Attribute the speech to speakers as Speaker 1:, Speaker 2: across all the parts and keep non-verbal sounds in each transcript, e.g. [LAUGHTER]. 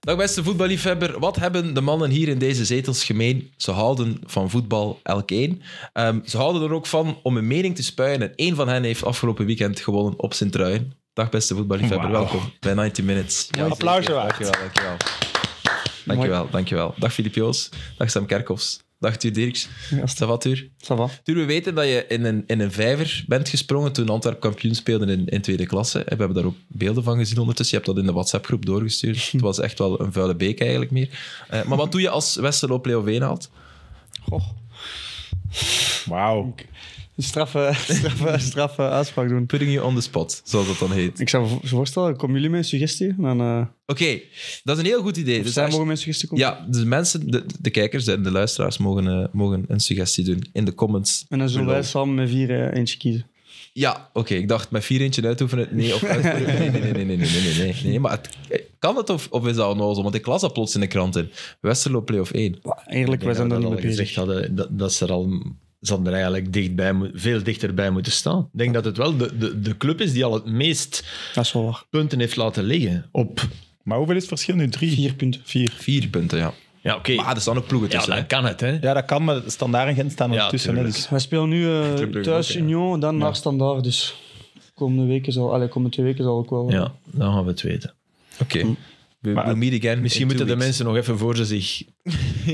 Speaker 1: Dag beste voetballiefhebber, wat hebben de mannen hier in deze zetels gemeen? Ze houden van voetbal, elk één. Ehm, ze houden er ook van om een mening te spuien en één van hen heeft afgelopen weekend gewonnen op Sint-Truiden. Dag beste voetballiefhebber,
Speaker 2: Wauw.
Speaker 1: welkom bij 90 Minutes.
Speaker 3: Ja, applausje
Speaker 1: zeker.
Speaker 3: waard.
Speaker 1: Dankjewel, dankjewel. Dankjewel, dankjewel. Dag Filip Joos, dag Sam Kerkhoffs, dag Tuur Dirks, Savatuur.
Speaker 3: Ça va.
Speaker 1: Tuur, we weten dat je in een, in een vijver bent gesprongen toen Antwerp kampioen speelde in, in tweede klasse. En we hebben daar ook beelden van gezien ondertussen. Je hebt dat in de WhatsApp-groep
Speaker 3: [LAUGHS]
Speaker 1: doorgestuurd. Het was echt wel een vuile beek eigenlijk meer. Eh, maar wat doe je als Westerlo Play-off haalt?
Speaker 3: Goh.
Speaker 2: Wauw.
Speaker 3: Een straffe, [LAUGHS] straffe, straffe uitspraak doen.
Speaker 1: Putting you on the spot, zoals dat dan heet.
Speaker 3: Ik zou vo- voorstellen, komen jullie met een suggestie? En Dan, eh
Speaker 1: Oké, dat is een heel goed idee.
Speaker 3: of
Speaker 1: Dus
Speaker 3: zij
Speaker 1: als-
Speaker 3: mogen met een suggestie komen?
Speaker 1: ja, de mensen, de, de kijkers en de luisteraars mogen, eh, mogen een suggestie doen in de comments.
Speaker 3: En dan zullen wij samen met vier eh, eentje kiezen.
Speaker 1: Ja, oké. Ik dacht met vier eentje uitoefenen. Nee, of uitoefenen. Nee, nee, nee, nee, nee, nee, nee, nee, nee. Maar het, kan dat of, of is dat onnozel? Want ik las dat plots in de kranten. Westerlo Play-off 1.
Speaker 3: Eerlijk, wij zijn
Speaker 4: dat
Speaker 3: er niet
Speaker 4: al
Speaker 3: mee bezig.
Speaker 4: gezegd hadden dat, dat ze er al ze hadden er eigenlijk dichtbij, mo- veel dichterbij moeten staan. Ik denk dat het wel de, de, de club is die al het meest
Speaker 3: Dat is wel waar.
Speaker 4: punten heeft laten liggen op...
Speaker 2: Maar hoeveel is het verschil nu? Drie?
Speaker 3: Vier punten.
Speaker 2: Vier.
Speaker 1: Vier punten, ja.
Speaker 4: Ja, oké.
Speaker 1: Maar er staan ook ploegen
Speaker 4: Ja,
Speaker 1: tussen. hè.
Speaker 4: dan kan het, hè.
Speaker 2: Ja, dat kan, maar standaard en Gent staan
Speaker 4: Ja,
Speaker 2: ertussen. hè,
Speaker 4: tuurlijk.
Speaker 2: dus
Speaker 3: Wij spelen nu eh,
Speaker 1: Club Brugge
Speaker 3: thuis
Speaker 1: ook, ja.
Speaker 3: Union, dan naar Standaard. Dus komende, weken zal, allee, komende twee weken zal ook wel.
Speaker 4: Ja, dan gaan we het weten.
Speaker 1: Oké. We,
Speaker 2: Maar
Speaker 1: we'll meet again.
Speaker 4: Misschien
Speaker 1: in
Speaker 4: moeten de
Speaker 1: two weeks.
Speaker 4: mensen nog even voor ze zich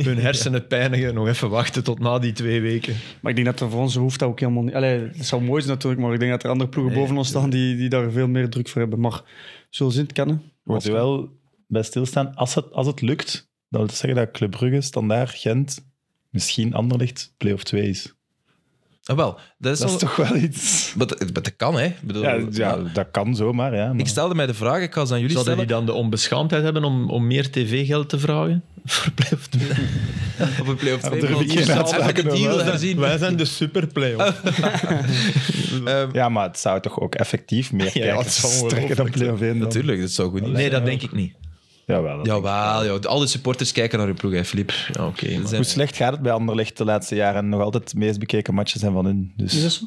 Speaker 4: hun hersenen pijnigen, nog even wachten tot na die twee weken.
Speaker 3: Maar ik denk dat er voor ons hoeft dat ook helemaal niet. Allee, het zou mooi zijn natuurlijk, maar ik denk dat er andere ploegen
Speaker 4: Nee,
Speaker 3: boven ons staan die, die daar veel meer druk voor hebben. Maar we zullen zien, het kan. hè.
Speaker 2: we moeten wel bij stilstaan. Als het, als het lukt, dan wil dat zeggen dat Club Brugge, standaard, Gent, misschien Anderlicht, play-off 2 is.
Speaker 1: Ah, wel. Dat is,
Speaker 2: Dat is
Speaker 1: al-
Speaker 2: toch wel iets...
Speaker 1: Maar dat, maar dat kan, hè? Ik Bedoel,
Speaker 2: Ja, ja,
Speaker 1: ja.
Speaker 2: dat kan zomaar, ja. maar-
Speaker 1: Ik stelde mij de vraag, ik kan ze aan jullie
Speaker 4: Zouden
Speaker 1: stellen.
Speaker 4: die dan de onbeschaamdheid hebben om, om meer tv-geld te vragen? Voor play-off twee?
Speaker 1: Op een play-off
Speaker 2: Ja,
Speaker 1: 2.
Speaker 2: durf ik geen uitspraak
Speaker 1: heb ik een
Speaker 2: te doen,
Speaker 1: deal
Speaker 2: hè.
Speaker 1: herzien.
Speaker 4: Wij zijn de super play-off.
Speaker 1: Ehm,
Speaker 2: Ja, maar het zou toch ook effectief meer
Speaker 4: Ja, het
Speaker 2: kijkers
Speaker 4: zou wel
Speaker 2: trekken dan play-off 1 dan?
Speaker 1: Natuurlijk, dat zou goed niet
Speaker 4: Nee,
Speaker 1: zijn.
Speaker 4: dat denk ik niet.
Speaker 2: Jawel. dat-
Speaker 1: Jawel, joh. alle supporters kijken naar hun ploeg, hè, Filip.
Speaker 4: Ja, Oké, maar-
Speaker 1: Zijn-
Speaker 2: Hoe slecht gaat het bij Anderlecht de laatste jaren? Nog altijd de meest bekeken matchen zijn van hun.
Speaker 3: Is dat
Speaker 2: Dus
Speaker 3: zo?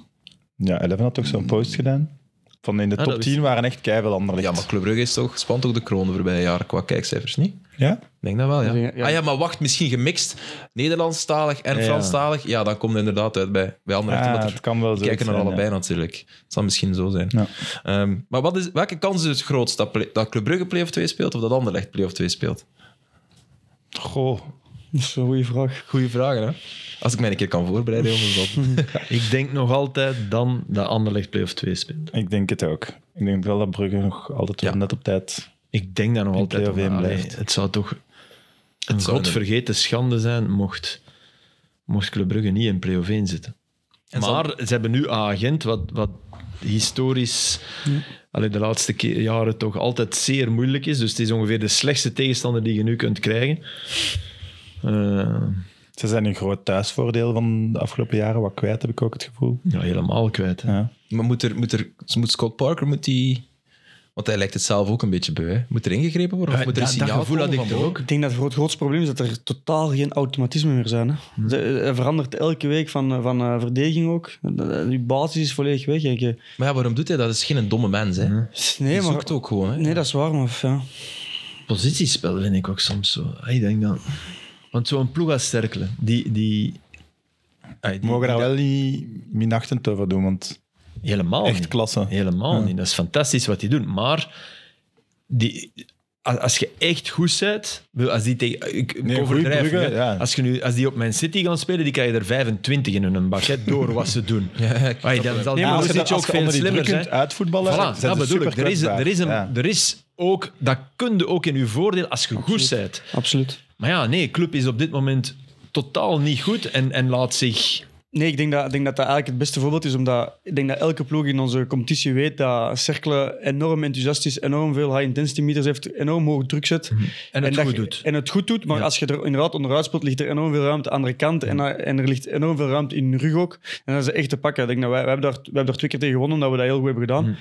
Speaker 2: ja, Eleven had toch zo'n post gedaan? Van in de
Speaker 4: Ah,
Speaker 2: top
Speaker 4: dat
Speaker 2: 10 waren echt keiveel Anderlecht.
Speaker 1: Ja, maar Club Brugge is toch, spant toch de kroon de voorbije jaren qua kijkcijfers, niet?
Speaker 2: Ja?
Speaker 1: Ik denk dat wel, ja.
Speaker 3: Ja, ja.
Speaker 1: Ah ja, maar wacht, misschien gemixt. Nederlandstalig en
Speaker 4: Ja.
Speaker 1: Franstalig. Ja, dan komt het inderdaad uit bij, bij andere
Speaker 2: Ah,
Speaker 1: omdat er-
Speaker 2: het kan wel zo.
Speaker 1: We kijken naar allebei natuurlijk. Het zal misschien zo zijn.
Speaker 2: Ja.
Speaker 1: Ehm, maar wat is, welke kans is het grootst? Dat, play- dat Club Brugge play-off 2 speelt of dat Anderlecht play-off 2 speelt?
Speaker 2: Goh.
Speaker 3: Dat is een goede vraag.
Speaker 1: Goeie vragen, hè? Als ik mij een keer kan voorbereiden, jongens. Dat...
Speaker 4: Ik denk nog altijd dan dat Anderlecht play-off 2 speelt.
Speaker 2: Ik denk het ook. Ik denk wel dat Brugge nog altijd wel
Speaker 1: Ja.
Speaker 2: net op tijd...
Speaker 4: Ik denk dat nog altijd
Speaker 2: play-off
Speaker 4: aan.
Speaker 2: één
Speaker 4: Allee,
Speaker 2: blijft.
Speaker 4: Het zou toch een
Speaker 1: zou een-
Speaker 4: godvergeten schande zijn mocht, mocht Club Brugge niet in play-off 1 zitten.
Speaker 1: En zal-
Speaker 4: maar ze hebben nu agent wat, wat historisch allee, de laatste ke- jaren toch altijd zeer moeilijk is. Dus het is ongeveer de slechtste tegenstander die je nu kunt krijgen. Eh,
Speaker 2: Ze zijn een groot thuisvoordeel van de afgelopen jaren wat kwijt, heb ik ook het gevoel.
Speaker 4: ja, helemaal kwijt. hè.
Speaker 2: Ja.
Speaker 1: Maar moet, er, moet, er, moet Scott Parker, moet die... Want hij lijkt het zelf ook een beetje beu, hè? Moet er ingegrepen worden? Of
Speaker 4: Ja,
Speaker 1: moet er een
Speaker 4: dat-
Speaker 1: signaal
Speaker 4: dat gevoel had
Speaker 1: komen
Speaker 4: ik
Speaker 1: van
Speaker 4: er ook.
Speaker 1: boven?
Speaker 3: Ik denk dat voor het grootste probleem is dat er totaal geen automatisme meer zijn. Hè.
Speaker 1: Hm.
Speaker 3: Ze- Er verandert elke week van, eh, van eh, verdediging ook. Eh, Die basis is volledig weg. hè. Je-
Speaker 1: Maar ja, waarom doet hij dat? Dat is geen domme mens, hè?
Speaker 3: Nee,
Speaker 1: Hij
Speaker 3: maar,
Speaker 1: zoekt ook gewoon, hè?
Speaker 3: nee, dat is waar. Maar, ja.
Speaker 4: positiespel vind ik ook soms zo. Ah, Ik denk dan... Want zo'n ploeg als Cerkelen, die, die, ah, die-
Speaker 2: We mogen daar wel niet minachtend over doen, want
Speaker 4: helemaal
Speaker 2: echt
Speaker 4: niet.
Speaker 2: klasse.
Speaker 4: Helemaal
Speaker 2: Ja.
Speaker 4: niet. Dat is fantastisch wat die doen. Maar die, als, als je echt goed bent, wil- als die tegen, ik, ik
Speaker 2: Nee,
Speaker 4: overdrijf,
Speaker 2: goeie Brugge,
Speaker 4: hè.
Speaker 2: ja.
Speaker 4: als, je nu, als die op Man City gaan spelen, die krijgen er 25 in hun bak, hè, door wat ze
Speaker 2: [LAUGHS]
Speaker 4: doen.
Speaker 1: Ja, ik-
Speaker 4: Ai, dan zal die
Speaker 2: Ja, als je,
Speaker 4: Lucic
Speaker 2: dat- als je
Speaker 4: ook veel
Speaker 2: onder die
Speaker 4: slimmer
Speaker 2: druk
Speaker 4: zijn.
Speaker 2: kunt uitvoetballen,
Speaker 4: Voilà,
Speaker 2: zijn
Speaker 4: dat
Speaker 2: ze
Speaker 4: bedoel ik. Er is,
Speaker 2: superkwetsbaar.
Speaker 4: er, is een,
Speaker 2: Ja.
Speaker 4: er is ook... Dat kun je ook in je voordeel als je goed bent.
Speaker 3: Absoluut.
Speaker 4: Maar ja, nee, club is op dit moment totaal niet goed en, en laat zich...
Speaker 3: Nee, ik denk dat, ik denk dat dat eigenlijk het beste voorbeeld is. Omdat ik denk dat elke ploeg in onze competitie weet dat Cercle enorm enthousiast is, enorm veel high-intensity meters heeft, enorm hoog druk zet.
Speaker 4: Mhm. En het
Speaker 3: dat
Speaker 4: goed
Speaker 3: je-
Speaker 4: doet.
Speaker 3: En het goed doet, maar
Speaker 4: Ja. Mhm.
Speaker 3: als je er inderdaad onderuit speelt, ligt er enorm veel ruimte aan de andere kant. En, eh, en er ligt enorm veel ruimte in hun rug ook. En dat is echt te pakken. Ik denk dat wij, wij, hebben daar, wij hebben daar twee keer tegen gewonnen, omdat we dat heel goed hebben gedaan.
Speaker 4: Mhm.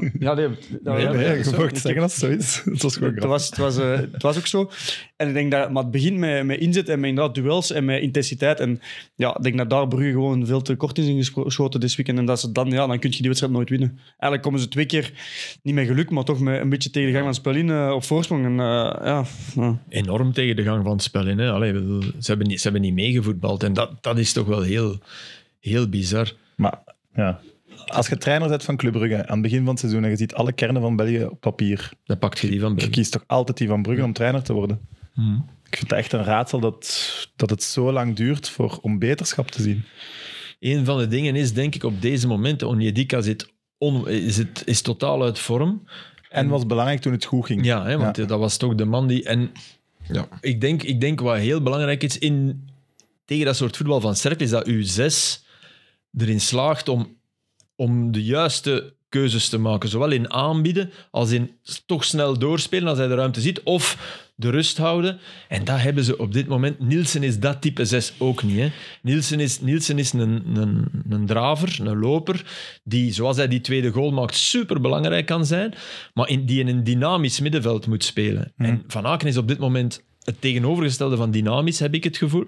Speaker 3: Ehm, ja, nee, dat-
Speaker 2: Ja,
Speaker 3: dat-
Speaker 2: ja, je
Speaker 3: dat-
Speaker 4: [LAUGHS]
Speaker 2: mag zeggen als het zo is. Het was gewoon
Speaker 3: het was, het, was, eh, het was ook zo. En ik denk dat, maar het begint met, met inzet en met inderdaad duels en met intensiteit. En ja, ik denk dat daar Brugge gewoon veel te kort is ingeschoten dit weekend. En dat ze dan, ja, dan kun je die wedstrijd nooit winnen. Eigenlijk komen ze twee keer, niet met geluk, maar toch met een beetje tegen de gang van het spel in eh, op voorsprong. En, eh, ja, ja.
Speaker 4: enorm tegen de gang van het spel in. Hè. Allee, ik bedoel, ze, hebben niet, ze hebben niet meegevoetbald. En dat, dat is toch wel heel, heel bizar.
Speaker 2: Maar ja. als je trainer bent van Club Brugge aan het begin van het seizoen en je ziet alle kernen van België op papier,
Speaker 4: Dan pakt je die van
Speaker 2: je
Speaker 4: België.
Speaker 2: kiest toch altijd die van Brugge om trainer te worden?
Speaker 3: Hmm.
Speaker 2: Ik vind het echt een raadsel dat, dat het zo lang duurt voor, om beterschap te zien.
Speaker 4: Een van de dingen is, denk ik, op deze momenten, Onjedika zit, on, is, het, is totaal uit vorm.
Speaker 2: En was belangrijk toen het goed ging.
Speaker 4: Ja, hè, want
Speaker 2: Ja.
Speaker 4: dat was toch de man die... En
Speaker 1: Ja.
Speaker 4: ik, denk, ik denk wat heel belangrijk is in, tegen dat soort voetbal van Serp, is dat u zes erin slaagt om, om de juiste keuzes te maken. Zowel in aanbieden, als in toch snel doorspelen als hij de ruimte ziet, of de rust houden. En dat hebben ze op dit moment. Nielsen is dat type zes ook niet. Hè. Nielsen is, Nielsen is een, een, een draver, een loper, die, zoals hij die tweede goal maakt, superbelangrijk kan zijn, maar in, die in een dynamisch middenveld moet spelen. En Van Aken is op dit moment het tegenovergestelde van dynamisch, heb ik het gevoel.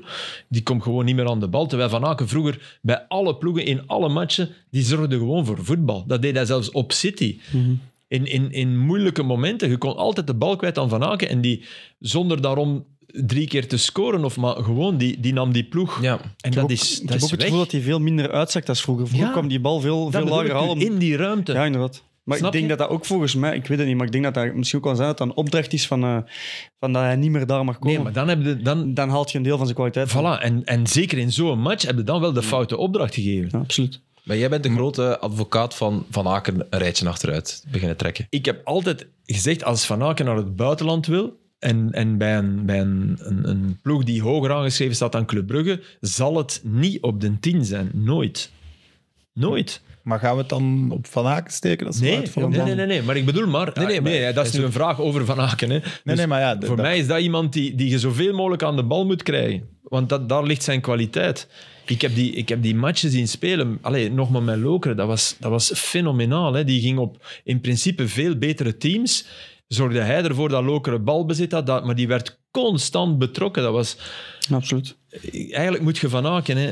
Speaker 4: Die komt gewoon niet meer aan de bal. Terwijl Van Aken vroeger bij alle ploegen, in alle matchen, die zorgde gewoon voor voetbal. Dat deed hij zelfs op City.
Speaker 3: Mhm.
Speaker 4: In, in, in moeilijke momenten, je kon altijd de bal kwijt aan Van Aken. En die, zonder daarom drie keer te scoren, of maar gewoon, die, die nam die ploeg.
Speaker 1: Ja.
Speaker 4: En
Speaker 3: Ik heb
Speaker 4: dat
Speaker 3: ook-
Speaker 4: is,
Speaker 3: ik
Speaker 4: dat
Speaker 3: heb ook het
Speaker 4: is weg.
Speaker 3: gevoel dat hij veel minder uitzakt als vroeger. Vroeger
Speaker 4: Ja.
Speaker 3: kwam die bal veel,
Speaker 4: Dat
Speaker 3: veel
Speaker 4: bedoel
Speaker 3: lager
Speaker 4: ik nu,
Speaker 3: al. om-
Speaker 4: in die ruimte.
Speaker 3: Ja, inderdaad. Maar
Speaker 4: Snap
Speaker 3: ik denk
Speaker 4: je?
Speaker 3: dat dat ook volgens mij, ik weet het niet, maar ik denk dat dat misschien ook wel zijn dat dat een opdracht is van, eh, van dat hij niet meer daar mag komen.
Speaker 4: Nee, maar dan heb je... Dan,
Speaker 3: Dan haalt je een deel van zijn kwaliteit.
Speaker 4: voilà. En, en zeker in zo'n match heb je dan wel de foute opdracht gegeven.
Speaker 3: Ja, absoluut.
Speaker 1: Maar jij bent de grote advocaat van Van Aken een rijtje achteruit beginnen trekken.
Speaker 4: ik heb altijd gezegd, als Van Aken naar het buitenland wil, en, en bij, een, bij een, een, een ploeg die hoger aangeschreven staat dan Club Brugge, zal het niet op de 10 zijn. Nooit. Nooit.
Speaker 2: Maar gaan we het dan op Van Aken steken? Dat is
Speaker 4: Nee,
Speaker 2: uit voor
Speaker 4: nee,
Speaker 2: een
Speaker 4: nee,
Speaker 2: man.
Speaker 4: nee, nee. Maar ik bedoel maar...
Speaker 1: Nee,
Speaker 4: Nee,
Speaker 1: nee,
Speaker 4: nee,
Speaker 1: maar-
Speaker 4: dat is nu een vraag over Van Aken. Hè. Dus
Speaker 2: nee, maar ja, d-
Speaker 4: voor
Speaker 2: dat-
Speaker 4: mij is dat iemand die, die je zoveel mogelijk aan de bal moet krijgen. Want dat, daar ligt zijn kwaliteit. Ik heb die, ik heb die matchen zien spelen. Allee, nog maar met Lokeren. Dat was, dat was fenomenaal. Hè. Die ging op in principe veel betere teams. Zorgde hij ervoor dat Lokeren balbezit had. Dat, maar die werd constant betrokken. Dat was,
Speaker 3: Absoluut.
Speaker 4: eigenlijk moet je van Aken hè,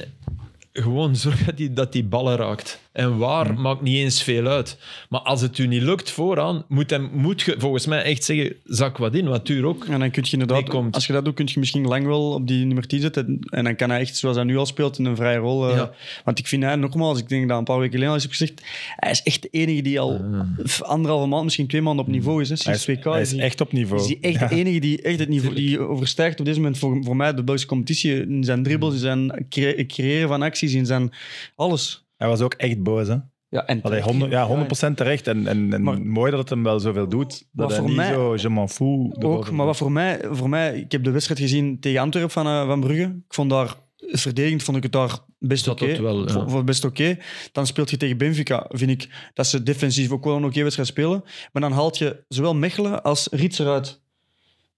Speaker 4: gewoon zorgen dat die, dat die ballen raakt. En waar
Speaker 3: Hmm.
Speaker 4: maakt niet eens veel uit. Maar als het u niet lukt vooraan, moet, hem, moet je volgens mij echt zeggen: zak wat in, wat duur ook.
Speaker 3: En dan kun je inderdaad,
Speaker 4: Die komt.
Speaker 3: als je dat doet, kun je misschien lang wel op die nummer 10 zetten. En dan kan hij echt, zoals hij nu al speelt, in een vrije rol. eh,
Speaker 4: Ja.
Speaker 3: Want ik vind hij, nogmaals, ik denk dat een paar weken geleden al is heb gezegd, hij is echt de enige die al f- anderhalve maand, misschien twee maanden op niveau is. Hè,
Speaker 2: Ah. Hij
Speaker 3: sinds
Speaker 2: is,
Speaker 3: 2K.
Speaker 2: hij is
Speaker 3: hij-
Speaker 2: echt op niveau.
Speaker 3: Is die echt de enige die echt het niveau die overstijgt op dit moment voor, voor mij de Belgische competitie? In zijn dribbles, in zijn cre- creëren van acties, in zijn alles.
Speaker 2: Hij was ook echt boos, hè?
Speaker 3: Ja, en
Speaker 2: Allee, 100, ja, 100% terecht. En, en, en
Speaker 3: Maar-
Speaker 2: mooi dat het hem wel zoveel doet.
Speaker 3: Maar
Speaker 2: Dat hij
Speaker 3: voor
Speaker 2: niet
Speaker 3: mij-
Speaker 2: zo je m'en fous erover
Speaker 3: ook. Maar wat voor mij, voor mij, ik heb de wedstrijd gezien tegen Antwerpen van, eh, van Brugge. Ik vond daar verdedigend vond ik het daar best
Speaker 4: Zat
Speaker 3: oké.
Speaker 4: dat wel, ja.
Speaker 3: Vo- voor best oké. Dan speelt je tegen Benfica, vind ik dat ze defensief ook wel een oké wedstrijd spelen. Maar dan haalt je zowel Mechelen als Riets eruit.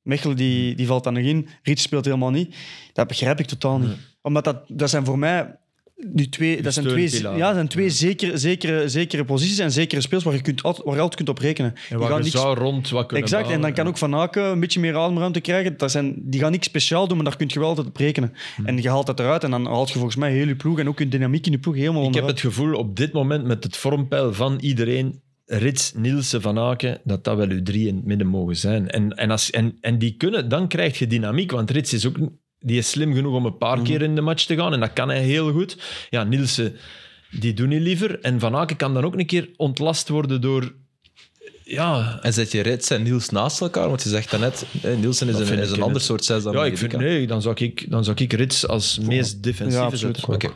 Speaker 3: Mechelen
Speaker 4: Hmm.
Speaker 3: die, die valt dan nog in. Riets speelt helemaal niet. Dat begrijp ik totaal
Speaker 4: Hmm.
Speaker 3: niet. Omdat dat, dat zijn voor mij die twee, dat zijn twee,
Speaker 4: steunpilaren.
Speaker 3: ja, dat zijn twee zekere, zekere, zekere posities en zekere speels waar je, kunt, alt- waar je altijd kunt op rekenen. Die
Speaker 4: En waar
Speaker 3: gaan
Speaker 4: je
Speaker 3: niks-
Speaker 4: zou rond wat kunnen
Speaker 3: Exact, en
Speaker 4: bouwen.
Speaker 3: dan kan ook Van Aken een beetje meer ademruimte krijgen. Dat zijn, die gaan niks speciaal doen, maar daar kun je wel altijd op rekenen.
Speaker 4: Hmm.
Speaker 3: En je haalt dat eruit en dan haalt je volgens mij heel je ploeg en ook je dynamiek in de ploeg helemaal
Speaker 4: Ik heb
Speaker 3: onderuit.
Speaker 4: het gevoel op dit moment met het vormpeil van iedereen, Rits, Nielsen, Van Aken, dat dat wel uw drie in het midden mogen zijn. En, en, als, en, en die kunnen, dan krijg je dynamiek, want Rits is ook die is slim genoeg om een paar keer in de match te gaan en dat kan hij heel goed. Ja, Nielsen, die doen niet liever. En Van Aken kan dan ook een keer ontlast worden door. Ja,
Speaker 1: En zet je Rits en Niels naast elkaar? Want je zegt daarnet, eh, Nielsen is
Speaker 4: Dat
Speaker 1: een,
Speaker 4: vind
Speaker 1: is
Speaker 4: ik
Speaker 1: een
Speaker 4: in
Speaker 1: ander
Speaker 4: het-
Speaker 1: soort zes dan
Speaker 4: ja ik
Speaker 1: Medica.
Speaker 4: vind, nee, dan zou ik, dan zou ik Rits als meest defensief
Speaker 3: Ja, absoluut.
Speaker 4: zetten.
Speaker 1: Oké.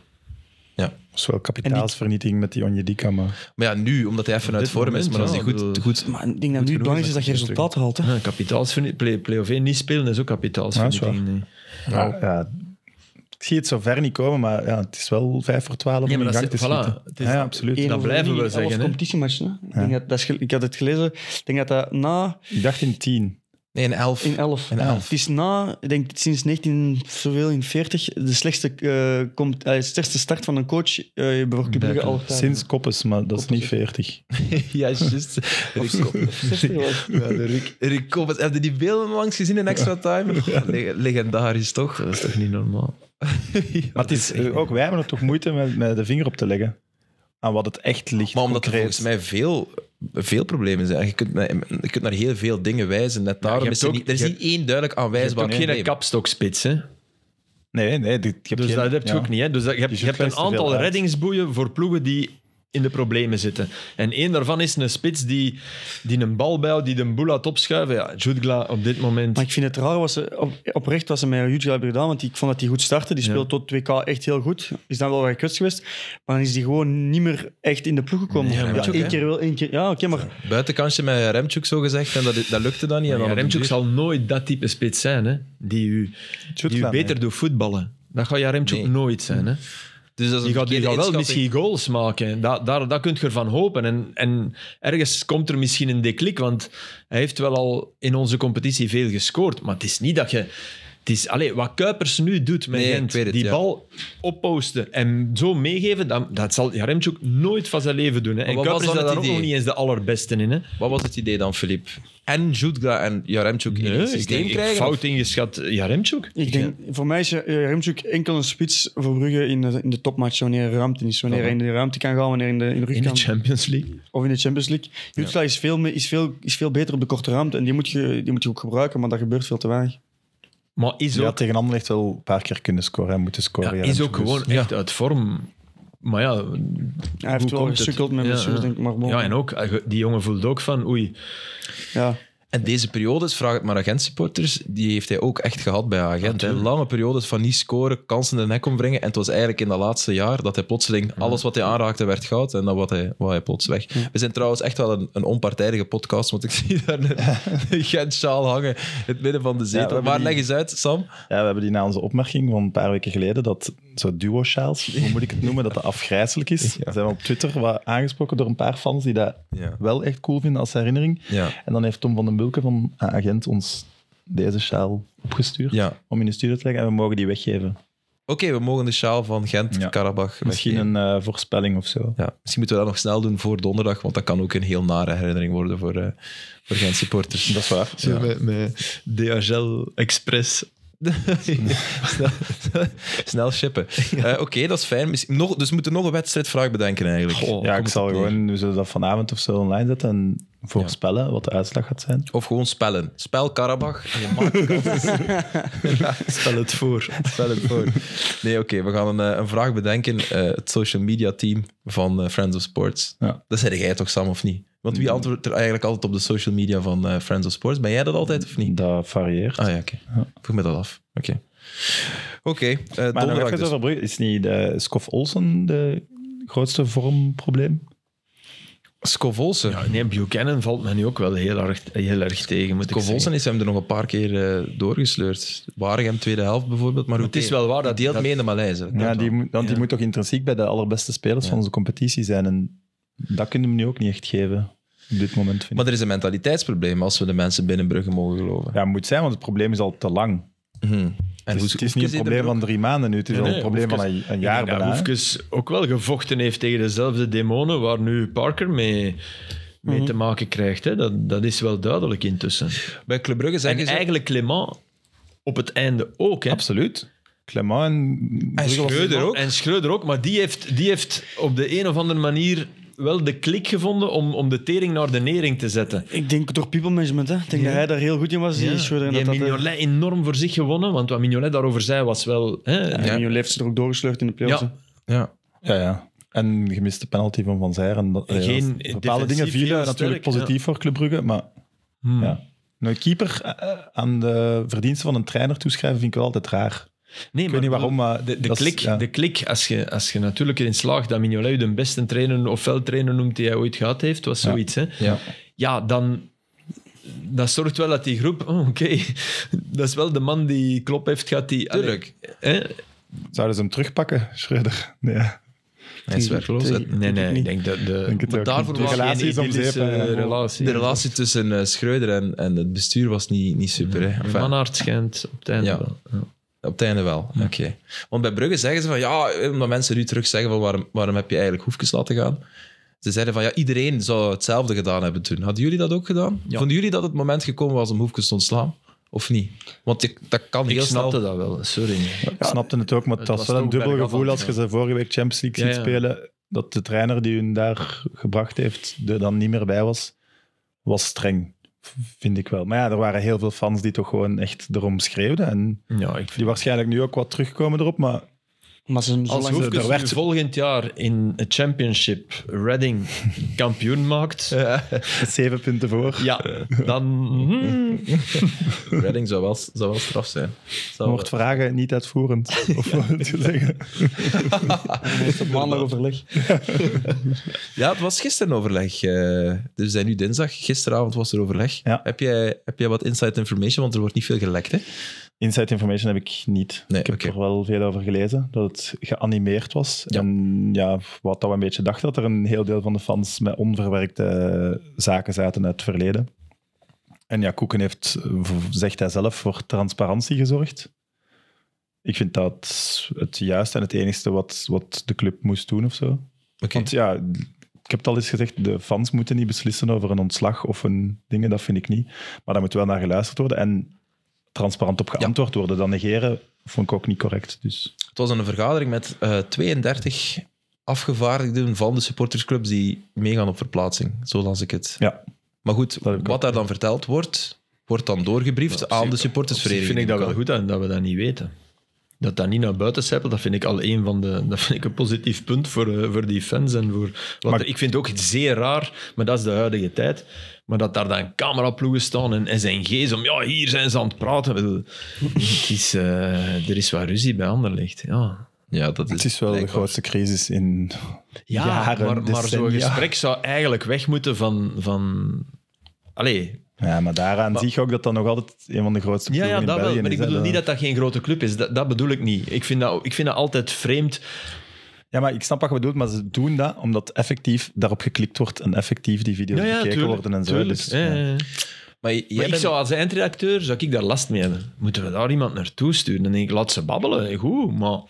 Speaker 2: Dat is wel kapitaalsvernietiging met die Onjedika, maar...
Speaker 1: Maar ja, nu, omdat hij even uit
Speaker 4: dit
Speaker 1: vorm is, maar als hij
Speaker 4: moment, ja,
Speaker 1: goed,
Speaker 4: bedoel-
Speaker 1: goed...
Speaker 3: Maar ik denk
Speaker 1: Goed
Speaker 3: dat nu
Speaker 1: genoeg
Speaker 3: het belangrijkste is dat je
Speaker 2: is dat
Speaker 3: resultaat haalt. hè.
Speaker 4: Ja, kapitaalsvernie- play- Play-off één niet spelen is ook kapitaalsvernietiging.
Speaker 2: Ja,
Speaker 4: nee.
Speaker 2: Ja, Nou, ja, ik zie het zo ver niet komen, maar ja, het is wel vijf voor twaalf
Speaker 4: Ja,
Speaker 2: om
Speaker 4: maar
Speaker 2: in
Speaker 4: dat
Speaker 2: gang te
Speaker 4: is- voilà,
Speaker 2: schieten.
Speaker 4: het is-
Speaker 2: ja, ja, absoluut.
Speaker 3: Eén
Speaker 4: dat
Speaker 3: overwinning
Speaker 4: blijven we
Speaker 3: in elf
Speaker 4: zeggen, hè.
Speaker 3: competitiematchen, hè. Ik, denk dat, dat is gel- ik had het gelezen. Ik denk dat dat na...
Speaker 2: Ik dacht in tien.
Speaker 1: Nee, in 11.
Speaker 3: In 11.
Speaker 1: In elf.
Speaker 3: Het is na, ik denk sinds 19, zoveel, in 40, de slechtste, eh, komt, eh, slechtste start van een coach eh, bij Club Brugge al gedaan.
Speaker 2: Sinds Koppes, maar dat is niet 40.
Speaker 1: [LAUGHS] ja, juist. Rick Koppers.
Speaker 3: 60 was.
Speaker 1: Ja, de Rick, Rick Koppers. Heb je die beelden langs gezien in Extra
Speaker 4: [LAUGHS]
Speaker 1: Time? Le- legendarisch, toch?
Speaker 4: Dat is toch niet normaal?
Speaker 2: Maar het is, eh, ook wij hebben er toch moeite met, met de vinger op te leggen. Aan wat het echt ligt.
Speaker 1: Maar omdat er
Speaker 2: concreet.
Speaker 1: volgens mij veel, veel problemen zijn. Je kunt, naar- je kunt naar heel veel dingen wijzen. Net daarom
Speaker 4: hebt
Speaker 1: is er,
Speaker 4: ook-
Speaker 1: niet, er is
Speaker 4: je-
Speaker 1: niet één duidelijk
Speaker 4: Je hebt
Speaker 1: aanwijsbaar
Speaker 4: ook geen
Speaker 1: probleem.
Speaker 4: kapstokspits, hè?
Speaker 2: Nee, nee. dit- je hebt
Speaker 4: Dus
Speaker 2: geen-
Speaker 4: dat heb je
Speaker 2: ja.
Speaker 4: ook niet. Hè? Dus dat, je hebt,
Speaker 2: Je
Speaker 4: je hebt
Speaker 2: zoekt
Speaker 4: een
Speaker 2: best te veel
Speaker 4: aantal
Speaker 2: uit.
Speaker 4: reddingsboeien voor ploegen die in de problemen zitten. En één daarvan is een spits die, die een bal bijhoudt, die de boel laat opschuiven. Ja, Jutgla op dit moment...
Speaker 3: Maar ik vind het raar, was ze, op, oprecht was ze met Jutje hebben gedaan, want ik vond dat hij goed startte. Die
Speaker 4: Ja.
Speaker 3: speelde tot 2K echt heel goed. Is dan wel wat gekwetst geweest, maar dan is hij gewoon niet meer echt in de ploeg gekomen.
Speaker 1: Nee,
Speaker 3: Ja,
Speaker 1: maar
Speaker 3: Weet je,
Speaker 1: ook,
Speaker 3: één
Speaker 1: hè.
Speaker 3: keer wel, één keer... Ja, oké, maar
Speaker 1: Buitenkantje met Remchuk, zo gezegd. En dat, dat lukte dan niet. En
Speaker 4: Ja,
Speaker 1: dan op de
Speaker 4: Remchuk
Speaker 1: duur-
Speaker 4: zal nooit dat type spits zijn, hè? Die u, die u
Speaker 2: Jutgla,
Speaker 4: beter
Speaker 2: nee.
Speaker 4: doet voetballen. Dat gaat Jaremchuk
Speaker 1: Nee.
Speaker 4: nooit zijn, hè?
Speaker 1: Dus dat is
Speaker 4: Die
Speaker 1: een
Speaker 4: gaat, die
Speaker 1: verkeerde
Speaker 4: gaat wel
Speaker 1: inschatting.
Speaker 4: misschien goals maken. Da, daar, daar kun je ervan hopen. En, en ergens komt er misschien een deklik, want hij heeft wel al in onze competitie veel gescoord. Maar het is niet dat je... Het is, allez, wat Kuipers nu doet met
Speaker 1: Nee, ik
Speaker 4: Gent,
Speaker 1: weet het,
Speaker 4: die
Speaker 1: ja.
Speaker 4: bal opposten en zo meegeven, dat, dat zal Jaremchuk nooit van zijn leven doen. Hè. En
Speaker 1: wat
Speaker 4: Kuipers is
Speaker 1: was dan
Speaker 4: daar
Speaker 1: het
Speaker 4: ook nog
Speaker 1: idee?
Speaker 4: niet eens de allerbeste in. Hè.
Speaker 1: Wat was het idee dan, Filip? En Jutgla en Jaremchuk in het
Speaker 4: ik,
Speaker 1: systeem
Speaker 4: denk- ik
Speaker 1: krijgen? of-
Speaker 4: fout ingeschat Jaremchuk.
Speaker 3: ik denk, voor mij is eh, Remchuk enkel een spits voor Brugge in de, in de topmatch, wanneer er ruimte is. Wanneer hij in de ruimte kan gaan, wanneer hij in de, in de rug
Speaker 4: In de
Speaker 3: kan.
Speaker 4: Champions League.
Speaker 3: Of in de Champions League. Jutla is, veel, me- is, veel, is veel beter op de korte ruimte. En die moet, je, die moet je ook gebruiken, maar dat gebeurt veel te weinig.
Speaker 4: Maar is
Speaker 2: Ja,
Speaker 4: ook
Speaker 2: tegen Anderlecht wel een paar keer kunnen scoren en moeten
Speaker 4: Ja,
Speaker 2: scoren. ja,
Speaker 4: is
Speaker 2: dus-
Speaker 4: ook gewoon echt uit vorm. Maar ja,
Speaker 3: Hij heeft
Speaker 4: Hoe
Speaker 3: wel
Speaker 4: komt het?
Speaker 3: gesukkeld met
Speaker 4: Ja,
Speaker 3: blessures,
Speaker 4: ja.
Speaker 3: denk ik. Maar bon.
Speaker 4: ja, en ook, eh, die jongen voelt ook van oei.
Speaker 3: Ja.
Speaker 1: En deze periodes, vraag het maar aan Gent-supporters, die heeft hij ook echt gehad bij Agent. Lange periodes van niet scoren, kansen de nek ombrengen. En het was eigenlijk in dat laatste jaar dat hij plotseling alles wat hij aanraakte werd goud en dan wat hij, wat hij plots weg. We zijn trouwens echt wel een, een onpartijdige podcast, want ik [LAUGHS] zie daar een, een Gent-sjaal hangen in het midden van de
Speaker 2: we
Speaker 1: zetel.
Speaker 2: hebben
Speaker 1: maar
Speaker 2: die-
Speaker 1: leg eens uit, Sam.
Speaker 2: Ja, we hebben die na onze opmerking van een paar weken geleden, dat zo duo-sjaals, [LAUGHS] hoe moet ik het noemen, dat dat afgrijzelijk is.
Speaker 1: Ja.
Speaker 2: Zijn we op Twitter wat aangesproken door een paar fans die dat
Speaker 1: Ja.
Speaker 2: wel echt cool vinden als herinnering.
Speaker 1: Ja.
Speaker 2: En dan heeft Tom van den Bulke van A Agent ons deze sjaal opgestuurd
Speaker 1: Ja.
Speaker 2: om in de studio te leggen en we mogen die weggeven.
Speaker 1: Oké, we mogen de sjaal van Gent,
Speaker 2: Ja.
Speaker 1: Karabach.
Speaker 2: Misschien
Speaker 1: weggeven.
Speaker 2: een eh, voorspelling of zo.
Speaker 1: Ja, misschien moeten we dat nog snel doen voor donderdag, want dat kan ook een heel nare herinnering worden voor, eh, voor Gent-supporters.
Speaker 2: Dat is waar.
Speaker 4: Zo Met, met DHL Express.
Speaker 1: [LAUGHS] snel, snel shippen. Eh, Oké, dat is fijn. Misschien- Nog, dus we moeten nog een wedstrijdvraag bedenken eigenlijk.
Speaker 4: Goh.
Speaker 2: Oh, Ja,
Speaker 1: Komt
Speaker 2: ik zal
Speaker 1: het neer.
Speaker 2: gewoon, we zullen dat vanavond of zo online zetten en voorspellen wat de uitslag gaat zijn.
Speaker 1: Of gewoon spellen. Spel Karabach.
Speaker 2: [LAUGHS]
Speaker 4: Stel het voor.
Speaker 1: Spel het voor. Nee, oké, we gaan een, eh, een vraag bedenken. Eh, het social media team van eh, Friends of Sports.
Speaker 2: Ja.
Speaker 1: Dat zei jij toch, Sam, of niet? Want wie antwoordt er eigenlijk altijd op de social media van eh, Friends of Sports? Ben jij dat altijd of niet?
Speaker 2: Dat varieert.
Speaker 1: Ah ja, oké. Vroeg me dat af. Oké. Oké, eh,
Speaker 2: Maar nog
Speaker 1: donderdag
Speaker 2: even
Speaker 1: dus.
Speaker 2: over Brugge. Is niet de Scoff Olsen de grootste vormprobleem?
Speaker 1: Scovolsen.
Speaker 4: Ja, nee, Buchanan valt mij nu ook wel heel erg, heel erg tegen. Moet ik zeggen.
Speaker 1: Kovolsen is hem er nog een paar keer eh, doorgesleurd. Waregem tweede helft bijvoorbeeld. Maar,
Speaker 4: het is wel waar
Speaker 1: dat
Speaker 4: dat-
Speaker 1: deelt
Speaker 4: dat-
Speaker 1: mee in de Maleise.
Speaker 2: Ja, die, moet- want die
Speaker 4: Ja.
Speaker 2: moet toch intrinsiek bij de allerbeste spelers van onze competitie zijn. En dat kunnen we hem nu ook niet echt geven op dit moment, vind ik.
Speaker 1: Maar er is een mentaliteitsprobleem als we de mensen binnen Brugge mogen geloven.
Speaker 2: Ja, moet zijn, want het probleem is al te lang.
Speaker 1: Mhm.
Speaker 2: Het
Speaker 1: En
Speaker 2: is-
Speaker 1: hoe
Speaker 2: Dus het is niet een probleem van drie maanden nu, het is
Speaker 4: Nee,
Speaker 2: al een
Speaker 4: nee,
Speaker 2: probleem van
Speaker 4: Hoefkes-
Speaker 2: een, een
Speaker 4: Ik
Speaker 2: jaar
Speaker 4: denk dat
Speaker 2: bijna. hè.
Speaker 4: Hoefkes ook wel gevochten heeft tegen dezelfde demonen waar nu Parker mee, mee
Speaker 3: Mhm.
Speaker 4: te maken krijgt. Hè. Dat, dat is wel duidelijk intussen.
Speaker 1: Bij Club Brugge
Speaker 4: En
Speaker 1: zeggen ze...
Speaker 4: eigenlijk Clement op het einde ook. Hè.
Speaker 2: Absoluut. Clement en...
Speaker 1: En
Speaker 2: Brugge was-
Speaker 1: Schreuder ook.
Speaker 4: En Schreuder ook, maar die heeft, die heeft op de een of andere manier wel de klik gevonden om, om de tering naar de nering te zetten.
Speaker 3: Ik denk door people management. Hè. Ik denk dat hij daar heel goed in was. Die Schreuder en
Speaker 4: Die
Speaker 3: dat dat, eh,
Speaker 4: Mignolet enorm voor zich gewonnen, want wat Mignolet daarover zei was wel... Hè,
Speaker 3: ja,
Speaker 1: Ja.
Speaker 3: Mignolet heeft ze er ook doorgesleurd in de playoffs.
Speaker 4: Ja.
Speaker 3: hè.
Speaker 1: Ja.
Speaker 2: Ja, ja. En gemiste penalty van Van Zijren. Dat, ja,
Speaker 4: Geen
Speaker 2: dat- bepaalde
Speaker 4: defensief,
Speaker 2: dingen
Speaker 4: heel
Speaker 2: vielen
Speaker 4: sterk,
Speaker 2: natuurlijk positief voor Club Brugge, maar...
Speaker 4: Hmm.
Speaker 2: Ja. Een keeper eh, aan de verdiensten van een trainer toeschrijven vind ik wel altijd raar.
Speaker 4: Nee,
Speaker 2: Ik weet niet waarom, maar...
Speaker 4: De, de,
Speaker 2: dat is-
Speaker 4: klik,
Speaker 2: ja.
Speaker 4: de klik, als je, als je natuurlijk erin slaagt dat Mignolet je de beste trainer of veldtrainer noemt die hij ooit gehad heeft, was
Speaker 2: Ja.
Speaker 4: zoiets. Hè?
Speaker 1: Ja.
Speaker 4: ja, dan... Dat zorgt wel dat die groep... oh, Oké, [LAUGHS] dat is wel de man die Klop heeft gehad. Die,
Speaker 1: Tuurlijk.
Speaker 4: Allee, hè?
Speaker 2: Zouden ze hem terugpakken, Schreuder? Nee.
Speaker 1: Hij is werkloos.
Speaker 3: tegen-
Speaker 1: hè.
Speaker 4: Nee,
Speaker 3: Denk ik
Speaker 4: nee, ik
Speaker 3: niet.
Speaker 4: denk dat
Speaker 2: Denk
Speaker 4: de,
Speaker 2: het ook
Speaker 1: daarvoor
Speaker 2: niet.
Speaker 1: was
Speaker 2: de
Speaker 1: geen
Speaker 2: relatie is om zeep.
Speaker 4: idyllische
Speaker 2: hè.
Speaker 4: relatie.
Speaker 1: De relatie tussen eh, Schreuder en, en het bestuur was niet, niet super. Hè. Enfin,
Speaker 4: Manhart schijnt op het einde
Speaker 1: Ja.
Speaker 4: wel. Ja.
Speaker 1: Op het einde wel, oké. Want bij Brugge zeggen ze van ja, omdat mensen nu terug zeggen van waarom, waarom heb je eigenlijk Hoefkes laten gaan? Ze zeiden van ja, iedereen zou hetzelfde gedaan hebben toen. Hadden jullie dat ook gedaan?
Speaker 4: Ja.
Speaker 1: Vonden jullie dat het moment gekomen was om Hoefkes te ontslaan? Of niet? Want ik, dat kan
Speaker 4: Ik
Speaker 1: heel snel.
Speaker 4: snapte dat wel, sorry.
Speaker 2: Ik snapte het ook, maar het
Speaker 4: Het
Speaker 2: was wel
Speaker 4: was
Speaker 2: een
Speaker 4: toch
Speaker 2: dubbel
Speaker 4: bergaf
Speaker 2: gevoel
Speaker 4: aan
Speaker 2: als
Speaker 4: het
Speaker 2: je ze vorige week Champions League
Speaker 4: Ja,
Speaker 2: ziet
Speaker 4: ja.
Speaker 2: spelen, dat de trainer die hun daar gebracht heeft, er dan niet meer bij was, was streng. v- Vind ik wel. Maar ja, er waren heel veel fans die toch gewoon echt erom schreeuwden. En
Speaker 4: Ja, ik
Speaker 2: die waarschijnlijk nu ook wat terugkomen erop,
Speaker 4: [LAUGHS]
Speaker 2: maar
Speaker 3: Maar ze zijn zo
Speaker 4: Als
Speaker 3: lang...
Speaker 4: Hoefkes
Speaker 2: er werd-
Speaker 4: nu volgend jaar in het championship Reading kampioen [LAUGHS] maakt,
Speaker 2: zeven punten voor.
Speaker 4: ja, dan... hmm,
Speaker 1: [LAUGHS] Redding zou wel, zou wel straf zijn. Zou-
Speaker 2: Wordt vragen niet uitvoerend.
Speaker 4: [LAUGHS]
Speaker 2: Of wat wil je zeggen.
Speaker 3: maandag overleg.
Speaker 1: Ja, het was gisteren overleg. eh, dus we zijn nu dinsdag. Gisteravond was er overleg.
Speaker 2: Ja.
Speaker 1: Heb, jij, heb jij wat inside information? Want er wordt niet veel gelekt, hè?
Speaker 2: Inside information heb ik niet.
Speaker 1: Nee,
Speaker 2: ik heb
Speaker 1: oké.
Speaker 2: er wel veel over gelezen, dat het geanimeerd was.
Speaker 1: Ja.
Speaker 2: En ja, wat dat we een beetje dachten, dat er een heel deel van de fans met onverwerkte zaken zaten uit het verleden. En ja, Koeken heeft, eh, v- zegt hij zelf, voor transparantie gezorgd. Ik vind dat het juiste en het enigste wat, wat de club moest doen of zo.
Speaker 1: Oké.
Speaker 2: Want ja, ik heb het al eens gezegd, de fans moeten niet beslissen over een ontslag of een dingen, dat vind ik niet. Maar daar moet wel naar geluisterd worden en transparant op geantwoord worden. Dat negeren vond ik ook niet correct. Dus
Speaker 1: Het was een vergadering met eh, 32 afgevaardigden van de supportersclubs die meegaan op verplaatsing. Zo las ik het.
Speaker 2: ja,
Speaker 1: Maar goed,
Speaker 2: heb ik
Speaker 1: wat daar dan verteld wordt, wordt dan doorgebriefd
Speaker 4: Ja, op
Speaker 1: aan
Speaker 4: zich-
Speaker 1: de
Speaker 4: op zich
Speaker 1: supportersvereniging.
Speaker 4: vind ik dat wel goed dat, dat we dat niet weten. Dat dat niet naar buiten zijpelt, dat vind ik al een van de. Dat vind ik een positief punt voor, eh, voor die fans. En voor, want
Speaker 2: Maar-
Speaker 4: er- ik vind het ook zeer raar, maar dat is de huidige tijd. Maar dat daar dan cameraploegen staan en, en zijn geest om. Ja, hier zijn ze aan het praten. Ik bedoel, het is, eh, er is wat ruzie bij Anderlecht. Ja,
Speaker 1: Ja, dat is,
Speaker 2: het is wel de
Speaker 1: blijkbaar-
Speaker 2: grootste crisis in
Speaker 4: ja
Speaker 2: jaren,
Speaker 4: maar, maar zo'n
Speaker 2: decennia.
Speaker 4: gesprek zou eigenlijk weg moeten van. van Allee,
Speaker 2: Ja, maar daaraan zie je ook dat dat nog altijd een van de grootste
Speaker 4: Ja,
Speaker 2: ploegen
Speaker 4: ja dat
Speaker 2: in
Speaker 4: wel.
Speaker 2: België
Speaker 4: Maar
Speaker 2: is.
Speaker 4: ik
Speaker 2: hè.
Speaker 4: bedoel niet dat dat geen grote club is. Dat, dat bedoel ik niet. Ik vind dat, ik vind dat altijd vreemd.
Speaker 2: Ja, maar ik snap wat je bedoelt, maar ze doen dat omdat effectief daarop geklikt wordt en effectief die video's
Speaker 4: Ja, ja,
Speaker 2: bekeken
Speaker 4: tuurlijk.
Speaker 2: worden en zo.
Speaker 4: tuurlijk.
Speaker 2: Dus,
Speaker 4: Ja, ja,
Speaker 2: ja.
Speaker 4: ja.
Speaker 1: Maar, j- jij
Speaker 4: Maar ik
Speaker 1: bent-
Speaker 4: zou als eindredacteur zou ik daar last mee hebben. Moeten we daar iemand naartoe sturen? Dan denk ik, laat ze babbelen. Goed, maar...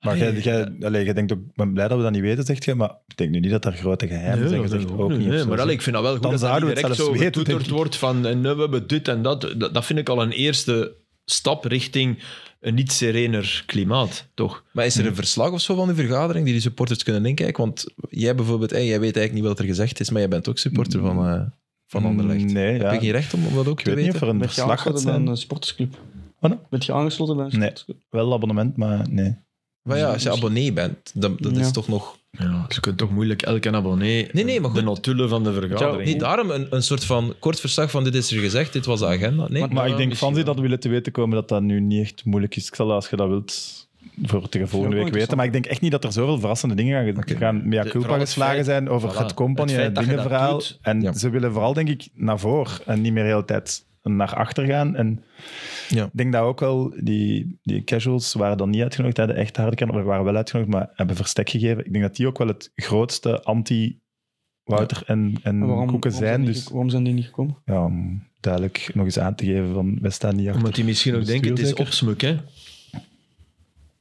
Speaker 2: Maar jij, jij, allee, jij denkt ook, ik ben blij dat we dat niet weten, zegt je, maar ik denk nu niet dat daar grote geheimen zijn
Speaker 4: dat
Speaker 2: gezegd.
Speaker 4: wil ik
Speaker 2: Ook
Speaker 4: niet.
Speaker 2: niet, of
Speaker 4: Nee,
Speaker 2: zo.
Speaker 4: maar allee, ik vind dat wel goed
Speaker 2: Dan
Speaker 4: dat dat
Speaker 2: zouden we
Speaker 4: niet
Speaker 2: het
Speaker 4: direct zo
Speaker 2: zelfs weten,
Speaker 4: getoeterd
Speaker 2: denk ik.
Speaker 4: wordt van en, eh, we hebben dit en dat. dat. Dat vind ik al een eerste stap richting een niet serener klimaat, toch?
Speaker 1: maar is er een verslag of zo van die vergadering die die supporters kunnen inkijken? Want jij bijvoorbeeld, hey, jij weet eigenlijk niet wat er gezegd is, maar jij bent ook supporter van, eh, van Anderlecht.
Speaker 2: Nee,
Speaker 1: Heb
Speaker 2: ja.
Speaker 1: je geen recht om, om dat ook
Speaker 2: Ik
Speaker 1: te
Speaker 2: weet niet
Speaker 1: weten?
Speaker 2: of er een
Speaker 3: Met je
Speaker 2: verslag gaat
Speaker 3: aangesloten bij
Speaker 2: zijn.
Speaker 3: een sportsclub.
Speaker 2: Wat dan?
Speaker 3: Met je aangesloten bij een
Speaker 2: Nee.
Speaker 3: sportsclub.
Speaker 2: Wel abonnement, maar nee.
Speaker 1: Maar ja, als je abonnee bent, dan, dat
Speaker 3: Ja.
Speaker 1: is toch nog...
Speaker 4: Ja, Dus je kunt toch moeilijk elke abonnee
Speaker 1: Nee, nee, maar
Speaker 4: de
Speaker 1: goed.
Speaker 4: notulen van de vergadering...
Speaker 1: Niet daarom een, een soort van kort verslag van dit is er gezegd, dit was de agenda. Nee,
Speaker 2: Maar
Speaker 4: Ja,
Speaker 2: ik denk
Speaker 4: misschien
Speaker 2: van ze
Speaker 4: wel.
Speaker 2: dat willen te weten komen dat dat nu niet echt moeilijk is. Ik zal dat, als je dat wilt voor tegen volgende
Speaker 3: Ja,
Speaker 2: week weten. Maar ik denk echt niet dat er zoveel verrassende dingen gaan, gaan mea
Speaker 4: De-
Speaker 2: culpa
Speaker 4: vooral het
Speaker 2: geslagen
Speaker 4: feit-
Speaker 2: zijn over
Speaker 4: voilà,
Speaker 2: het company
Speaker 4: het
Speaker 2: en
Speaker 4: feit
Speaker 2: het
Speaker 4: dat je dat
Speaker 2: dingenverhaal.
Speaker 4: doet.
Speaker 2: En
Speaker 1: Ja.
Speaker 2: ze willen vooral, denk ik, naar voren en niet meer de hele tijd naar achter gaan. En
Speaker 1: Ja.
Speaker 2: ik denk dat ook wel die, die casuals waren dan niet uitgenodigd. Hè. De echte hardcore waren wel uitgenodigd, maar hebben verstek gegeven. Ik denk dat die ook wel het grootste anti-Wouter en, en
Speaker 3: En waarom,
Speaker 2: Koeken
Speaker 3: waarom
Speaker 2: zijn.
Speaker 3: die
Speaker 2: Dus
Speaker 3: niet- waarom zijn die niet gekomen?
Speaker 2: ja, om duidelijk nog eens aan te geven van, wij staan niet achter.
Speaker 4: Omdat die misschien ook denken, het is
Speaker 2: Bestuur
Speaker 4: opsmuk, hè?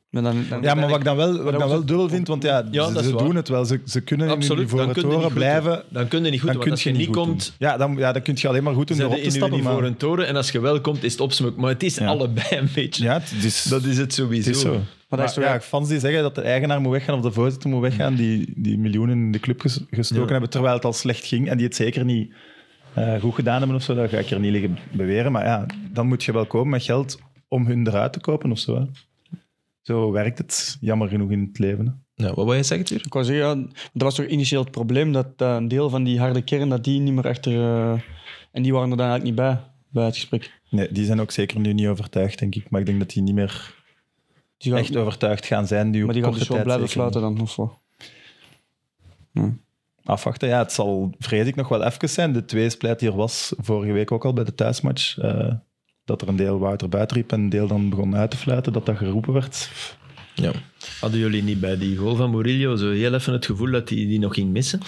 Speaker 3: Maar dan, dan
Speaker 2: Ja, maar
Speaker 3: ben
Speaker 2: wat ik dan wel, wat ik dan
Speaker 3: was
Speaker 2: wel dubbel vind, want ja,
Speaker 4: Ja,
Speaker 2: ze,
Speaker 4: dat is
Speaker 2: ze
Speaker 4: waar.
Speaker 2: doen het wel. Ze, ze kunnen in
Speaker 4: Absoluut.
Speaker 2: hun
Speaker 4: Dan
Speaker 2: ivoren
Speaker 4: kun je
Speaker 2: toren
Speaker 4: niet
Speaker 2: blijven.
Speaker 4: goed doen. Dan kun je niet goed,
Speaker 2: Dan
Speaker 4: want
Speaker 2: kun
Speaker 4: als
Speaker 2: je
Speaker 4: je niet
Speaker 2: goed doen.
Speaker 4: komt,
Speaker 2: Ja, dan, ja, dan kun je alleen maar goed doen
Speaker 4: zijn
Speaker 2: door
Speaker 4: ze
Speaker 2: op te
Speaker 4: in hun
Speaker 2: stappen. Maar,
Speaker 4: ivoren toren. En als je wel komt, is het opsmuk. Maar het is allebei een beetje.
Speaker 2: ja, het is,
Speaker 4: Dat is het
Speaker 2: het
Speaker 4: sowieso.
Speaker 2: is zo. Maar
Speaker 3: dat is toch
Speaker 2: ja,
Speaker 3: ook-
Speaker 2: fans die zeggen dat de eigenaar moet weggaan of de voorzitter moet weggaan, die, die miljoenen in de club ges- gestoken
Speaker 4: Ja.
Speaker 2: hebben, terwijl het al slecht ging en die het zeker niet eh, goed gedaan hebben of zo, dat ga ik er niet liggen beweren. Maar ja, dan moet je wel komen met geld om hun eruit te kopen of zo. hè. Zo werkt het, jammer genoeg, in het leven. hè.
Speaker 1: Ja, wat wil je zeggen, Tuur?
Speaker 3: Ik wou zeggen, ja, dat was toch initieel het probleem dat eh, een deel van die harde kern dat die niet meer achter. eh, en die waren er dan eigenlijk niet bij, bij het gesprek.
Speaker 2: Nee, die zijn ook zeker nu niet overtuigd, denk ik. Maar ik denk dat die niet meer
Speaker 3: Die gaan,
Speaker 2: echt overtuigd gaan zijn nu op
Speaker 3: maar die gaan
Speaker 2: korte
Speaker 3: dus
Speaker 2: tijd
Speaker 3: gewoon blijven
Speaker 2: zeker.
Speaker 3: fluiten dan, of wat?
Speaker 2: Afwachten, ja. Het zal, vrees ik, nog wel even zijn. De tweespleit die er was vorige week ook al bij de thuismatch. eh, dat er een deel Wouter buiten riep en een deel dan begon uit te fluiten. Dat dat geroepen werd.
Speaker 1: Ja.
Speaker 4: Hadden jullie niet bij die goal van Murillo zo heel even het gevoel dat hij die, nog ging missen?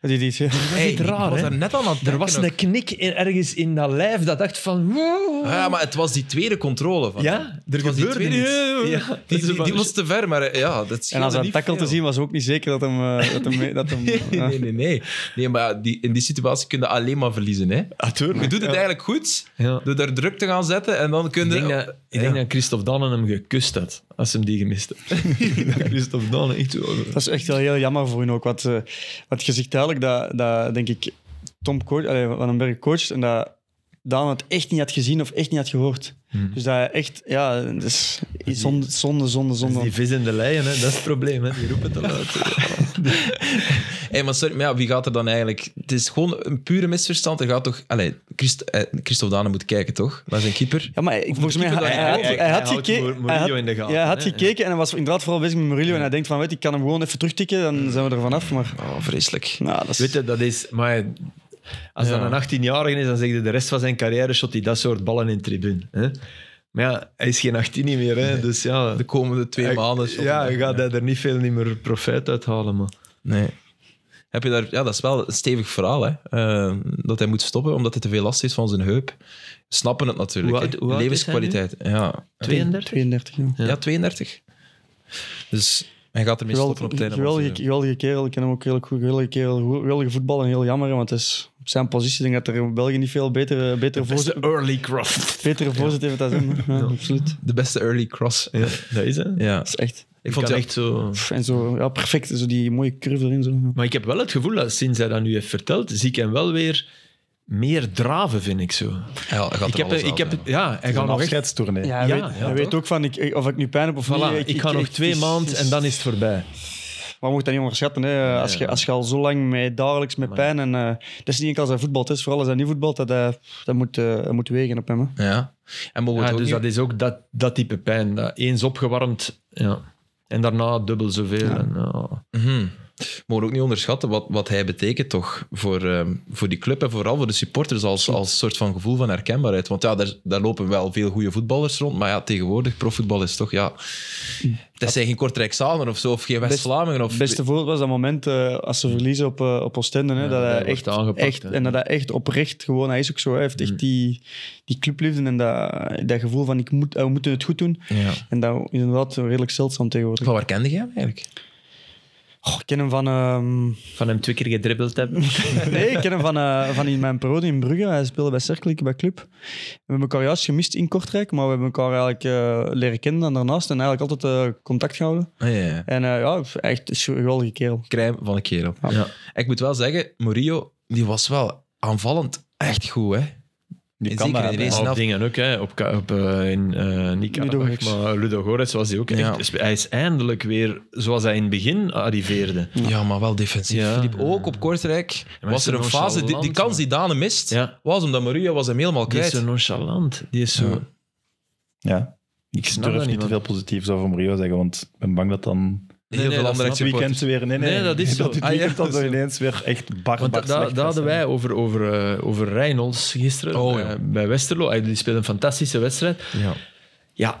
Speaker 3: Die, die, ja.
Speaker 5: Dat is
Speaker 1: Hey,
Speaker 5: niet
Speaker 1: ik
Speaker 5: raar,
Speaker 1: was
Speaker 5: hè?
Speaker 1: daar net al aan het
Speaker 5: Er
Speaker 1: denken
Speaker 5: was
Speaker 1: ook.
Speaker 5: een knik in, ergens in dat lijf dat dacht van... woe.
Speaker 1: Ah, Ja, maar het was die tweede controle. Van,
Speaker 5: Ja,
Speaker 1: er was die tweede niet.
Speaker 4: Ja, dat
Speaker 1: Die,
Speaker 4: is
Speaker 1: die,
Speaker 4: wel-
Speaker 1: die was te ver, maar eh, ja, dat
Speaker 3: En als
Speaker 1: scheelde
Speaker 3: een
Speaker 1: niet
Speaker 3: tackle te
Speaker 1: veel.
Speaker 3: zien was ook niet zeker dat hem...
Speaker 5: [LAUGHS]
Speaker 3: eh, dat hem, dat hem eh, ja. [LAUGHS]
Speaker 1: Nee, nee, nee. Nee, maar ja, die, in die situatie kun je alleen maar verliezen. Hè. Je doet het eigenlijk goed
Speaker 4: Ja.
Speaker 1: door daar druk te gaan zetten en dan kun
Speaker 4: Ik
Speaker 1: je...
Speaker 4: denk, dat, ik denk dat Christophe Dannen hem gekust had, als ze hem die gemist had.
Speaker 2: [LAUGHS]
Speaker 4: Dat Christophe Dannen echt zo...
Speaker 3: Dat is echt wel heel jammer voor hun ook. Wat, eh, wat je zegt duidelijk, dat, dat denk ik Tom coach, allee, Van den Berg coacht en dat Daan het echt niet had gezien of echt niet had gehoord.
Speaker 4: Hmm.
Speaker 3: Dus dat hij echt, ja, dat is zonde, zonde, zonde.
Speaker 4: Dat
Speaker 3: zonde.
Speaker 4: is die vis in de leien, hè. dat is het probleem. Hè. Die roepen te luid.
Speaker 1: Hey, maar sorry, maar ja, wie gaat er dan eigenlijk... Het is gewoon een pure misverstand. Er gaat toch... Allee, Christ, eh, Christophe Dane moet kijken, toch? Naar zijn keeper.
Speaker 3: Ja, maar ik, volgens mij
Speaker 1: keeper
Speaker 3: hij,
Speaker 1: dan
Speaker 3: hij had,
Speaker 1: eigenlijk?
Speaker 3: hij had
Speaker 4: Hij houdt
Speaker 3: gekeken.
Speaker 4: Mur-
Speaker 3: hij had-
Speaker 4: Murillo in de gaten,
Speaker 3: Ja, hij had
Speaker 4: hè?
Speaker 3: gekeken en hij was inderdaad vooral bezig met Murillo. En hij denkt van, weet, ik kan hem gewoon even terugtikken, dan zijn we er vanaf. Maar
Speaker 1: Oh, vreselijk.
Speaker 3: nou, dat is-
Speaker 4: Weet je, dat is... Maar als dat een 18-jarige is, dan zeg je de rest van zijn carrière shot hij dat soort ballen in tribune. Hè. Maar ja, hij is geen 18 meer, hè. dus ja...
Speaker 1: De komende twee
Speaker 4: Hij-
Speaker 1: maanden...
Speaker 4: Ja, je gaat hij er niet veel niet meer profijt uit halen, man.
Speaker 1: Nee. Heb je daar, ja, dat is wel een stevig verhaal, hè? Eh, dat hij moet stoppen omdat hij te veel last heeft van zijn heup. Snappen het natuurlijk.
Speaker 4: Hoe oud-
Speaker 1: hè.
Speaker 4: hoe oud is
Speaker 1: Levenskwaliteit. Ja.
Speaker 4: 32?
Speaker 3: 32, ja.
Speaker 1: ja, 32. Dus hij gaat ermee stoppen op
Speaker 3: Geweldige,
Speaker 1: het einde. van
Speaker 3: geweldige,
Speaker 1: het seizoen.
Speaker 3: geweldige kerel. Ik ken hem ook redelijk goed. Geweldige kerel. Go- Geweldige voetbal. En heel jammer, want het is op zijn positie. Ik denk dat er in België niet veel betere, betere, voorzet,
Speaker 4: early croft.
Speaker 3: betere voorzet heeft dan hem. hè. Ja, absoluut.
Speaker 1: De beste early cross.
Speaker 4: Ja, dat is hè.
Speaker 1: Ja.
Speaker 3: Dat is echt...
Speaker 1: Ik vond
Speaker 4: het
Speaker 1: het
Speaker 4: echt zo...
Speaker 3: pff, En zo, ja, perfect. Zo die mooie curve erin. Zo.
Speaker 4: Maar ik heb wel het gevoel dat sinds hij dat nu heeft verteld, zie ik hem wel weer meer draven, vind ik zo.
Speaker 1: Ja, hij gaat
Speaker 4: Ik
Speaker 1: er
Speaker 4: heb,
Speaker 1: alles
Speaker 4: ik
Speaker 1: uit,
Speaker 4: heb,
Speaker 1: hè.
Speaker 4: ja, hij gaat
Speaker 2: Een
Speaker 4: nog echt...
Speaker 2: afscheidstournee.
Speaker 3: Ja, hij
Speaker 4: Ja,
Speaker 3: weet,
Speaker 4: ja,
Speaker 3: hij weet
Speaker 4: toch?
Speaker 3: ook van, ik, ik- of ik nu pijn heb of niet.
Speaker 4: Voilà, ik, ga nog twee
Speaker 3: het is-
Speaker 4: maanden
Speaker 3: het
Speaker 4: en
Speaker 3: is-
Speaker 4: dan is het voorbij.
Speaker 3: Maar je moet dat niet onderschatten. Hè. Als, je, als je al zo lang met, dagelijks met pijn... En, eh, dat is niet enkel als hij voetbalt. Het is vooral als hij niet voetbalt. Dat, hij, dat moet, eh, dat moet wegen op hem. Hè.
Speaker 1: Ja. En mogen we het
Speaker 4: Ja,
Speaker 1: ook
Speaker 4: dus
Speaker 1: niet-
Speaker 4: dat is ook dat, dat type pijn. Dat eens opgewarmd, ja. En daarna dubbel zoveel. En, ja.
Speaker 1: Mhm. Mogen we ook niet onderschatten wat, wat hij betekent toch voor, ehm, voor die club en vooral voor de supporters als, als soort van gevoel van herkenbaarheid. Want ja, daar, daar lopen wel veel goede voetballers rond, maar ja, tegenwoordig profvoetbal is toch, ja... Dat zijn geen Kortrijk Samen of zo, of geen West-Vlamingen. Of...
Speaker 3: Het beste voorbeeld was dat moment eh, als ze verliezen op, eh, op Oostende. Hè, dat hij
Speaker 4: dat wordt
Speaker 3: echt,
Speaker 4: aangepakt,
Speaker 3: echt,
Speaker 4: hè.
Speaker 3: en dat hij echt oprecht gewoon, hij is ook zo, hij heeft echt die, die clubliefde en dat, dat gevoel van ik moet, eh, we moeten het goed doen.
Speaker 1: Ja.
Speaker 3: En dat is inderdaad redelijk zeldzaam tegenwoordig.
Speaker 1: Van waar kende jij hem eigenlijk?
Speaker 3: Goh, ik ken hem van, ehm, [LAUGHS]
Speaker 4: Van hem twee keer gedribbeld hebben.
Speaker 3: nee, ik ken hem van, eh, van in mijn periode in Brugge. Hij speelde bij Cercle, ik bij Club. We hebben elkaar juist gemist in Kortrijk, maar we hebben elkaar eigenlijk eh, leren kennen en daarnaast en eigenlijk altijd eh, contact gehouden.
Speaker 1: Ah, ja, ja.
Speaker 3: En eh, ja, echt een geweldige kerel.
Speaker 1: Crème van een kerel.
Speaker 4: Ja.
Speaker 1: Ik moet wel zeggen, Murillo, die was wel aanvallend echt goed, hè?
Speaker 2: Die
Speaker 1: En
Speaker 2: kan
Speaker 1: zeker
Speaker 2: daar
Speaker 1: in
Speaker 2: aan.
Speaker 1: deze-
Speaker 4: Maar op
Speaker 1: af-
Speaker 4: dingen ook, hè. Op, Ka- op, eh, in, eh niet
Speaker 3: Ludo
Speaker 4: Karabach,
Speaker 3: Gorets.
Speaker 4: maar Ludo Gorets was hij ook.
Speaker 1: Ja.
Speaker 4: Echt, hij is eindelijk weer zoals hij in het begin arriveerde.
Speaker 1: Ja, maar wel defensief.
Speaker 4: Ja.
Speaker 1: Philippe, ook op Kortrijk
Speaker 4: maar
Speaker 1: was
Speaker 4: is
Speaker 1: er een
Speaker 4: zo
Speaker 1: fase, die, die
Speaker 4: nonchalant,
Speaker 1: kans
Speaker 4: man.
Speaker 1: die Dane mist,
Speaker 4: Ja.
Speaker 1: was omdat Murillo was hem helemaal
Speaker 4: Die is
Speaker 1: kwijt.
Speaker 4: zo nonchalant. Die is zo...
Speaker 1: Ja.
Speaker 2: Ja.
Speaker 4: Ik snap
Speaker 2: durf
Speaker 4: dat
Speaker 2: niet
Speaker 4: niet,
Speaker 2: te
Speaker 4: man.
Speaker 2: veel positiefs over Murillo zeggen, want ik ben bang dat dan
Speaker 1: Heel
Speaker 4: Nee, nee,
Speaker 1: veel
Speaker 4: dat
Speaker 1: andere
Speaker 4: snap
Speaker 2: het
Speaker 4: Supporters.
Speaker 2: weekend weer... Nee, nee,
Speaker 4: Nee, dat is zo.
Speaker 2: [LAUGHS] Dat het
Speaker 4: Ah, ja,
Speaker 2: weekend dan
Speaker 4: dat
Speaker 2: zo
Speaker 4: is zo.
Speaker 2: ineens weer echt bar,
Speaker 4: Want da-
Speaker 2: bar
Speaker 4: da-
Speaker 2: slecht
Speaker 4: daar
Speaker 2: was,
Speaker 4: hadden
Speaker 2: hè.
Speaker 4: wij over, over, eh, over Reynolds gisteren
Speaker 1: Oh, ja.
Speaker 4: eh, bij Westerlo. Hij die speelde een fantastische wedstrijd.
Speaker 1: Ja.
Speaker 4: Ja,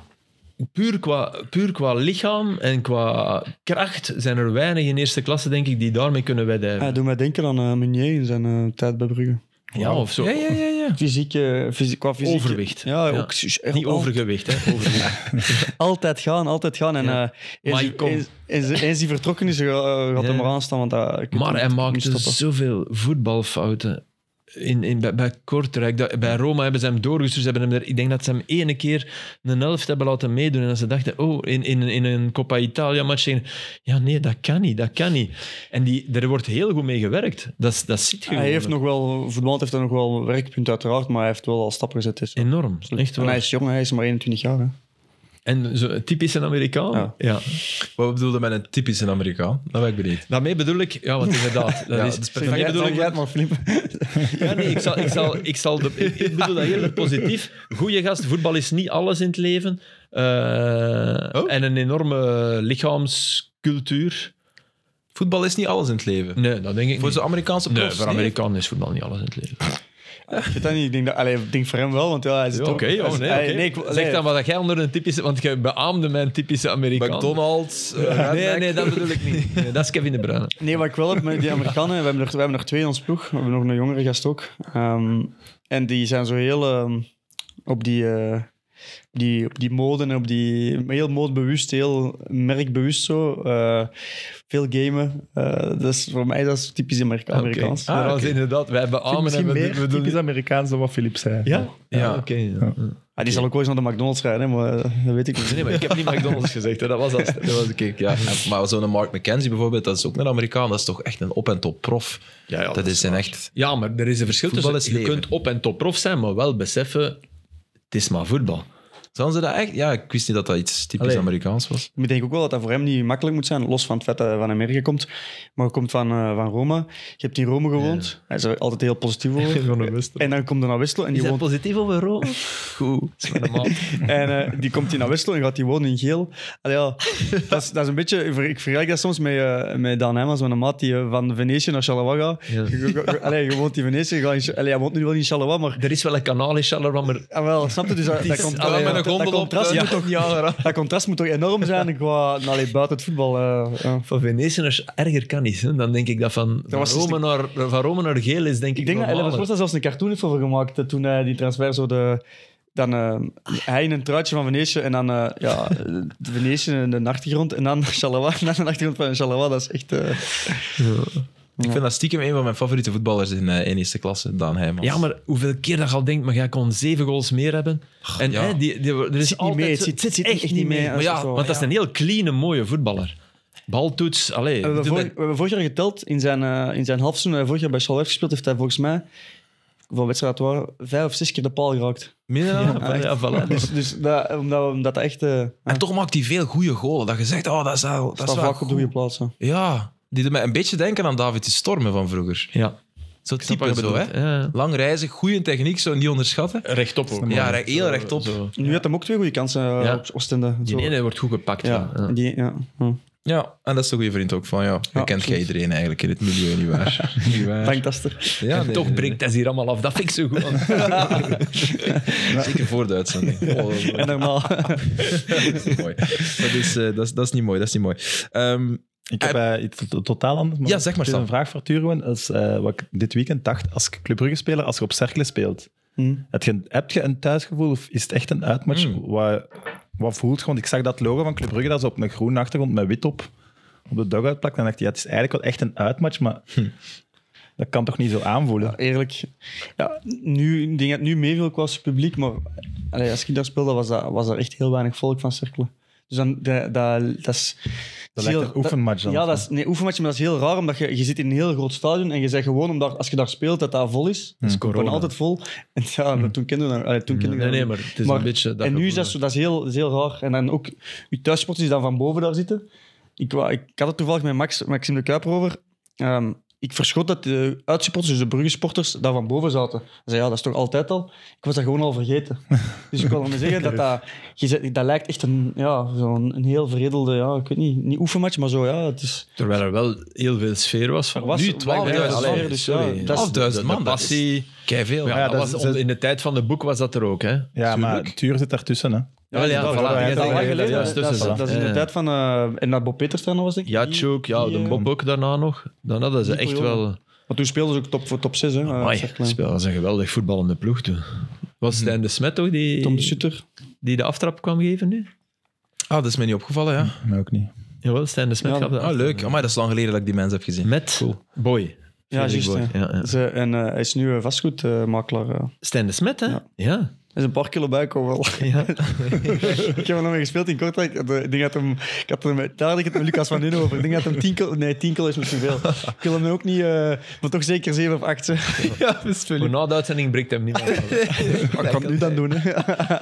Speaker 4: puur qua, puur qua lichaam en qua kracht zijn er weinig in eerste klasse, denk ik, die daarmee kunnen wedijveren.
Speaker 3: Hij doet mij denken aan eh, Meunier in zijn eh, tijd bij Brugge.
Speaker 4: ja, of zo.
Speaker 1: Eh, Ja, ja, ja, ja.
Speaker 3: Fysiek, eh, fysiek qua fysiek.
Speaker 4: Overwicht.
Speaker 3: Ja,
Speaker 4: Ja.
Speaker 3: ook s- echt
Speaker 4: Niet
Speaker 3: al-
Speaker 4: overgewicht, hè. Overgewicht.
Speaker 3: Altijd gaan, altijd gaan. En
Speaker 4: Ja.
Speaker 3: eh, eens,
Speaker 4: Maar
Speaker 3: die-
Speaker 4: ik kom.
Speaker 3: eens, eens, eens die vertrokken is, eh, gaat
Speaker 4: Ja.
Speaker 3: hem eraan staan. Want, dat- ik-
Speaker 4: maar hij dus
Speaker 3: ik- ik-
Speaker 4: maakte
Speaker 3: niet stoppen.
Speaker 4: zoveel voetbalfouten. In, in, bij, bij Kortrijk, dat- bij Roma hebben ze hem doorgestuurd. Ze hebben hem er, ik denk dat ze hem ene keer een helft hebben laten meedoen. En dat ze dachten, oh, in, in, in een Coppa Italia match tegen- Ja, nee, dat kan niet, dat kan niet. En die, er wordt heel goed mee gewerkt. Dat, is- dat zit gewoon.
Speaker 3: Hij heeft nog wel, voetbal heeft hij nog wel werkpunt uiteraard, maar hij heeft wel al stappen gezet. Dus.
Speaker 4: Enorm, echt
Speaker 3: En
Speaker 4: wel.
Speaker 3: hij is jong, hij is maar 21 jaar. Hè.
Speaker 4: En zo, typisch een Amerikaan.
Speaker 3: Ja.
Speaker 4: Ja.
Speaker 1: Wat bedoelde met een typische Amerikaan? Dat ben ik benieuwd.
Speaker 4: Daarmee bedoel ik... Ja, want
Speaker 1: [LAUGHS]
Speaker 4: inderdaad. Dat
Speaker 1: Ja,
Speaker 4: is,
Speaker 3: dus
Speaker 1: dat is perfect.
Speaker 4: daarmee bedoel ik...
Speaker 3: maar,
Speaker 4: Ja, nee, ik zal... Ik, zal, ik, zal de, ik, ik bedoel dat heel erg positief. Goeie gast, voetbal is niet alles in het leven. Eh, En een enorme lichaamscultuur.
Speaker 1: Voetbal is niet alles in het leven.
Speaker 4: Nee, dat denk ik
Speaker 1: Voor
Speaker 4: niet.
Speaker 1: zo'n Amerikaanse
Speaker 4: Nee,
Speaker 1: profs,
Speaker 4: voor Amerikanen is voetbal niet alles in het leven.
Speaker 3: Ik weet dat niet. Ik denk, dat, allee, ik denk voor hem wel, want ja, hij zit
Speaker 4: Oké,
Speaker 3: ook...
Speaker 4: oh, nee,
Speaker 3: Allee,
Speaker 4: oké.
Speaker 3: nee, ik- allee,
Speaker 4: Zeg dan wat jij onder een typische... Want jij beaamde mijn typische Amerikaan.
Speaker 1: McDonald's. eh,
Speaker 4: Nee,
Speaker 1: Redneck.
Speaker 4: nee, dat bedoel ik niet. Nee, dat is Kevin De Bruyne.
Speaker 3: Nee, wat ik wel heb met die Amerikanen, we hebben, er, we hebben er twee in ons ploeg. We hebben nog een jongere gast ook. Ehm, en die zijn zo heel ehm, op, die, eh, die, op die mode en op die... Heel modebewust, heel merkbewust zo. Eh, veel gamen. Eh, dat is, voor mij dat is typisch Amerika
Speaker 4: Oké.
Speaker 3: Amerikaans.
Speaker 4: Ah, dat is inderdaad, wij beamen
Speaker 2: Misschien
Speaker 4: en we,
Speaker 2: meer
Speaker 4: we doen...
Speaker 2: typisch Amerikaans dan wat Philip zei.
Speaker 6: Ja?
Speaker 1: Ja.
Speaker 6: oké. ja.
Speaker 3: Ah, die zal ook wel eens naar de McDonald's rijden, hè, maar eh, dat weet ik niet.
Speaker 6: Nee, maar ik heb niet McDonald's gezegd, hè. dat was dat.
Speaker 1: [LAUGHS] Dat was een keer,
Speaker 4: [LAUGHS]
Speaker 1: ja. En- Maar zo'n Mark McKenzie bijvoorbeeld, dat is ook een Amerikaan. Dat is toch echt een op- en top prof.
Speaker 6: Ja, ja,
Speaker 1: dat,
Speaker 6: dat
Speaker 1: is een echt...
Speaker 4: Ja, maar er is een verschil
Speaker 1: Voetbal
Speaker 4: tussen...
Speaker 1: is
Speaker 4: Je
Speaker 1: leven.
Speaker 4: kunt op en top prof zijn, maar wel beseffen... Het is maar voetbal.
Speaker 1: Zouden ze dat echt... Ja, ik wist niet dat dat iets typisch
Speaker 4: Allee.
Speaker 1: Amerikaans was.
Speaker 3: Maar Ik denk ook wel dat dat voor hem niet makkelijk moet zijn, los van het feit dat hij van Amerika komt. Maar hij komt van, eh, van Rome. Je hebt in Rome gewoond. Hij is er altijd heel positief
Speaker 4: [LAUGHS]
Speaker 3: over. En dan komt hij naar Westelo en die woont...
Speaker 4: positief over Rome? Goed.
Speaker 3: [LAUGHS] En eh, die komt hier naar Westelo en gaat die wonen in Geel. Allee,
Speaker 4: [LAUGHS]
Speaker 3: ja, dat, is, dat is een beetje... Ik ver- ik vergelijk dat soms met, eh, met Dan Hemmers, mijn maat die eh, van Venetië naar Charleroi gaat. Je- je- je- Allee, je woont in Venetië, je gaat in Cha- allee, hij woont nu wel in Charleroi, maar...
Speaker 4: Er is wel een kanaal in Charleroi, maar...
Speaker 3: Ah, wel, snap je? Dus dat, dat, komt,
Speaker 4: allee,
Speaker 3: dat-
Speaker 4: met een eh.
Speaker 3: dat, contrast moet toch, [LAUGHS] dat contrast moet toch enorm zijn qua... nou, allee, buiten het voetbal. eh, ja.
Speaker 4: Van Venetiërs erger kan niet. Hè? Dan denk ik dat van, van,
Speaker 3: was dus
Speaker 4: Rome, naar, van Rome naar geel is, denk ik.
Speaker 3: Ik denk dat Eleven
Speaker 4: normaler.
Speaker 3: Sports daar zelfs een cartoon heeft over gemaakt. eh, Toen hij die transfer zo de. Dan eh, hij in een truitje van Venetië en dan eh, ja, de Venetië in de achtergrond en dan [LAUGHS] Chalawa. En dan de achtergrond van Chalawa, dat is echt... eh,
Speaker 1: Ik vind dat stiekem een van mijn favoriete voetballers in, eh, in eerste klasse, Daan Heijmans.
Speaker 4: Ja, maar hoeveel keer dat je al denkt, maar jij kon zeven goals meer hebben. En
Speaker 1: ja.
Speaker 4: hè, die, die, er is
Speaker 3: zit niet
Speaker 4: altijd
Speaker 3: mee, het
Speaker 4: zo-
Speaker 3: zit- zit- zit echt niet mee.
Speaker 4: Maar ja,
Speaker 3: Zo,
Speaker 4: want dat is een heel clean, mooie voetballer. Baltoets, allee.
Speaker 3: we, hebben
Speaker 4: doe
Speaker 3: vorig,
Speaker 4: dat-
Speaker 3: we hebben vorig jaar geteld in zijn, eh in zijn halfseizoen. eh, Vorig jaar bij Chalawa heeft gespeeld, heeft hij volgens mij van wedstrijd waar vijf of zes keer de paal geraakt.
Speaker 1: Minder dan?
Speaker 4: Ja, ja, voilà.
Speaker 3: Dus, dus dat, omdat, omdat dat echt... eh
Speaker 1: En toch maakt hij veel goede golen. Dat je zegt, oh, dat is wel, dat is
Speaker 3: staat
Speaker 1: wel
Speaker 3: vaak op de goede
Speaker 1: goed.
Speaker 3: plaats. hè.
Speaker 1: Ja, die doet mij een beetje denken aan David de Stormen van vroeger.
Speaker 4: Ja.
Speaker 1: Zo'n
Speaker 4: snap wat
Speaker 1: type
Speaker 4: je
Speaker 1: zo,
Speaker 4: bedoelt.
Speaker 1: hè.
Speaker 4: Ja, ja.
Speaker 1: Lang reizig, goede techniek, zo niet onderschatten.
Speaker 6: Rechtop ook.
Speaker 1: Ja, re- heel rechtop.
Speaker 3: Nu had hem ook twee goede kansen eh,
Speaker 4: Ja.
Speaker 3: op Oostende.
Speaker 4: Die
Speaker 3: Zo.
Speaker 4: ene wordt goed gepakt.
Speaker 3: Ja,
Speaker 4: Ja. Ja.
Speaker 3: die- ja. ja.
Speaker 1: Ja, en dat is de goede vriend ook van, ja, je
Speaker 3: Ja,
Speaker 1: kent jij
Speaker 3: absoluut.
Speaker 1: iedereen eigenlijk in het milieu, nietwaar?
Speaker 3: [LAUGHS]
Speaker 1: nietwaar?
Speaker 3: Danktaster.
Speaker 1: Ja,
Speaker 4: En
Speaker 1: nee,
Speaker 4: toch
Speaker 1: nee,
Speaker 4: breekt hij ze hier allemaal af. Dat vind ik zo goed.
Speaker 3: [LAUGHS]
Speaker 4: aan-
Speaker 1: nee. Zeker voor de uitzending. Oh, dat is
Speaker 3: En normaal.
Speaker 1: niet mooi. Dat is, eh, dat, is, dat is niet mooi, dat is niet mooi. Ehm,
Speaker 2: Ik heb eh, iets to- totaal anders.
Speaker 1: Ja, zeg maar,
Speaker 2: Het is
Speaker 1: Sam.
Speaker 2: een vraag voor Turen. Als, eh, wat ik dit weekend dacht, als ik Club Brugge speler, als je op Cercle speelt,
Speaker 3: Hm.
Speaker 2: heb je, heb je een thuisgevoel of is het echt een uitmatch?
Speaker 1: Mm.
Speaker 2: Wat, wat voelt je? Want ik zag dat logo van Club Brugge, dat is op een groene achtergrond met wit op, op de dugout plakt. Dan dacht ik, ja, het is eigenlijk wel echt een uitmatch, maar dat kan toch niet zo aanvoelen?
Speaker 3: Ja, eerlijk. Ja, nu, ik denk dat het nu meeviel qua publiek, maar allee, als ik daar speelde, was, dat, was er echt heel weinig volk van cirkelen. Dus dan, dat, dat, dat is...
Speaker 2: Dat lijkt een oefenmatch dan.
Speaker 3: Ja, dat is, nee, oefenmatch, maar dat is heel raar, omdat je, je zit in een heel groot stadion en je zegt gewoon, omdat, als je daar speelt, dat dat vol is. Dat is
Speaker 6: corona.
Speaker 3: altijd vol. En ja, maar toen kenden we dat- allee, toen kenden we
Speaker 4: Nee,
Speaker 3: dat
Speaker 4: nee,
Speaker 3: niet.
Speaker 4: maar het is een beetje...
Speaker 3: en nu
Speaker 4: gevoel,
Speaker 3: is dat,
Speaker 4: hè.
Speaker 3: zo, dat is heel, dat is heel raar. En dan ook, je thuissport is dan van boven daar zitten. Ik, wa- ik had het toevallig met Max, Maxime de Kuiper over. Ehm, ik verschot dat de uitsupporters, dus de Bruggesporters, daar van boven zaten. Ze zei, ja, dat is toch altijd al? Ik was dat gewoon al
Speaker 4: [LAUGHS]
Speaker 3: vergeten. Dus ik wil maar zeggen dat dat... je zegt, Dat lijkt echt een, ja, zo'n een heel verredelde... Ja, ik weet niet, niet oefenmatch, maar zo, ja. Het is,
Speaker 4: Terwijl er wel heel veel sfeer was. Van,
Speaker 3: Er was-
Speaker 4: nu 12.000
Speaker 1: Allee,
Speaker 4: man,
Speaker 3: dus ja,
Speaker 4: sorry.
Speaker 3: dat is-
Speaker 1: 12.000 man,
Speaker 4: De
Speaker 1: dat is-
Speaker 4: passie.
Speaker 1: kei veel.
Speaker 4: Ja,
Speaker 2: ja,
Speaker 4: dat
Speaker 2: dat
Speaker 4: was
Speaker 2: is-
Speaker 4: on- in de tijd van de boek was dat er ook, hè?
Speaker 2: Ja, maar Tuur zit daartussen. Hè.
Speaker 4: Ja, ja,
Speaker 3: dat,
Speaker 4: voilà.
Speaker 3: dat-
Speaker 4: Ja,
Speaker 3: dat-
Speaker 4: ja,
Speaker 3: dat-
Speaker 4: ja, ja,
Speaker 3: dat-
Speaker 4: ja,
Speaker 3: dat-
Speaker 4: tussen,
Speaker 3: dat- dat is in de
Speaker 4: ja.
Speaker 3: tijd van... eh, en dat Bob Peters daar nog was, denk ik.
Speaker 4: Ja,
Speaker 3: Die-
Speaker 4: Chook, ja,
Speaker 3: die,
Speaker 4: de
Speaker 3: eh,
Speaker 4: Bob ook daarna nog. Dan hadden ze
Speaker 3: die
Speaker 4: echt
Speaker 3: periode.
Speaker 4: wel...
Speaker 3: Want toen speelden ze ook top, voor top 6, hè. eh,
Speaker 4: Amai,
Speaker 3: zeg maar.
Speaker 4: dat was een geweldig voetballende ploeg toen. Was Stijn de Smet toch die,
Speaker 3: Tom de Sutter.
Speaker 4: die de aftrap kwam geven nu?
Speaker 1: Ah, dat is mij niet opgevallen, ja.
Speaker 2: Maar ook niet.
Speaker 4: Jawel, Stijn de Smet
Speaker 3: Ja.
Speaker 4: gaf de
Speaker 1: Ah,
Speaker 4: aftrap.
Speaker 1: leuk. Amai, dat is lang geleden dat ik die mensen heb gezien.
Speaker 4: Met Boy. Frederik
Speaker 3: juist,
Speaker 4: Boy.
Speaker 3: ja.
Speaker 4: Ja, ja.
Speaker 3: Ze, en eh, hij is nu eh, vastgoedmakelaar. eh.
Speaker 4: Stijn de Smet, hè?
Speaker 3: Ja.
Speaker 4: Ja.
Speaker 3: Hij is een paar kilo bijkomen wel. [LAUGHS]
Speaker 4: Ja.
Speaker 3: ik heb hem nog mee gespeeld in Kortrijk. Ik had- Ik denk dat hem... Ik had hem daar had ik het met Lucas van Nuenen over. Ik denk dat hem tien kilo... Nee, tien kilo is misschien veel. Ik wil hem ook niet... eh, maar toch zeker zeven of acht. hè.
Speaker 4: Maar na de uitzending breekt hem
Speaker 3: [LAUGHS]
Speaker 4: niet meer.
Speaker 3: Maar ik kan het nu dan doen. Hè.
Speaker 1: Eh,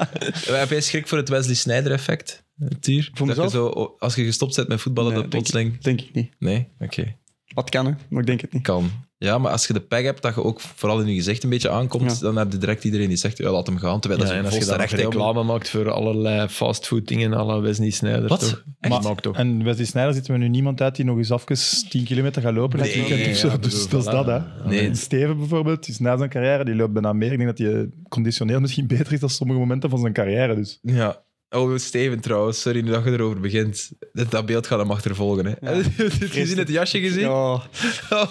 Speaker 1: Heb jij schrik voor het Wesley Snyder-effect, Tier?
Speaker 3: Voor
Speaker 1: dat je
Speaker 3: mezelf?
Speaker 1: zo, als je gestopt bent met voetballen,
Speaker 3: Nee,
Speaker 1: dat
Speaker 3: denk,
Speaker 1: plotseling...
Speaker 3: ik- denk ik niet.
Speaker 1: Nee? Oké.
Speaker 3: Wat kan, hè. Maar ik denk het niet.
Speaker 1: Kan. Ja, maar als je de peg hebt dat je ook vooral in je gezicht een beetje aankomt,
Speaker 3: Ja.
Speaker 1: dan heb je direct iedereen die zegt, ja, laat hem gaan. Terwijl
Speaker 4: Ja,
Speaker 1: dat
Speaker 4: en
Speaker 1: is
Speaker 4: als je
Speaker 1: volste
Speaker 4: dan
Speaker 1: recht. hè, om-
Speaker 4: reclame maakt voor allerlei fastfooddingen à la Wesley Sneijder.
Speaker 1: Wat?
Speaker 4: Toch?
Speaker 1: Echt?
Speaker 4: Maar maakt toch.
Speaker 2: En Wesley Sneijder zitten we nu niemand uit die nog eens afkes 10 kilometer gaat lopen. dat
Speaker 1: Nee,
Speaker 2: weekend of zo.
Speaker 4: ja,
Speaker 2: dus
Speaker 4: bedoel,
Speaker 2: dat is dat, hè.
Speaker 4: voilà.
Speaker 1: Nee.
Speaker 2: En Steven bijvoorbeeld, is na zijn carrière, die loopt bijna meer. Ik denk dat hij eh, conditioneel misschien beter is dan sommige momenten van zijn carrière. Dus.
Speaker 1: Ja. Oh, Steven trouwens, sorry nu dat je erover begint. Dat, dat beeld gaat hem achtervolgen. Hè. [LAUGHS] Heb je het gezien, het jasje gezien? Oh. [LAUGHS]
Speaker 3: Ja,
Speaker 2: Ik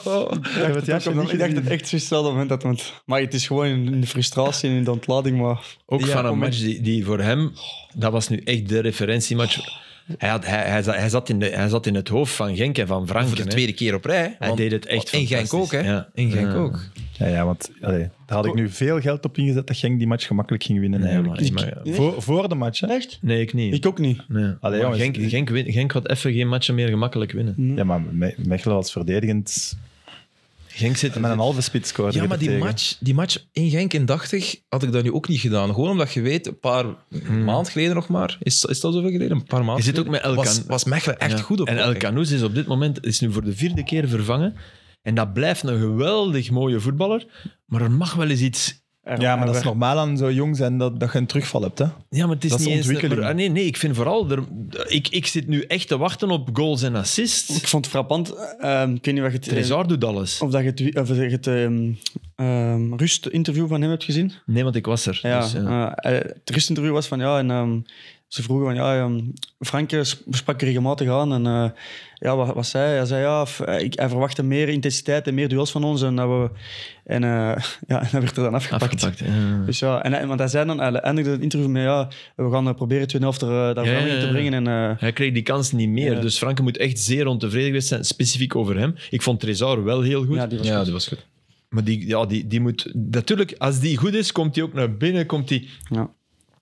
Speaker 2: heb het jasje niet
Speaker 3: ik dacht
Speaker 2: gezien.
Speaker 3: het echt zo snel moment dat het... Maar het is gewoon in de frustratie en in de ontlading, maar...
Speaker 4: Ook
Speaker 1: Ja,
Speaker 4: van een
Speaker 1: om-
Speaker 4: match die, die voor hem, dat was nu echt de referentiematch. Hij, had, hij, hij, zat, hij, zat, in de, hij zat in het hoofd van Genk en van Franken.
Speaker 1: Voor de
Speaker 4: hè.
Speaker 1: tweede keer op rij.
Speaker 4: Hij
Speaker 1: want-
Speaker 4: deed het echt
Speaker 1: In Genk ook, hè?
Speaker 4: fantastisch, ja.
Speaker 1: In Genk
Speaker 4: Ja.
Speaker 1: ook.
Speaker 2: Ja, ja, want allee, daar had ik nu veel geld op ingezet dat Genk die match gemakkelijk ging winnen.
Speaker 4: Nee,
Speaker 2: eigenlijk.
Speaker 4: maar, maar-
Speaker 2: voor, voor de match, hè.
Speaker 3: Echt?
Speaker 4: nee, ik niet.
Speaker 3: Ik ook niet.
Speaker 4: nee.
Speaker 2: Allee,
Speaker 4: Maar
Speaker 2: jongens,
Speaker 4: Genk,
Speaker 2: die-
Speaker 4: Genk, win- Genk gaat even geen matchen meer gemakkelijk winnen.
Speaker 1: Mm.
Speaker 2: Ja, maar Me- Mechelen was verdedigend.
Speaker 4: Genk zit
Speaker 2: Met een halve spits scoorde
Speaker 1: Ja,
Speaker 2: je
Speaker 1: maar
Speaker 2: er
Speaker 1: die
Speaker 2: tegen.
Speaker 1: match, die match in Genk in 80 had ik dat nu ook niet gedaan. Gewoon omdat je weet, een paar maand geleden nog maar. Is, is dat zoveel geleden? Een paar
Speaker 4: Je
Speaker 1: maanden
Speaker 4: zit ook
Speaker 1: geleden,
Speaker 4: met El
Speaker 1: was,
Speaker 4: Can-
Speaker 1: was Mechelen echt
Speaker 4: Ja.
Speaker 1: goed op.
Speaker 4: En El
Speaker 1: Genk.
Speaker 4: Canoes is op dit moment is nu voor de vierde keer vervangen. En dat blijft een geweldig mooie voetballer. Maar er mag wel eens iets
Speaker 2: Ja, maar dat is normaal aan zo jong zijn dat, dat je een terugval hebt. Hè?
Speaker 4: Ja, maar het is
Speaker 2: Dat is
Speaker 4: niet eens...
Speaker 2: ontwikkeling.
Speaker 4: maar- ah, nee, nee, ik vind vooral... Er, ik, ik zit nu echt te wachten op goals en assists.
Speaker 3: Ik vond het frappant. ehm, ik weet niet wat je het...
Speaker 4: Trezor doet alles.
Speaker 3: Of dat je het, wie- of dat je het ehm, ehm, rustinterview van hem hebt gezien.
Speaker 4: Nee, want ik was er.
Speaker 3: Ja,
Speaker 4: dus, ja.
Speaker 3: eh, eh, het rustinterview was van ja, en ehm, ze vroegen van ja, ehm Franke sp- sprak er regelmatig aan en eh, ja, wat, wat zei hij? Hij zei ja, f- eh, ik, hij verwachtte meer intensiteit en meer duels van ons en dat we en eh, [LAUGHS] ja, en dat werd er dan afgepakt.
Speaker 4: Afgepakt. ja.
Speaker 3: Dus ja, en, hij- want hij zei dan, hij eindigde het interview met ja, we gaan eh, proberen tweede helft er, eh, daar
Speaker 4: Ja,
Speaker 3: verandering
Speaker 4: ja,
Speaker 3: te
Speaker 4: ja.
Speaker 3: brengen en eh,
Speaker 4: Hij kreeg die kans niet meer.
Speaker 3: Ja.
Speaker 4: Dus Franke moet echt zeer ontevreden geweest zijn, specifiek over hem. Ik vond Trezor wel heel goed.
Speaker 3: ja, die was
Speaker 1: Ja,
Speaker 3: goed.
Speaker 1: dat was goed.
Speaker 4: Maar die, ja, die, die moet... Natuurlijk, als die goed is, komt die ook naar binnen. Komt die,
Speaker 3: Ja.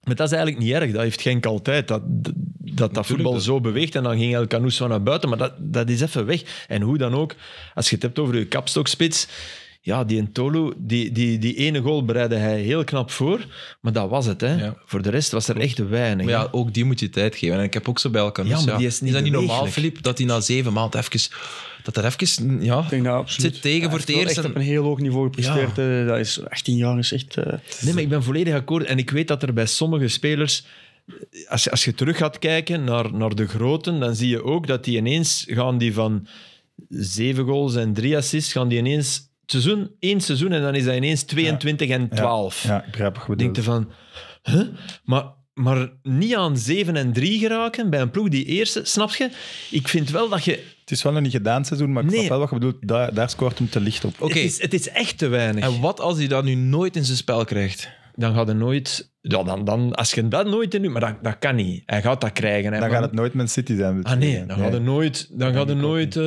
Speaker 4: Maar dat is eigenlijk niet erg. Dat heeft Genk altijd. Dat dat, dat, voetbal
Speaker 1: dat-
Speaker 4: zo beweegt. En dan ging El Canoes van naar buiten. Maar dat, dat is even weg. En hoe dan ook, als je het hebt over je kapstokspits. Ja, die Entolo, die, die, die ene goal bereidde hij heel knap voor. Maar dat was het. Hè.
Speaker 1: Ja.
Speaker 4: Voor de rest was er echt weinig.
Speaker 1: Maar ja, ook die moet je tijd geven. En ik heb ook zo bij El Canoes,
Speaker 4: Ja, maar die is niet
Speaker 1: dat niet normaal,
Speaker 4: bewegelijk.
Speaker 1: Filip? Dat hij na zeven maanden even... Dat dat even... Ja,
Speaker 3: Ik denk dat
Speaker 1: het
Speaker 3: absoluut.
Speaker 1: zit tegen
Speaker 3: Hij
Speaker 1: voor
Speaker 3: heeft
Speaker 1: het
Speaker 3: wel
Speaker 1: eerst.
Speaker 3: echt op
Speaker 1: en-
Speaker 3: een heel hoog niveau gepresteerd. eh, dat is 18 jaar is echt. eh,
Speaker 4: Nee, maar ik ben volledig akkoord. En ik weet dat er bij sommige spelers... Als, je- als je terug gaat kijken naar, naar de groten, dan zie je ook dat die ineens gaan die van zeven goals en drie assists, gaan die ineens het seizoen, één seizoen en dan is dat ineens 22 en 12.
Speaker 2: Ja, ik begrijp wat je
Speaker 4: Ik denk
Speaker 2: bedoelt.
Speaker 4: je van... Huh? Maar, maar niet aan 7 en 3 geraken bij een ploeg die eerste, snap je? Ik vind wel dat je...
Speaker 2: Het is wel nog niet gedaan het seizoen, maar ik
Speaker 4: Nee.
Speaker 2: snap wel wat je bedoelt. Daar, daar scoort hem te licht op.
Speaker 1: Oké.
Speaker 4: Het, is, het is echt te weinig.
Speaker 1: En wat als hij dat nu nooit in zijn spel krijgt?
Speaker 4: dan gaat er nooit... Ja, dan, dan, als je dat nooit in... Maar dat, dat kan niet. Hij gaat dat krijgen.
Speaker 2: Dan
Speaker 4: hè. Maar-
Speaker 2: gaat het nooit Man City zijn.
Speaker 4: Ah nee, dan gaat er nooit, dan gaat er nooit eh,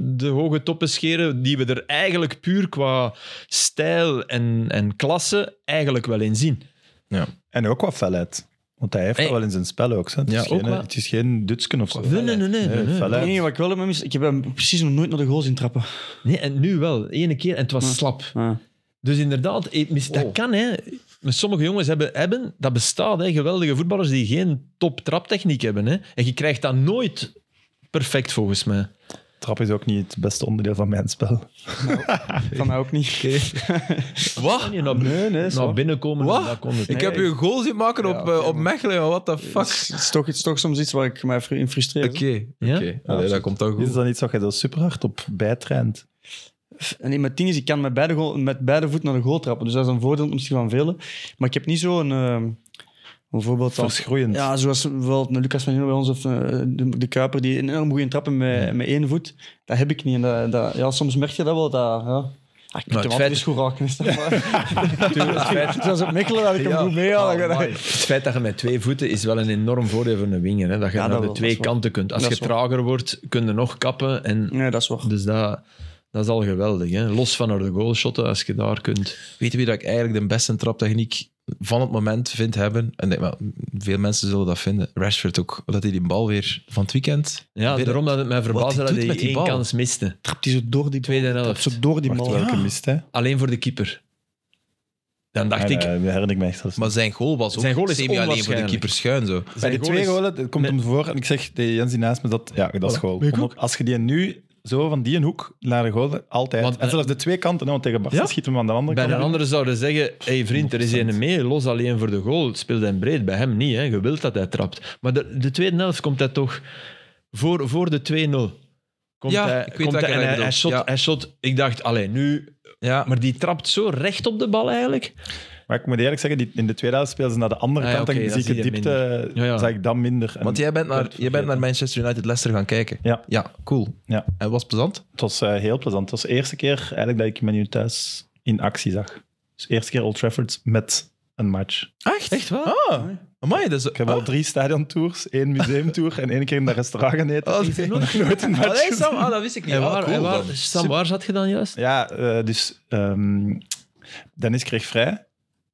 Speaker 4: de hoge toppen scheren die we er eigenlijk puur qua stijl en, en klasse eigenlijk wel in zien.
Speaker 2: En ook qua felheid. Want hij heeft dat
Speaker 4: Hey.
Speaker 2: wel in zijn spel ook. hè. Het,
Speaker 4: Ja,
Speaker 2: is
Speaker 4: ook
Speaker 2: geen,
Speaker 4: wel.
Speaker 2: het is geen Dutsken of zo.
Speaker 4: Nee, nee, nee, nee, nee, nee.
Speaker 2: felheid.
Speaker 3: Het enige wat ik wel heb mis, ik heb hem precies nog nooit naar de goals in trappen.
Speaker 4: Nee, en nu wel. Ene keer en het was
Speaker 3: Ja.
Speaker 4: slap.
Speaker 3: Ah.
Speaker 4: Dus inderdaad, eh, mis- dat kan hè. Maar sommige jongens hebben, hebben dat bestaat hè, geweldige voetballers die geen top traptechniek hebben hè. En je krijgt dat nooit perfect volgens mij.
Speaker 2: Trap is ook niet het beste onderdeel van mijn spel.
Speaker 3: Van mij ook niet.
Speaker 1: Wat?
Speaker 4: Je naar,
Speaker 3: Ah,
Speaker 4: nee,
Speaker 1: Nou,
Speaker 4: nee, naar binnenkomen,
Speaker 1: Wat?
Speaker 4: dat kon het
Speaker 1: Ik
Speaker 4: niet.
Speaker 1: heb je een goal zien maken op, eh, op Mechelen. What the fuck?
Speaker 3: Het is toch, het is toch soms iets waar ik mij fru- in frustreer.
Speaker 1: Oké, oké.
Speaker 4: Ja?
Speaker 1: Allee, dat komt ook
Speaker 2: Is
Speaker 1: goed.
Speaker 2: dat iets wat je zo super hard op bijtraint?
Speaker 3: En in mijn ding is, ik kan met beide, goal- met beide voeten naar de goal trappen. Dus dat is een voordeel misschien van velen. Maar ik heb niet zo'n... ehm een voorbeeld van...
Speaker 2: Verschroeiend.
Speaker 3: Ja, zoals bijvoorbeeld een Lucas van Hino bij ons of eh, de, de Kuiper, die een enorm goede trappen met, met één voet. Dat heb ik niet. En dat, dat- ja, soms merk je dat wel. Dat, ja. Ah,
Speaker 1: het
Speaker 3: ik moet hem
Speaker 1: feit-
Speaker 3: altijd eens goed raken. Is dat maar. Tuurlijk, feit- [LAUGHS] Zoals op Mechelen had ik hem
Speaker 4: Ja.
Speaker 3: goed mee. Ja,
Speaker 4: Ah,
Speaker 3: dat-
Speaker 4: amai. Het feit dat je met twee voeten is wel een enorm voordeel voor een winger. Hè? Dat je
Speaker 3: Ja, dat
Speaker 4: naar
Speaker 3: wel,
Speaker 4: de
Speaker 3: dat
Speaker 4: twee
Speaker 3: is waar.
Speaker 4: kanten kunt. Als
Speaker 3: Dat
Speaker 4: je
Speaker 3: is waar.
Speaker 4: trager wordt, kun je nog kappen. En
Speaker 3: nee, dat is waar.
Speaker 4: Dus dat, dat is al geweldig. Hè? Los van naar de goalshotten, als je daar kunt.
Speaker 1: Weet je wie dat ik eigenlijk de beste traptechniek van het moment vind hebben? En ik denk, wel, veel mensen zullen dat vinden. Rashford ook. Dat hij die bal weer van het weekend...
Speaker 4: Ja,
Speaker 1: weer-
Speaker 4: daarom dat het mij verbaasde
Speaker 1: doet
Speaker 4: dat hij
Speaker 1: met die
Speaker 4: één
Speaker 1: bal.
Speaker 4: kans miste.
Speaker 3: Trapt hij zo door die
Speaker 4: Tweede
Speaker 3: bal. Trapt
Speaker 4: helft.
Speaker 3: zo door die
Speaker 2: Wacht,
Speaker 3: bal.
Speaker 2: welke mist, hè?
Speaker 4: Alleen voor de keeper. Dan dacht
Speaker 2: Ah,
Speaker 4: ik...
Speaker 2: nee, dat herinner ik me echt zelfs
Speaker 1: Maar zijn goal was ook
Speaker 4: Zijn goal is
Speaker 1: alleen voor de
Speaker 4: onwaarschijnlijk.
Speaker 1: keeper schuin. Zo.
Speaker 2: Bij
Speaker 4: zijn
Speaker 2: de
Speaker 4: goal
Speaker 2: twee
Speaker 4: is-
Speaker 2: golen dat komt
Speaker 4: met-
Speaker 2: hem voor en ik zeg tegen Jens die naast me dat ja, dat is goal. Omdat- Als je die nu Zo van die een hoek naar de goal, altijd.
Speaker 5: Want-
Speaker 4: eh,
Speaker 2: en zelfs de twee kanten, hè, want tegen Barca
Speaker 4: Ja?
Speaker 2: schieten we aan de andere
Speaker 5: Bij
Speaker 2: kant.
Speaker 5: de
Speaker 2: in.
Speaker 5: andere
Speaker 4: Anderen zouden zeggen, hey vriend, er is een mee, los alleen voor de goal. Het speelt hem breed, bij hem niet. Hè. Je wilt dat hij trapt. Maar de, de tweede helft komt hij toch voor, voor de 2-0. Komt
Speaker 1: Ja,
Speaker 4: hij,
Speaker 1: ik weet
Speaker 4: komt
Speaker 1: welke
Speaker 4: hij, en
Speaker 1: je
Speaker 4: hij,
Speaker 1: bedoelt.
Speaker 4: hij, shot,
Speaker 1: Ja.
Speaker 4: hij shot, ik dacht, alleen nu...
Speaker 1: Ja,
Speaker 4: Maar die trapt zo recht op de bal eigenlijk.
Speaker 2: Maar ik moet eerlijk zeggen, die, in de tweede helft speelden ze naar de andere
Speaker 4: Ah ja,
Speaker 2: kant
Speaker 4: oké,
Speaker 2: en
Speaker 4: dan
Speaker 2: zie ik
Speaker 4: zie
Speaker 2: de
Speaker 4: je
Speaker 2: diepte,
Speaker 4: Ja, ja.
Speaker 2: zag ik dan minder. En
Speaker 1: want jij bent, naar,
Speaker 2: het
Speaker 1: jij bent naar Manchester United Leicester gaan kijken.
Speaker 2: Ja.
Speaker 1: Ja, cool.
Speaker 2: Ja.
Speaker 1: En was het plezant?
Speaker 2: Het was eh, heel plezant. Het was de eerste keer eigenlijk dat ik mijn nu thuis in actie zag. Dus de eerste keer Old Trafford met een match.
Speaker 1: Echt? Echt
Speaker 4: waar?
Speaker 1: Ah, amai, dat is... Ah.
Speaker 2: Ik heb [LAUGHS] al drie stadiontours, één museumtour en één keer in dat restaurant geneten.
Speaker 1: Oh,
Speaker 2: Ik heb nog nooit een match gezien.
Speaker 1: ah, dat wist ik niet.
Speaker 4: En
Speaker 1: Ah,
Speaker 4: waar,
Speaker 1: cool
Speaker 4: en waar,
Speaker 1: dan.
Speaker 4: Sam, waar zat je dan juist?
Speaker 2: Ja, eh, dus ehm, Dennis kreeg vrij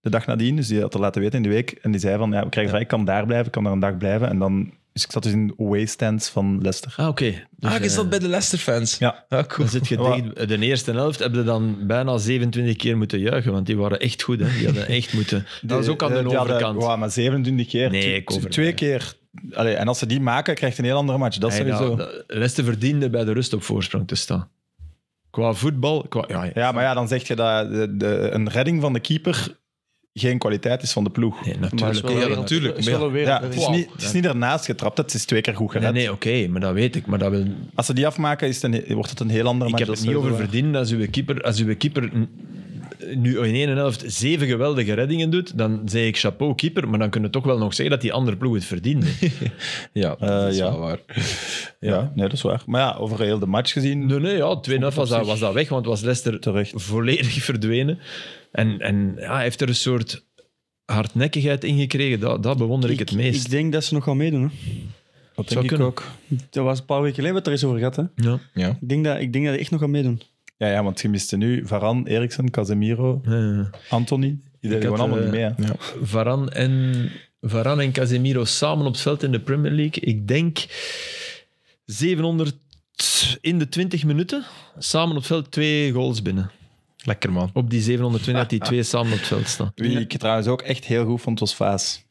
Speaker 2: de dag nadien, dus die had het laten weten in de week. En die zei van, ja, we krijgen vrij, ik kan daar blijven, ik kan daar een dag blijven. En dan, dus ik zat dus in de away stands van Leicester.
Speaker 4: Ah, oké. Dus,
Speaker 1: ah, je
Speaker 4: eh,
Speaker 1: zat bij de Leicester-fans.
Speaker 2: Ja.
Speaker 1: Ah, cool.
Speaker 4: Dan zit [LAUGHS] je
Speaker 2: Wa-
Speaker 4: tegen de eerste helft heb je dan bijna 27 keer moeten juichen, want die waren echt goed. Hè. Die hadden echt moeten. Eh, Dat is ook aan de,
Speaker 2: Eh, Die hadden-
Speaker 4: overkant.
Speaker 2: wauw, maar 27 keer.
Speaker 4: Nee,
Speaker 2: tw-
Speaker 4: ik
Speaker 2: tw-
Speaker 4: overdrijf.
Speaker 2: Twee keer. Allee, en als ze die maken, krijgt een heel andere match. Dat is
Speaker 4: Hey,
Speaker 2: sowieso.
Speaker 4: nou, dat- Leicester verdiende bij de rust op voorsprong te staan. Qua voetbal, qua, ja, ja.
Speaker 2: ja, maar ja, dan zeg je dat de, de- een redding van de keeper geen kwaliteit is van de ploeg.
Speaker 4: Nee,
Speaker 3: Maar het is
Speaker 4: natuurlijk.
Speaker 3: wel
Speaker 1: Ja,
Speaker 3: een wereld-
Speaker 1: natuurlijk,
Speaker 3: is wel
Speaker 1: maar
Speaker 3: een wereld-
Speaker 2: Ja, het is, niet, het is niet ernaast getrapt, het is twee keer goed
Speaker 4: Nee,
Speaker 2: gered.
Speaker 4: nee oké, maar dat weet ik. Maar dat wil,
Speaker 2: Als ze die afmaken, is het een- wordt het een heel andere
Speaker 4: ik
Speaker 2: match.
Speaker 4: heb
Speaker 2: dat
Speaker 4: het
Speaker 2: is
Speaker 4: niet over
Speaker 2: sowieso waar.
Speaker 4: verdienen. Als uw keeper, als uw keeper nu in één helft zeven geweldige reddingen doet, dan zeg ik chapeau keeper, maar dan kunnen we toch wel nog zeggen dat die andere ploeg het
Speaker 2: [LAUGHS]
Speaker 4: verdiende.
Speaker 1: Ja, dat is
Speaker 2: Eh, ja.
Speaker 1: wel waar.
Speaker 2: Ja, nee, dat is waar. Maar ja, over heel de match gezien,
Speaker 4: Nee, nee, ja, 2-0 was, dat- was dat weg, want was Leicester
Speaker 2: terecht.
Speaker 4: volledig [LAUGHS] verdwenen. En, en ja, hij heeft er een soort hardnekkigheid in gekregen. Dat, dat bewonder ik, het meest.
Speaker 3: Ik denk dat ze nog gaan meedoen. Hè.
Speaker 2: Dat
Speaker 4: Zou kunnen.
Speaker 2: ook.
Speaker 3: Dat was een paar weken geleden wat er is over gehad. Hè.
Speaker 4: Ja.
Speaker 1: Ja.
Speaker 3: Ik, denk dat, ik denk dat ze echt nog gaan meedoen.
Speaker 2: Ja, ja, want je miste nu Varan, Eriksen, Casemiro,
Speaker 4: Eh,
Speaker 2: Anthony. Die deden
Speaker 4: had,
Speaker 2: gewoon allemaal
Speaker 4: eh,
Speaker 2: niet mee. hè.
Speaker 4: Varane en, Varane en Casemiro samen op het veld in de Premier League. Ik denk 700 in de 20 minuten. Samen op het veld twee goals binnen.
Speaker 1: Lekker, man.
Speaker 4: Op die 720 dat die twee samen op het veld staan.
Speaker 2: Wie ik trouwens ook echt heel goed vond, was Vaas.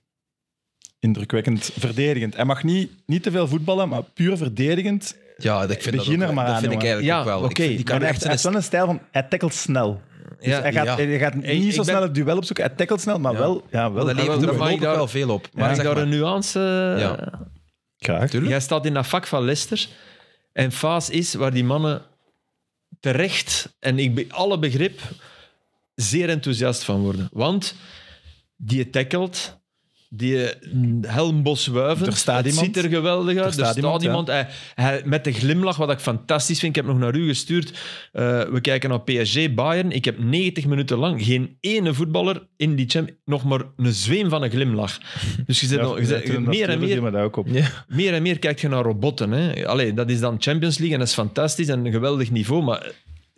Speaker 2: Indrukwekkend, verdedigend. Hij mag niet, niet te veel voetballen, maar puur verdedigend.
Speaker 1: Ja, ik vind
Speaker 2: Begin
Speaker 1: dat
Speaker 2: er
Speaker 1: ook,
Speaker 2: maar
Speaker 1: dat
Speaker 2: aan,
Speaker 1: vind ik
Speaker 2: jongen.
Speaker 1: eigenlijk
Speaker 4: Ja,
Speaker 1: ook wel. Ik
Speaker 4: oké,
Speaker 1: vind- die kan
Speaker 2: Maar hij
Speaker 1: echt
Speaker 2: heeft- hij
Speaker 1: zijn
Speaker 2: heeft wel een stijl van, hij tackelt snel. Dus
Speaker 4: Ja,
Speaker 2: hij, gaat,
Speaker 1: ja.
Speaker 2: hij gaat
Speaker 4: Hey,
Speaker 2: niet
Speaker 4: ik
Speaker 2: zo
Speaker 4: ben-
Speaker 2: snel het duel op zoeken. Hij tackelt snel, maar
Speaker 1: Ja.
Speaker 2: wel... Ja, wel
Speaker 1: dat levert
Speaker 4: maar-
Speaker 1: er
Speaker 4: maar ik
Speaker 1: voorlopig
Speaker 4: daar-
Speaker 1: wel veel op.
Speaker 4: Maar
Speaker 1: Maar
Speaker 4: is
Speaker 1: zeg
Speaker 4: daar
Speaker 1: maar.
Speaker 4: een nuance?
Speaker 1: Ja.
Speaker 2: Graag.
Speaker 1: Tuurlijk.
Speaker 4: Jij staat in dat vak van Leicester. En Faas is waar die mannen terecht, en ik be- alle begrip, zeer enthousiast van worden. Want die tackelt, die mm, helmbos wuiven.
Speaker 2: Er staat
Speaker 4: het
Speaker 2: iemand.
Speaker 4: ziet er geweldig uit. Er staat, iemand.
Speaker 2: ja.
Speaker 4: Hij, hij, met de glimlach, wat ik fantastisch vind. Ik heb nog naar u gestuurd. Eh, we kijken naar PSG, Bayern. Ik heb 90 minuten lang geen ene voetballer in die champ nog maar een zweem van een glimlach. Dus je zit nog, je zit- meer en meer
Speaker 2: Maar dat ook op.
Speaker 4: meer en meer kijk je naar robotten. Hè? Allee, dat is dan Champions League en dat is fantastisch en een geweldig niveau. Maar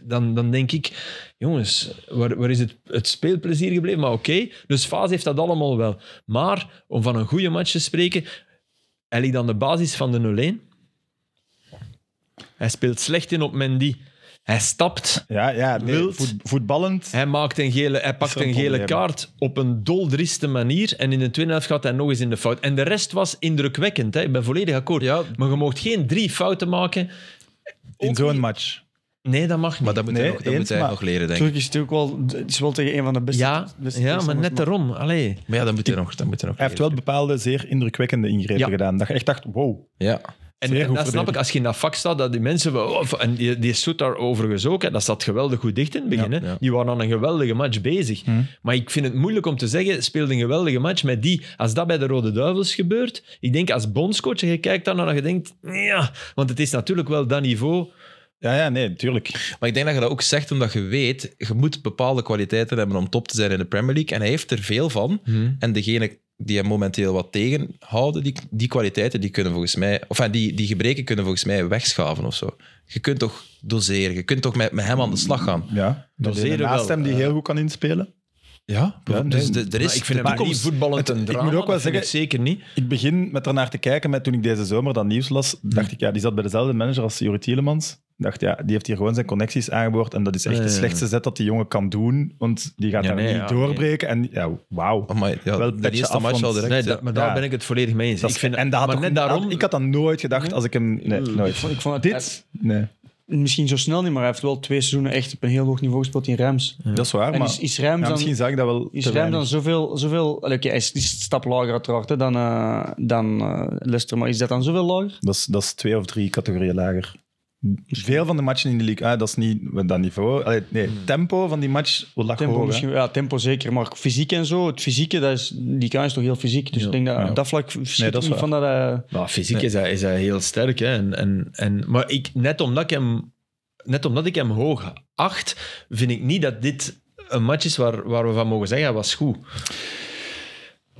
Speaker 4: dan, dan denk ik, jongens, waar, waar is het, het speelplezier gebleven? Maar oké, dus Faas heeft dat allemaal wel. Maar om van een goede match te spreken, hij ligt aan de basis van de 0-1. Hij speelt slecht in op Mendy. Hij stapt.
Speaker 2: Ja, ja nee,
Speaker 4: Wild.
Speaker 2: voet- voetballend.
Speaker 4: Hij, maakt een gele, hij pakt
Speaker 2: er een
Speaker 4: een gele
Speaker 2: probleem?
Speaker 4: kaart op een doldrieste manier. En in de tweede helft gaat hij nog eens in de fout. En de rest was indrukwekkend. Hè? Ik ben volledig akkoord.
Speaker 1: Ja.
Speaker 4: Maar je mocht geen drie fouten maken.
Speaker 2: In zo'n match.
Speaker 4: Nee, dat mag niet.
Speaker 1: Maar dat moet
Speaker 2: Nee,
Speaker 1: hij nog- dat
Speaker 2: eens,
Speaker 1: moet hij
Speaker 2: maar-
Speaker 1: nog leren, denk ik.
Speaker 3: Turk is natuurlijk wel, het is wel tegen een van de beste.
Speaker 4: ja,
Speaker 1: dus-
Speaker 3: beste
Speaker 4: ja, maar
Speaker 3: tegenstanders,
Speaker 4: net daarom. Allee.
Speaker 1: Maar ja, dat moet hij nog, dat moet hij nog
Speaker 2: Hij heeft wel
Speaker 1: leren.
Speaker 2: bepaalde zeer indrukwekkende ingrepen
Speaker 4: Ja.
Speaker 2: gedaan. Dat je echt dacht, wow.
Speaker 1: Ja.
Speaker 4: En,
Speaker 2: Zeer
Speaker 4: en
Speaker 2: goed
Speaker 4: dat snap ik,
Speaker 2: verdedigd.
Speaker 4: als je in dat vak staat, dat die mensen... wel- oh, en die, die stoet daar overigens ook, hè, dat zat geweldig goed dicht in het begin.
Speaker 1: Ja,
Speaker 4: hè.
Speaker 1: ja.
Speaker 4: Die waren aan een geweldige match bezig.
Speaker 2: Mhm.
Speaker 4: Maar ik vind het moeilijk om te zeggen, speelde een geweldige match met die. Als dat bij de Rode Duivels gebeurt, ik denk als bondscoach, en je kijkt daarnaar en je denkt, ja... Want het is natuurlijk wel dat niveau...
Speaker 2: Ja, ja, nee, tuurlijk.
Speaker 1: Maar ik denk dat je dat ook zegt omdat je weet, je moet bepaalde kwaliteiten hebben om top te zijn in de Premier League. En hij heeft er veel van.
Speaker 2: Mhm.
Speaker 1: En degene die hem momenteel wat tegenhouden, die, die kwaliteiten, die kunnen volgens mij, of enfin, die, die gebreken kunnen volgens mij wegschaven of zo. Je kunt toch doseren, je kunt toch met, met hem aan de slag gaan.
Speaker 2: Ja.
Speaker 4: Dat
Speaker 2: Doseren
Speaker 4: wel. Eh.
Speaker 2: naast hem die heel goed kan inspelen.
Speaker 1: Ja,
Speaker 2: nee.
Speaker 1: dus de- er is
Speaker 4: Maar ik vind
Speaker 1: de
Speaker 4: hem niet
Speaker 1: toekomst.
Speaker 4: voetballend
Speaker 2: het-
Speaker 4: een
Speaker 2: ik
Speaker 4: drama,
Speaker 2: moet ook wel
Speaker 4: dat vind ik zeker niet.
Speaker 2: Ik begin met ernaar te kijken. Met, toen ik deze zomer dat nieuws las,
Speaker 4: Hm.
Speaker 2: dacht ik, ja, die zat bij dezelfde manager als Jurie Tielemans. Ik dacht, ja, die heeft hier gewoon zijn connecties aangeboord. En dat is echt
Speaker 4: Ja,
Speaker 2: de
Speaker 4: ja, ja.
Speaker 2: slechtste zet dat die jongen kan doen. Want die gaat
Speaker 4: Eh. Ja,
Speaker 2: daar
Speaker 4: nee,
Speaker 2: niet
Speaker 4: ja,
Speaker 2: doorbreken. En ja, wauw.
Speaker 1: Amai, Oh ja,
Speaker 2: Wel
Speaker 1: de
Speaker 2: petje
Speaker 1: eerste
Speaker 2: af,
Speaker 1: match
Speaker 2: want-
Speaker 1: al direct.
Speaker 4: Nee,
Speaker 1: ja.
Speaker 4: dat- maar daar
Speaker 2: Ja.
Speaker 4: ben ik het volledig mee eens.
Speaker 2: Dat
Speaker 4: Ik
Speaker 2: is-
Speaker 4: vind,
Speaker 2: en dat had
Speaker 4: maar
Speaker 2: toch
Speaker 4: net Mm.
Speaker 2: niet-
Speaker 4: daarom...
Speaker 2: Ik had dat nooit gedacht als ik hem... Nee, nooit.
Speaker 3: Ik vond het
Speaker 2: Dit? Nee.
Speaker 3: misschien zo snel niet, maar hij heeft wel twee seizoenen echt op een heel hoog niveau gespeeld in Reims.
Speaker 2: Dat is waar,
Speaker 3: En dus
Speaker 2: maar
Speaker 3: is, is Reims
Speaker 2: ja,
Speaker 3: dan,
Speaker 2: misschien zag ik dat wel
Speaker 3: is
Speaker 2: te
Speaker 3: Reims dan
Speaker 2: weinig.
Speaker 3: zoveel... zoveel allee, oké, hij is een stap lager uiteraard hè, dan, eh, dan eh, Leicester, maar is dat dan zoveel lager?
Speaker 2: Dat is, dat is twee of drie categorieën lager. Veel van de matchen in de league, ah, dat is niet met dat niveau. Allee, nee,
Speaker 4: Hmm.
Speaker 2: tempo van die match wat lag
Speaker 3: Tempo
Speaker 2: hoog. hè.
Speaker 3: misschien, ja, tempo zeker, maar fysiek en zo, het fysieke, dat is, die kan is toch heel fysiek, dus ik denk dat
Speaker 2: Ja.
Speaker 3: op dat vlak verschilt
Speaker 2: Nee, dat is
Speaker 3: niet van dat eh, hij...
Speaker 4: Maar fysiek is, hij, is hij heel sterk. Hè? En, en, en, maar ik, net, omdat ik hem, net omdat ik hem hoog acht, vind ik niet dat dit een match is waar, waar we van mogen zeggen, hij was goed.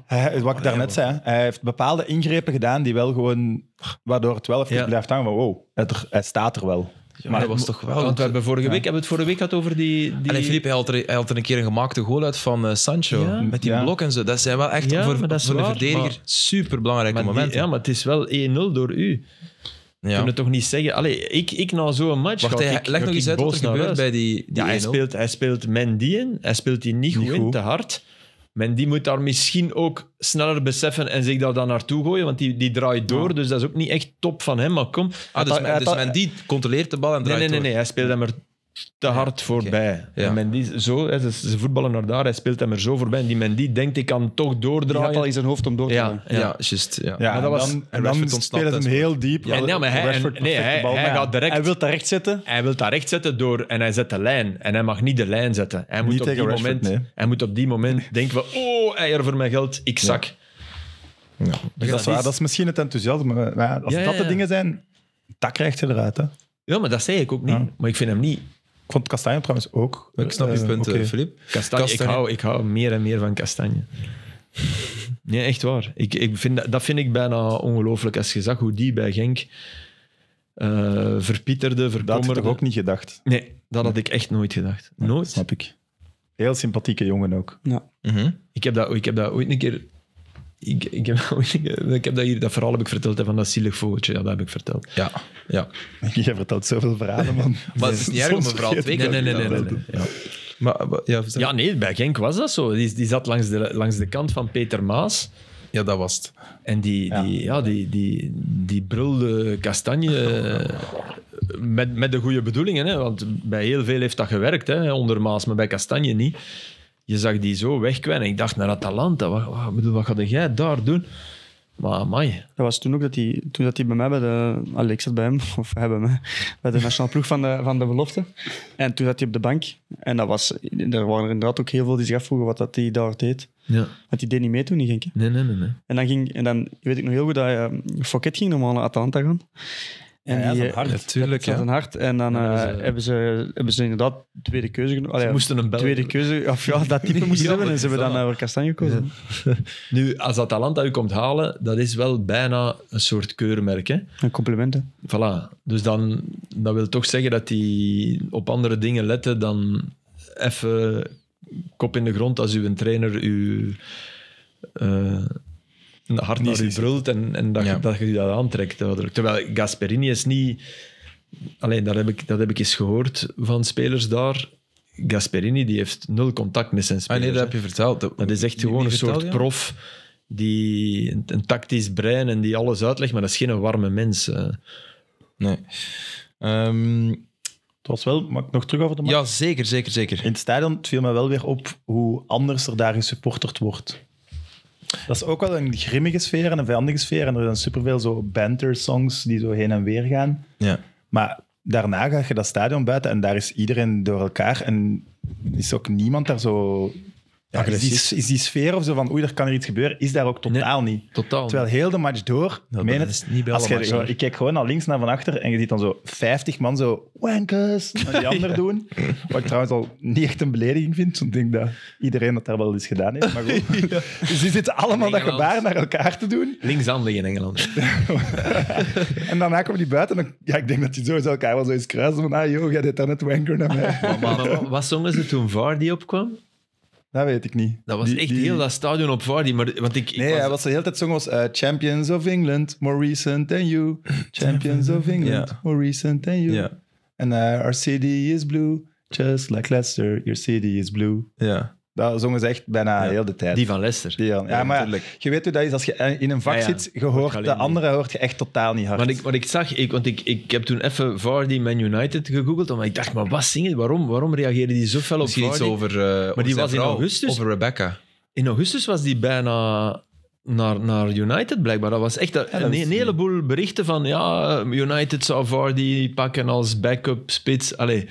Speaker 2: Hij- wat ik daarnet zei, hè, hij heeft bepaalde ingrepen gedaan die wel gewoon, waardoor het wel even
Speaker 4: Ja.
Speaker 2: blijft hangen van wow, het er- hij staat er wel.
Speaker 1: maar dat was toch wel...
Speaker 4: Want we hebben vorige week, hebben we het vorige week gehad over die... die...
Speaker 1: Allee, Philippe, hij had, er, hij had er een keer een gemaakte goal uit van eh, Sancho.
Speaker 4: Ja.
Speaker 1: Met die
Speaker 2: Ja.
Speaker 1: blok en zo. Dat zijn wel echt
Speaker 4: Ja,
Speaker 1: voor,
Speaker 4: maar dat is
Speaker 1: voor een
Speaker 4: waar,
Speaker 1: verdediger
Speaker 4: maar-
Speaker 1: superbelangrijke
Speaker 4: maar die-
Speaker 1: momenten.
Speaker 4: ja, maar het is wel 1-0 door u.
Speaker 1: Ja.
Speaker 4: kunnen toch niet zeggen. Allee, ik, ik na zo'n match.
Speaker 1: Wacht,
Speaker 4: ga
Speaker 1: hij,
Speaker 4: ik,
Speaker 1: leg
Speaker 4: ga
Speaker 1: nog
Speaker 4: ik
Speaker 1: eens uit wat
Speaker 4: boos
Speaker 1: er
Speaker 4: naar
Speaker 1: gebeurt
Speaker 4: huis.
Speaker 1: bij die, die
Speaker 4: ja, hij
Speaker 1: 1-0.
Speaker 4: speelt, hij speelt Mendy in. Hij speelt die niet,
Speaker 2: Niet
Speaker 4: goed in,
Speaker 2: goed.
Speaker 4: te hard. Mendy moet daar misschien ook sneller beseffen en zich daar dan naartoe gooien, want die, die draait door. Dus dat is ook niet echt top van hem. Maar kom.
Speaker 1: Ah, dus,
Speaker 4: Hij- hij-
Speaker 1: men, dus Mendy controleert de bal en
Speaker 4: Nee,
Speaker 1: draait
Speaker 4: nee, nee,
Speaker 1: door.
Speaker 4: nee, hij speelt hem er te hard voorbij.
Speaker 1: Ja.
Speaker 4: En Mendy, zo, hè, ze, ze voetballen naar daar, hij speelt hem er zo voorbij. En die Mendy denkt, ik kan toch
Speaker 3: Die had
Speaker 4: doordraaien.
Speaker 3: al in zijn hoofd om door te gaan.
Speaker 4: ja,
Speaker 1: Ja,
Speaker 4: ja.
Speaker 1: juist. Ja.
Speaker 2: Ja,
Speaker 4: Maar dat
Speaker 2: en
Speaker 4: was-
Speaker 2: dan,
Speaker 1: en
Speaker 2: en
Speaker 1: Rashford
Speaker 2: dan
Speaker 1: ontsnapt
Speaker 2: spelen ze hem
Speaker 1: en
Speaker 2: heel diep.
Speaker 4: Ja, nee, maar hij-
Speaker 2: Rashford
Speaker 4: en- nee,
Speaker 2: perfecte
Speaker 4: hij-
Speaker 2: bal,
Speaker 4: hij
Speaker 2: maar ja,
Speaker 4: gaat direct-
Speaker 3: Hij wil daar recht zetten.
Speaker 4: Hij wil daar recht zetten door en hij zet de lijn. En hij mag niet de lijn zetten. Hij moet,
Speaker 2: Niet
Speaker 4: op,
Speaker 2: tegen
Speaker 4: die
Speaker 2: Rashford,
Speaker 4: moment,
Speaker 2: nee.
Speaker 4: hij moet op die moment denken van... Oh, eier voor mijn geld, ik zak.
Speaker 2: Dus dat, is waar, dat is misschien het enthousiasme. Maar ja, als
Speaker 4: Ja, ja,
Speaker 2: dat de
Speaker 4: ja.
Speaker 2: dingen zijn, dat krijgt je eruit. Hè. Ik
Speaker 4: Ja, maar dat zei ik ook niet.
Speaker 2: Ja.
Speaker 4: Maar ik vind hem niet...
Speaker 2: vond Kastanje trouwens ook.
Speaker 1: Ik snap je
Speaker 2: eh,
Speaker 1: punt,
Speaker 2: oké.
Speaker 1: eh, Philippe.
Speaker 4: Kastanje, ik,
Speaker 1: Kastanje.
Speaker 4: hou, ik hou meer en meer van Kastanje. Nee, echt waar. Ik, ik vind, dat- dat vind ik bijna ongelooflijk. Als je zag hoe die bij Genk eh verpieterde,
Speaker 2: Dat had ik toch
Speaker 4: verkommerde...
Speaker 2: ook niet gedacht,
Speaker 4: Nee, dat had ik echt nooit gedacht. Nooit.
Speaker 2: snap ik. Heel sympathieke jongen ook. [LAUGHS]
Speaker 1: Mhm.
Speaker 4: Ik heb dat, ik heb dat ooit een keer. Ik, ik, heb, ooit een keer- ik heb dat hier, dat verhaal heb ik verteld, hè, van dat zielig vogeltje, ja, dat heb ik verteld.
Speaker 1: Ja, ja.
Speaker 2: Je vertelt zoveel verhalen, [LAUGHS] man.
Speaker 1: Maar het is niet erg om een
Speaker 2: Soms
Speaker 1: verhaal
Speaker 2: vergeet
Speaker 1: twee
Speaker 2: ik
Speaker 1: keer
Speaker 2: dat
Speaker 1: te
Speaker 2: ik dat
Speaker 1: vertellen.
Speaker 2: doe.
Speaker 4: Ja.
Speaker 1: Maar, maar- ja,
Speaker 4: ja, nee, bij Genk was dat zo. Die, die zat langs de, langs de kant van Peter Maas.
Speaker 1: ja, dat was het.
Speaker 4: En die,
Speaker 2: Ja.
Speaker 4: Die, ja, die, die, die brulde kastanje eh, met, met de goede bedoelingen. Hè? Want bij heel veel heeft dat gewerkt, hè, onder Maas, maar bij kastanje niet. Je zag die zo wegkwijnen. Ik dacht naar Atalanta, wat, wat, bedoel, wat ga jij daar doen? Maar amai,
Speaker 3: Dat was toen ook dat hij, toen dat hij bij mij bij de. Allee, ik zat bij hem, [LAUGHS] of hij bij mij, bij de nationale ploeg van de, van de belofte. En toen zat hij op de bank. En dat was, er waren er inderdaad ook heel veel die zich afvroegen wat dat hij daar deed.
Speaker 4: Ja.
Speaker 3: Want die deed niet mee toen, die Genk. hè.
Speaker 4: Nee, nee, nee. nee.
Speaker 3: En dan ging, en dan weet ik nog heel goed dat eh, Fokket ging normaal naar Atalanta gaan. En
Speaker 2: Ja,
Speaker 3: die,
Speaker 2: van hart.
Speaker 1: Natuurlijk,
Speaker 3: Zat
Speaker 1: ja.
Speaker 3: een hart. En dan
Speaker 4: Ja, dat
Speaker 3: eh,
Speaker 4: is, eh,
Speaker 3: hebben, ze, hebben ze inderdaad tweede keuze genomen. Allee,
Speaker 4: Ze moesten een bel.
Speaker 3: tweede keuze, of ja, dat [LAUGHS] type moesten ze
Speaker 4: Ja,
Speaker 3: hebben. En
Speaker 4: dat
Speaker 3: ze
Speaker 4: is
Speaker 3: hebben dan
Speaker 4: dat.
Speaker 3: naar Kastanje gekozen.
Speaker 4: Nu, als Atalanta u komt halen, dat is wel bijna een soort keurmerk. Hè?
Speaker 3: Een compliment, hè.
Speaker 4: Voilà. Dus dan, dat wil toch zeggen dat die op andere dingen letten dan even kop in de grond als uw trainer u eh, hard naar u brult en, en dat, je-
Speaker 1: Ja.
Speaker 4: dat je dat aantrekt. duidelijk. Terwijl Gasperini is niet... Alleen, dat heb, ik, dat heb ik eens gehoord van spelers daar. Gasperini die heeft nul contact met zijn
Speaker 1: Ah,
Speaker 4: spelers.
Speaker 1: nee, dat
Speaker 4: hè.
Speaker 1: heb je verteld. Dat,
Speaker 4: Dat dus- is echt
Speaker 1: Wie-
Speaker 4: gewoon
Speaker 1: wie
Speaker 4: een soort
Speaker 1: vertelde je?
Speaker 4: prof die een, een tactisch brein en die alles uitlegt, maar dat is geen warme mens. eh.
Speaker 1: Nee. Ehm,
Speaker 2: Het was wel, mag ik nog terug over de match?
Speaker 1: ja, zeker, zeker, zeker.
Speaker 2: In het stadion het viel mij wel weer op hoe anders er daar gesupporterd wordt. Dat is ook wel een grimmige sfeer en een vijandige sfeer. En er zijn superveel zo banter-songs die zo heen en weer gaan.
Speaker 1: Ja.
Speaker 2: Maar daarna ga je dat stadion buiten en daar is iedereen door elkaar. En is ook niemand daar zo... Ja, is, die,
Speaker 1: Agressief.
Speaker 2: is die sfeer of zo van oei, er kan er iets gebeuren, is daar ook totaal niet.
Speaker 4: Totaal.
Speaker 2: Terwijl heel de match door, ik meen
Speaker 1: dat
Speaker 2: het,
Speaker 1: is niet bij
Speaker 2: als
Speaker 1: alle
Speaker 2: je,
Speaker 1: matchen.
Speaker 2: ik kijk gewoon naar links, naar van achter en je ziet dan zo 50 man zo wankers naar
Speaker 1: [LAUGHS]
Speaker 2: die ander doen. Wat ik trouwens al niet echt een belediging vind, want ik denk dat iedereen dat daar wel eens gedaan heeft. Maar
Speaker 1: [LAUGHS]
Speaker 2: goed. Dus die zitten allemaal dat
Speaker 4: Engeland.
Speaker 2: gebaar naar elkaar te doen.
Speaker 4: Links aan in Engeland.
Speaker 2: En daarna komen die buiten en dan, ja, ik denk dat die sowieso elkaar wel zo eens kruisen van ah joh, jij deed daar net wanker naar mij.
Speaker 4: [LAUGHS] maar wat zongen ze toen Vardy opkwam?
Speaker 2: Dat weet ik niet.
Speaker 4: Dat was
Speaker 2: Die-
Speaker 4: echt
Speaker 2: die-
Speaker 4: heel dat stadion op Vardy. Maar, want ik, ik
Speaker 2: Nee,
Speaker 4: was-
Speaker 2: ja, wat ze de hele tijd zongen was eh, Champions of England, more recent than
Speaker 4: [LAUGHS]
Speaker 2: you. Champions of England,
Speaker 1: Ja.
Speaker 2: more recent than you.
Speaker 1: Ja.
Speaker 2: En eh, our city is blue, just like Leicester, your city is blue.
Speaker 1: Ja.
Speaker 2: Dat zongen ze echt bijna
Speaker 1: Ja.
Speaker 2: heel de tijd.
Speaker 4: Die van Leicester.
Speaker 2: Die dan. ja, maar ja,
Speaker 1: tuurlijk.
Speaker 2: je weet hoe dat is. Als je eh, in een vak
Speaker 4: Ja, ja.
Speaker 2: zit, je
Speaker 4: Hoort je
Speaker 2: hoort
Speaker 4: alleen
Speaker 2: de
Speaker 4: niet.
Speaker 2: andere hoort je echt totaal niet hard.
Speaker 4: Maar ik, maar ik zag, ik, want ik, ik heb toen even Vardy Man United gegoogeld, omdat ik dacht, maar wat zingen? Waarom, waarom reageerde die zo fel op
Speaker 1: Misschien iets
Speaker 4: Vardy?
Speaker 1: over, eh, over
Speaker 4: die
Speaker 1: zijn
Speaker 4: was in
Speaker 1: vrouw,
Speaker 4: augustus.
Speaker 1: Over Rebecca.
Speaker 4: In augustus was die bijna naar, naar United, blijkbaar. Dat was echt dat-
Speaker 2: dat
Speaker 4: een,
Speaker 2: wist
Speaker 4: een
Speaker 2: ik
Speaker 4: heleboel berichten van, ja, United zou Vardy pakken als backup spits. Allee,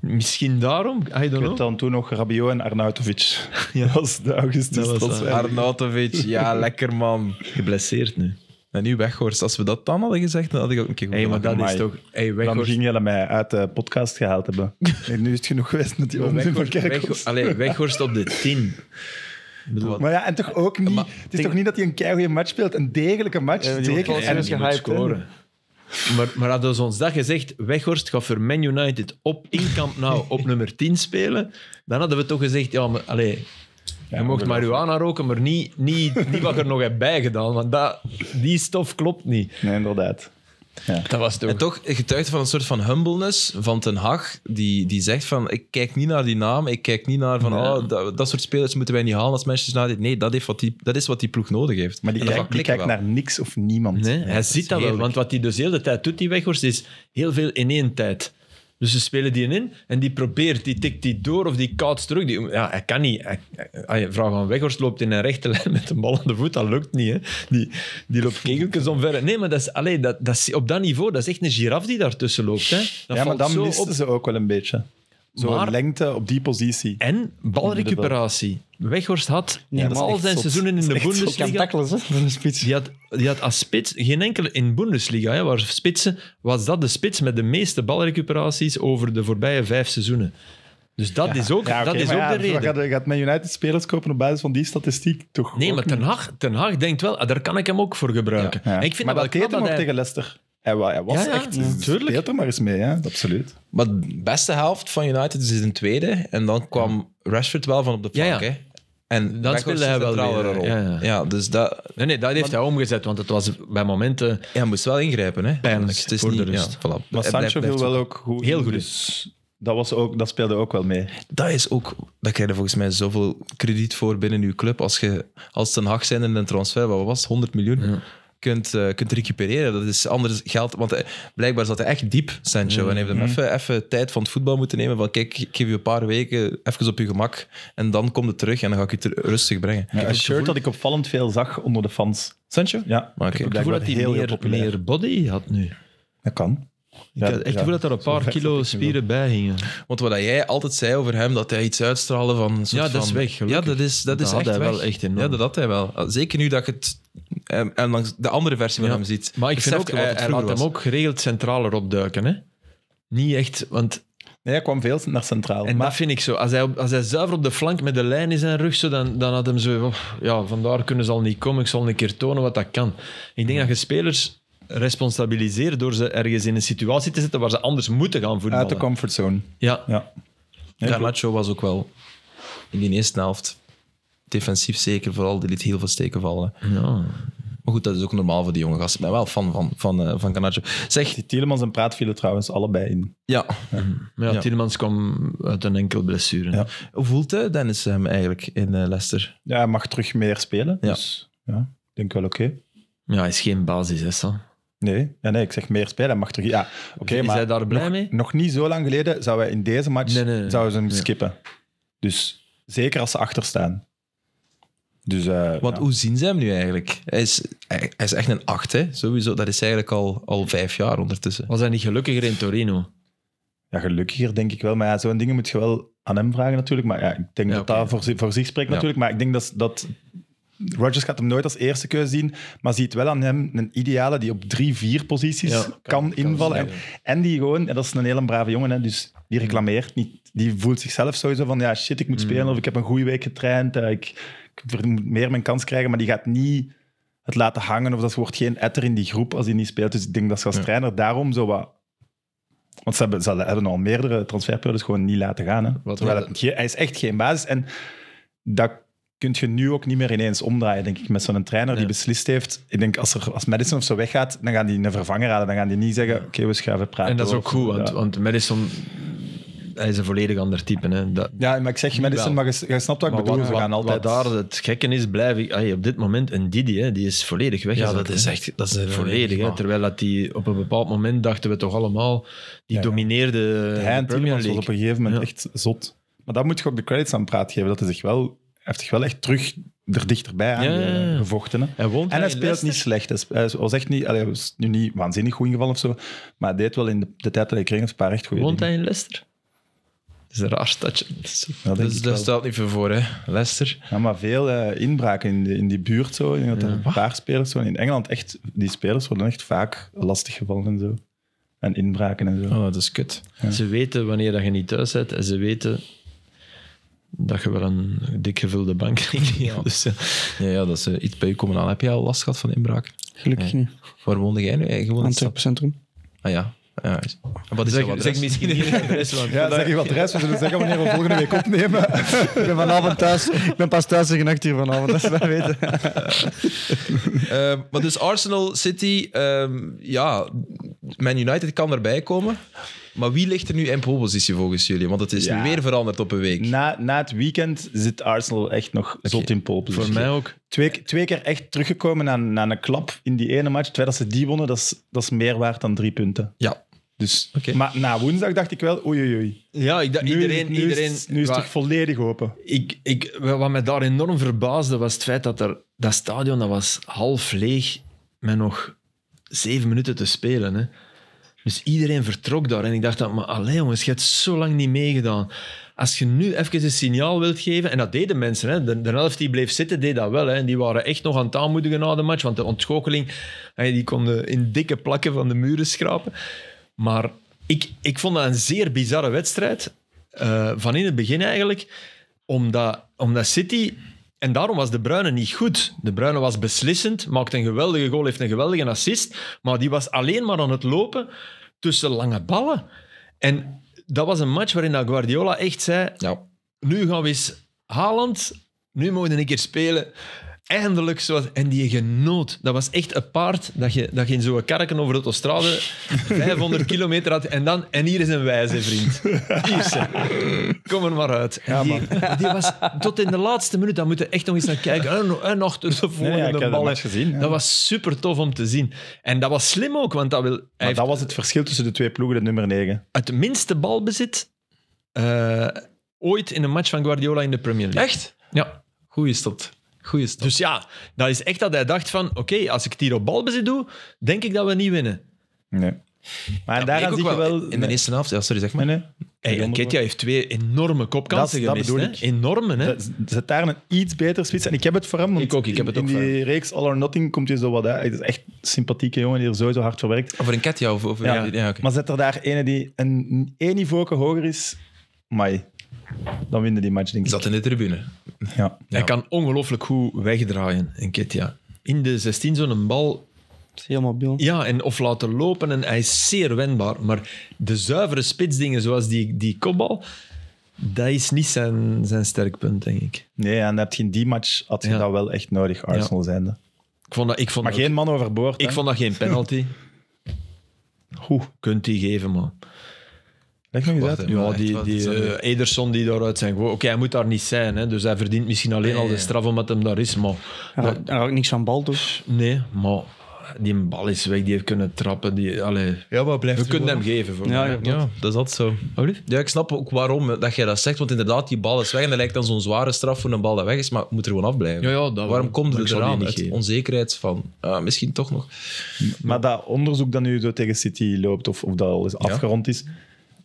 Speaker 4: misschien daarom, I
Speaker 2: Ik
Speaker 4: don't
Speaker 2: weet
Speaker 4: know.
Speaker 2: dan toen nog Rabiot en Arnautovic. Ja. [LAUGHS] Dat was de augustus.
Speaker 4: Dat was,
Speaker 2: transfer.
Speaker 4: eh,
Speaker 1: Arnautovic, [LAUGHS] ja, lekker man.
Speaker 4: Geblesseerd nu.
Speaker 1: En nu Weghorst. Als we dat dan hadden gezegd, dan had ik ook een keer goed
Speaker 4: Hé, maar dat is
Speaker 2: Amai.
Speaker 4: toch... Hey,
Speaker 2: dan
Speaker 4: Weghorst-
Speaker 2: ging jullie mij uit de podcast gehaald
Speaker 4: [LAUGHS]
Speaker 2: hebben. Nee, nu is het genoeg geweest met die onzin van
Speaker 4: Weghorst,
Speaker 2: Kerkhoff.
Speaker 4: Weghorst- Allee, Weghorst op de 10.
Speaker 2: Maar ja, en toch ook niet. het is toch niet dat hij een keigoede match speelt? Een degelijke match,
Speaker 3: Ja, die
Speaker 2: eh, zeker.
Speaker 3: wordt
Speaker 2: En
Speaker 3: wel
Speaker 2: die
Speaker 3: serieus
Speaker 2: moet
Speaker 3: gehyped, hè.
Speaker 2: scoren.
Speaker 4: Maar, maar hadden ze ons dat gezegd, Weghorst gaat voor Man United op Inkamp nou op nummer 10 spelen, dan hadden we toch gezegd, ja, maar allee, je mocht marihuana roken, maar niet, niet, niet wat er nog hebt bijgedaan, want dat, die stof klopt niet.
Speaker 2: Nee, inderdaad.
Speaker 4: Dat was toch...
Speaker 1: En toch getuigt van een soort van humbleness van Ten Hag, die, die zegt van, ik kijk niet naar die naam, ik kijk niet naar van, oh, dat, dat soort spelers moeten wij niet halen als Manchester United. Nee, dat, heeft wat die, dat is wat die ploeg nodig heeft.
Speaker 2: Maar die
Speaker 1: En dat
Speaker 2: kijkt
Speaker 1: gaat
Speaker 2: die
Speaker 1: klikken
Speaker 2: kijkt
Speaker 1: wel.
Speaker 2: naar niks of niemand.
Speaker 4: Nee,
Speaker 2: Ja,
Speaker 4: hij ziet dat wel,
Speaker 2: heerlijk.
Speaker 4: want wat hij dus heel de tijd doet, die Weghorst, is heel veel in één tijd. Dus ze spelen die in en die probeert, die tikt die door of die kaats terug. Die, ja, hij kan niet. Hij, hij- als je vraagt aan Weghorst, loopt in een rechte lijn met een bal aan de voet, dat lukt niet. Hè. Die, die loopt kegeltjes omver. Nee, maar dat is, allee, dat, dat is, op dat niveau, dat is echt een giraf die daartussen loopt. Hè. Dat
Speaker 2: ja, maar
Speaker 4: valt
Speaker 2: dan
Speaker 4: zo
Speaker 2: misten
Speaker 4: op.
Speaker 2: ze ook wel een beetje. Zo'n
Speaker 4: Maar-
Speaker 2: lengte op die positie.
Speaker 4: En balrecuperatie. Weghorst had
Speaker 3: Ja,
Speaker 4: in
Speaker 3: dat is
Speaker 4: al
Speaker 3: echt
Speaker 4: zijn
Speaker 3: zot.
Speaker 4: seizoenen in de
Speaker 3: Ik kan
Speaker 4: Bundesliga
Speaker 3: tackelen, hè, voor een spits.
Speaker 4: Die had, die had als spits, geen enkele in Bundesliga, hè, waar spitsen, was dat de spits met de meeste balrecuperaties over de voorbije vijf seizoenen. Dus dat is ook,
Speaker 2: Ja, oké,
Speaker 4: dat is
Speaker 2: maar
Speaker 4: ook
Speaker 2: ja,
Speaker 4: de
Speaker 2: Je
Speaker 4: reden.
Speaker 2: gaat, je gaat met United spelers kopen op basis van die statistiek, toch?
Speaker 4: Nee,
Speaker 2: ook
Speaker 4: maar
Speaker 2: niet.
Speaker 4: ten Hag, ten Hag denkt wel, ah, daar kan ik hem ook voor gebruiken.
Speaker 2: Ja.
Speaker 4: En ik vind
Speaker 2: maar
Speaker 4: dat wel
Speaker 2: deed hem
Speaker 4: knap dat
Speaker 2: ook
Speaker 4: hij-
Speaker 2: tegen Leicester. Hij, wa- hij was
Speaker 4: Ja, ja,
Speaker 2: echt...
Speaker 4: ja, tuurlijk.
Speaker 2: Speelt er maar eens mee, hè? absoluut.
Speaker 1: Maar de beste helft van United is een tweede. En dan kwam Rashford wel van op de
Speaker 4: Ja,
Speaker 1: plank.
Speaker 4: ja.
Speaker 1: Hè? En
Speaker 4: Dan
Speaker 1: Weghorst
Speaker 4: speelde
Speaker 1: is
Speaker 4: hij wel
Speaker 1: centraal
Speaker 4: weer,
Speaker 1: een rol.
Speaker 4: ja,
Speaker 1: Ja,
Speaker 4: ja.
Speaker 1: dus dat,
Speaker 4: Nee, nee, dat heeft hij omgezet, want het was bij momenten...
Speaker 1: ja, hij moest wel ingrijpen. Hè?
Speaker 4: Pijnlijk
Speaker 1: Dus het is
Speaker 4: voor de
Speaker 1: niet,
Speaker 4: rust.
Speaker 1: Ja, voilà. Hij
Speaker 2: Maar
Speaker 1: blijft-
Speaker 2: Sancho
Speaker 1: blijft
Speaker 2: viel
Speaker 1: zo.
Speaker 2: wel ook goed.
Speaker 4: Heel goed.
Speaker 2: Dus dat, was ook, dat speelde ook wel mee.
Speaker 1: Dat is ook... Daar krijg je volgens mij zoveel krediet voor binnen uw club. Als je als ten Hag zijn in een transfer, wat was het, 100 miljoen, kunt, eh, kunt recupereren. Dat is anders geld. Want hij- blijkbaar zat hij echt diep, Sancho. En heeft hem
Speaker 2: Mhm.
Speaker 1: even, even tijd van het voetbal moeten nemen. Van kijk, ik geef je een paar weken even op je gemak. En dan kom je terug en dan ga ik je ter- rustig brengen.
Speaker 2: Ja, een shirt dat ik opvallend veel zag onder de fans.
Speaker 1: Sancho?
Speaker 2: Ja,
Speaker 1: Maar oké.
Speaker 2: ik heb
Speaker 4: Ik voel dat
Speaker 2: blijkbaar
Speaker 4: hij
Speaker 2: heel, heel
Speaker 4: meer,
Speaker 2: populair.
Speaker 4: meer body had nu.
Speaker 2: Dat kan.
Speaker 4: Ik
Speaker 2: Ja,
Speaker 4: had
Speaker 2: [LAUGHS]
Speaker 4: echt
Speaker 2: ja.
Speaker 4: gevoel dat er een
Speaker 2: Zo
Speaker 4: paar
Speaker 2: vet
Speaker 4: kilo
Speaker 2: dat ik nu wel.
Speaker 4: spieren bij hingen.
Speaker 1: Want wat jij altijd zei over hem, dat hij iets uitstraalde van... een soort
Speaker 4: Ja, dat is
Speaker 1: van-
Speaker 4: weg, gelukkig.
Speaker 1: Ja, dat is, dat
Speaker 4: Dat
Speaker 1: is
Speaker 4: had
Speaker 1: echt
Speaker 4: hij
Speaker 1: weg.
Speaker 4: wel echt enorm.
Speaker 1: Ja, dat had hij wel. Ah, Zeker nu dat je het... En, en langs de andere versie van
Speaker 4: Ja.
Speaker 1: hem ziet.
Speaker 4: Maar ik vind
Speaker 1: Beseft
Speaker 4: ook,
Speaker 1: je wat
Speaker 4: hij,
Speaker 1: het
Speaker 4: hij
Speaker 1: vroeger
Speaker 4: laat hem
Speaker 1: was?
Speaker 4: ook geregeld centraler opduiken. Hè? Niet echt, want
Speaker 2: Nee, hij kwam veel naar centraal.
Speaker 4: En
Speaker 2: maar
Speaker 4: dat vind ik zo. Als hij, op- als hij zuiver op de flank met de lijn in zijn rug, zo, dan, dan had hem zo... oh, ja, vandaar kunnen ze al niet komen. Ik zal een keer tonen wat dat kan. Ik denk dat je spelers responsabiliseert door ze ergens in een situatie te zetten waar ze anders moeten gaan
Speaker 2: uit de
Speaker 4: voetballen.
Speaker 2: comfortzone.
Speaker 4: Ja,
Speaker 2: Ja. Nee,
Speaker 1: Garnacho was ook wel in die eerste helft defensief zeker, vooral die liet heel veel steken vallen.
Speaker 4: ja.
Speaker 1: Maar goed, dat is ook normaal voor die jonge gasten. Ik ben wel fan van, van, eh, van Garnacho. Zeg,
Speaker 2: Die Tielemans en Praat vielen trouwens allebei in.
Speaker 1: ja,
Speaker 4: Maar ja,
Speaker 1: Ja.
Speaker 4: Tielemans kwam uit een enkel blessure.
Speaker 2: Ja.
Speaker 1: hoe voelt eh, Dennis hem eigenlijk in eh, Leicester?
Speaker 2: Ja, hij mag terug meer spelen.
Speaker 1: Ja.
Speaker 2: Dus ja, ik denk wel oké.
Speaker 4: Ja, hij is geen basis, hè, Sam.
Speaker 2: Nee, ja, nee, ik zeg meer spelen. Hij mag terug... Ja, oké,
Speaker 4: is
Speaker 2: maar
Speaker 4: hij daar blij
Speaker 2: nog,
Speaker 4: mee?
Speaker 2: nog niet zo lang geleden zou hij in deze match
Speaker 4: Nee, nee, nee.
Speaker 2: zouden ze hem
Speaker 4: Ja.
Speaker 2: skippen. Dus zeker als ze achter staan. Dus, eh,
Speaker 1: Want
Speaker 2: ja.
Speaker 1: hoe zien ze hem nu eigenlijk? Hij is, hij, hij is echt een acht, hè? sowieso. Dat is eigenlijk al, al vijf jaar ondertussen.
Speaker 4: Was hij niet gelukkiger in Torino?
Speaker 2: Ja, gelukkiger denk ik wel. Maar ja, zo'n dingen moet je wel aan hem vragen natuurlijk. Maar ja, ik denk
Speaker 4: Ja,
Speaker 2: dat
Speaker 4: oké.
Speaker 2: dat voor, zi- voor zich spreekt
Speaker 1: Ja.
Speaker 2: natuurlijk. Maar ik denk dat, dat... Rodgers gaat hem nooit als eerste keuze zien. Maar ziet wel aan hem een ideale die op drie, vier posities
Speaker 4: Ja,
Speaker 2: kan, invallen. En, en die gewoon... En dat is een hele brave jongen. Hè, dus die reclameert niet. Die voelt zichzelf sowieso van... Ja, shit, ik
Speaker 4: Mm.
Speaker 2: moet spelen. Of ik heb een goede week getraind. eh, ik, ik ver- moet meer mijn kans krijgen. Maar die gaat niet het laten hangen. Of dat wordt geen etter in die groep als hij niet speelt. Dus ik denk dat ze als trainer daarom zo wat want ze hebben, ze hebben al meerdere transferperiodes gewoon niet laten gaan. Hè? Terwijl het ge- hij is echt geen basis. En dat kun je nu ook niet meer ineens omdraaien, denk ik. Met zo'n trainer die
Speaker 4: Ja.
Speaker 2: beslist heeft. Ik denk, als, er, als Madison of zo weggaat, dan gaan die een vervanger halen. Dan gaan die niet zeggen, oké, we schuiven praten.
Speaker 4: En dat is ook
Speaker 2: Of-
Speaker 4: goed, want,
Speaker 2: ja.
Speaker 4: want Madison hij is een volledig ander type. Hè. Dat,
Speaker 2: Ja, maar ik zeg medicine, maar
Speaker 4: Wel.
Speaker 2: je, je snapt wat ik
Speaker 4: maar
Speaker 2: bedoel.
Speaker 4: wat-
Speaker 2: Ze gaan
Speaker 4: wat-
Speaker 2: altijd...
Speaker 4: wat daar het gekke is, blijf ik... ai, op dit moment, een Didi, hè, die is volledig weg.
Speaker 1: Ja, dat is echt...
Speaker 2: eh,
Speaker 1: Dat is een-
Speaker 4: Volledig, hè.
Speaker 1: Ja.
Speaker 4: terwijl dat die op een bepaald moment dachten we toch allemaal, die
Speaker 2: Ja, ja.
Speaker 4: domineerde
Speaker 2: Hij
Speaker 4: Eh, de
Speaker 2: en
Speaker 4: Premier
Speaker 2: Tielemans was
Speaker 4: League.
Speaker 2: op een gegeven moment
Speaker 4: Ja.
Speaker 2: echt zot. Maar daar moet je ook de credits aan praat geven. Dat hij zich wel, hij heeft zich wel echt terug er dichterbij aan eh,
Speaker 4: Ja, ja, ja.
Speaker 2: gevochten. Hè.
Speaker 4: Hij woont
Speaker 2: En hij
Speaker 4: in
Speaker 2: speelt
Speaker 4: Leicester.
Speaker 2: niet slecht. Hij sp- Hij was echt niet, allee, hij was nu niet waanzinnig goed ingevallen of zo. Maar hij deed wel in de, de tijd dat hij kreeg een paar echt goede
Speaker 4: Woont
Speaker 2: dingen.
Speaker 4: hij in Leicester? Dat is een raar stadje. Dat is-
Speaker 2: Ja, denk
Speaker 1: Dus
Speaker 2: ik
Speaker 1: dat
Speaker 2: wel.
Speaker 1: stelt niet veel voor, hè. Leicester.
Speaker 2: Ja, maar veel eh, inbraken in, de- in die buurt zo. Ik denk dat er een paar spelers zo. In Engeland echt, die spelers worden echt vaak lastig gevallen en zo. En inbraken en zo.
Speaker 1: Oh, dat is kut.
Speaker 4: Ze weten wanneer dat je niet thuis bent en ze weten dat je wel een dik gevulde bank krijgt. Dus, ja.
Speaker 1: Ja, ja dat is eh, iets bij je komen aan. Heb jij al last gehad van inbraak?
Speaker 3: Gelukkig niet.
Speaker 1: Waar woonde jij nu? Eh, Gewoon in de stad?
Speaker 3: Antwerpencentrum.
Speaker 1: Ah ja. ja. is- Wat is
Speaker 4: Zeg,
Speaker 1: jouw adres?
Speaker 4: zeg misschien niet het adres, want
Speaker 2: Ja, zeg je wat rest. We zullen zeggen wanneer we volgende week opnemen.
Speaker 3: Ik ben vanavond thuis. Ik ben pas thuis tegen acht uur vanavond, dat ze dat weten. [LAUGHS]
Speaker 1: Ehm, maar dus Arsenal, City, ehm, ja, Man United kan erbij komen. Maar wie ligt er nu in pole positie volgens jullie? Want het is
Speaker 2: Ja.
Speaker 1: nu weer veranderd op een week.
Speaker 2: Na, na het weekend zit Arsenal echt nog zot in pole position.
Speaker 4: voor mij ook.
Speaker 2: Twee, twee keer echt teruggekomen naar, naar een klap in die ene match. Terwijl dat ze die wonnen, dat is, dat is meer waard dan drie punten.
Speaker 1: Ja.
Speaker 2: Dus,
Speaker 1: Oké.
Speaker 2: Maar na woensdag dacht ik wel, oei oei oei.
Speaker 4: Ja, ik, dacht
Speaker 2: Nu,
Speaker 4: iedereen...
Speaker 2: nu,
Speaker 4: iedereen
Speaker 2: is, nu is het
Speaker 4: wa-
Speaker 2: toch volledig open.
Speaker 4: ik, ik, wat mij daar enorm verbaasde, was het feit dat er, dat stadion dat was half leeg met nog zeven minuten te spelen. Hè. Dus iedereen vertrok daar. En ik dacht, dat, maar allee jongens, je hebt zo lang niet meegedaan. Als je nu even een signaal wilt geven, en dat deden mensen, hè. De, de helft die bleef zitten, deed dat wel. Hè. En die waren echt nog aan het aanmoedigen na de match, want de ontgoocheling, hè, die konden in dikke plakken van de muren schrapen. Maar ik, ik vond dat een zeer bizarre wedstrijd. eh, van in het begin eigenlijk omdat, omdat City... En daarom was De Bruyne niet goed. De Bruyne was beslissend, maakte een geweldige goal, heeft een geweldige assist. Maar die was alleen maar aan het lopen tussen lange ballen. En dat was een match waarin dat Guardiola echt zei...
Speaker 1: Ja.
Speaker 4: Nu gaan we eens Haaland, nu mogen we een keer spelen. Eindelijk zoals... En die genoot. Dat was echt een paard dat je, dat je in zo'n karken over de
Speaker 2: [LAUGHS]
Speaker 4: autostrade 500 kilometer had. En dan... En hier is een wijze, vriend. Hier is ze. Kom er maar uit. En die, die was tot in de laatste minuut, daar moeten we echt nog eens naar kijken. En, en achter de volgende
Speaker 2: ik heb de
Speaker 4: bal.
Speaker 2: match gezien, ja.
Speaker 4: Dat was super tof om te zien. En dat was slim ook, want dat wil, hij
Speaker 2: Maar
Speaker 4: heeft
Speaker 2: dat was het verschil tussen de twee ploegen, de nummer 9.
Speaker 4: het minste balbezit eh, ooit in een match van Guardiola in de Premier League.
Speaker 1: Echt?
Speaker 4: Ja.
Speaker 1: Goeie stad. Goeie stad.
Speaker 4: Dus ja, dat is echt dat hij dacht van, oké, als ik het hier op balbezit doe, denk ik dat we niet winnen.
Speaker 2: Nee. Maar
Speaker 1: Ik
Speaker 2: daaraan
Speaker 1: ook
Speaker 2: zie je wel...
Speaker 1: In de eerste helft, ja, sorry, zeg maar.
Speaker 2: Nee, nee.
Speaker 4: Hey, en Ketia heeft twee enorme kopkansen
Speaker 2: Dat- dat
Speaker 4: gemist.
Speaker 2: bedoel
Speaker 4: hè.
Speaker 2: ik.
Speaker 4: Enorme, hè?
Speaker 2: Z- Zet daar een iets beter spits. En ik heb het voor hem. want
Speaker 4: Ik ook, ik heb het
Speaker 2: in,
Speaker 4: ook
Speaker 2: In
Speaker 4: voor
Speaker 2: die reeks All or Nothing komt hij zo wat uit. Het is echt een sympathieke jongen die er sowieso hard voor werkt.
Speaker 1: Over een cat, ja. Of, of, ja. oké.
Speaker 2: Maar zet er daar ene die een, één niveau hoger is, mai, dan winnen die match, denk ik.
Speaker 1: Zat in de tribune.
Speaker 2: Ja.
Speaker 1: Ja.
Speaker 4: Hij kan ongelooflijk goed wegdraaien, in Ketia. In de 16 zo'n bal
Speaker 3: Het is heel mobiel.
Speaker 4: Ja, en of laten lopen. En hij is zeer wendbaar. Maar de zuivere spitsdingen, zoals die, die kopbal, dat is niet zijn, zijn sterk punt, denk ik.
Speaker 2: Nee, en heb je in die match had je
Speaker 4: Ja.
Speaker 2: dat wel echt nodig, Arsenal zijnde.
Speaker 4: Ik vond dat, ik vond
Speaker 2: Maar
Speaker 4: dat,
Speaker 2: geen man overboord.
Speaker 4: ik
Speaker 2: hè.
Speaker 4: vond dat geen penalty. Hoe kunt hij geven, man?
Speaker 2: Leg nog eens
Speaker 1: Wacht,
Speaker 2: uit.
Speaker 1: hè.
Speaker 4: Ja,
Speaker 1: echt
Speaker 4: die,
Speaker 1: wel,
Speaker 4: die
Speaker 1: dat is,
Speaker 4: eh, Ederson die daaruit zijn. gewoon- Oké, hij moet daar niet zijn, hè, dus hij verdient misschien alleen
Speaker 1: Nee,
Speaker 4: al de
Speaker 1: ja.
Speaker 4: straf omdat hem daar is. Maar
Speaker 3: Daar raakt- daar raakt niks aan bal, toch?
Speaker 4: nee, maar die bal is weg, die heeft kunnen trappen. Die, allee,
Speaker 1: Ja, maar blijft
Speaker 4: we kunnen hem geven voor mij.
Speaker 1: Ja, dat is altijd zo. Ja, ik snap ook waarom hè, dat jij dat zegt. Want inderdaad, die bal is weg en dat lijkt dan zo'n zware straf voor een bal dat weg is. Maar het moet er gewoon afblijven.
Speaker 4: Ja, ja, dat
Speaker 1: waarom
Speaker 4: wel.
Speaker 1: komt
Speaker 4: Maar ik
Speaker 1: het
Speaker 4: zou die
Speaker 1: eraan?
Speaker 4: niet
Speaker 1: Uit
Speaker 4: geven.
Speaker 1: onzekerheid van, ah, misschien toch nog.
Speaker 2: Maar dat onderzoek dat nu zo tegen City loopt, of, of dat al eens afgerond is,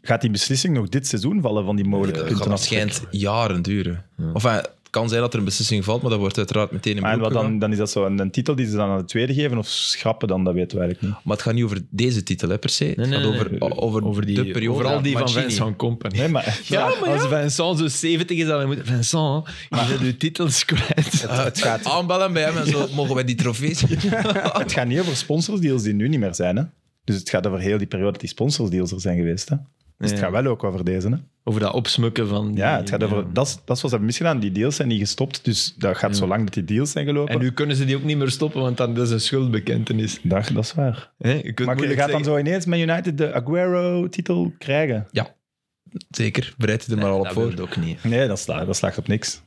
Speaker 2: gaat die beslissing nog dit seizoen vallen van die mogelijke
Speaker 1: Het
Speaker 2: punten?
Speaker 1: gaat waarschijnlijk jaren duren. Of eh, het kan zijn dat er een beslissing valt, maar dat wordt uiteraard meteen in
Speaker 2: Maar en
Speaker 1: beroep
Speaker 2: wat dan,
Speaker 1: gegaan.
Speaker 2: dan is dat zo een, een titel die ze dan aan de tweede geven of schrappen dan, dat weten we eigenlijk niet.
Speaker 1: Maar het gaat niet over deze titel hè, per se. het
Speaker 4: nee,
Speaker 1: gaat
Speaker 4: nee.
Speaker 1: over, o- over,
Speaker 4: Over die,
Speaker 1: de periode.
Speaker 4: Vooral die
Speaker 1: Ja,
Speaker 4: van
Speaker 1: Mancini.
Speaker 4: Vincent Company.
Speaker 2: Nee, maar,
Speaker 4: Als Vincent zo 70 is, dan moet Vincent, hè, je bent je
Speaker 2: [LAUGHS]
Speaker 4: titels kwijt.
Speaker 1: Eh, Aanbellen bij hem en zo mogen wij die [LAUGHS] trofees.
Speaker 2: Het gaat niet over sponsorsdeals die nu niet meer zijn. Hè? Dus het gaat over heel die periode dat die sponsorsdeals er zijn geweest. Hè? Dus het
Speaker 4: Ja.
Speaker 2: gaat wel ook over deze. Hè?
Speaker 4: Over dat opsmukken van...
Speaker 2: Ja, het gaat over... Dat, is, dat is wat ze hebben misgedaan. Die deals zijn niet gestopt. Dus dat gaat zo lang dat die deals zijn gelopen.
Speaker 4: eh, En nu kunnen ze die ook niet meer stoppen, want dan dat is een schuldbekentenis.
Speaker 2: Dag, dat is waar.
Speaker 4: Hè, Je kunt
Speaker 2: Maar je gaat
Speaker 4: moeilijk
Speaker 2: dan
Speaker 4: zeggen-
Speaker 2: zo ineens Man United de Aguero-titel krijgen.
Speaker 1: Ja. Zeker, bereid je er maar al op
Speaker 4: dat wil
Speaker 1: voor.
Speaker 4: het ook niet.
Speaker 2: Nee, dat slaagt, dat slaagt op niks.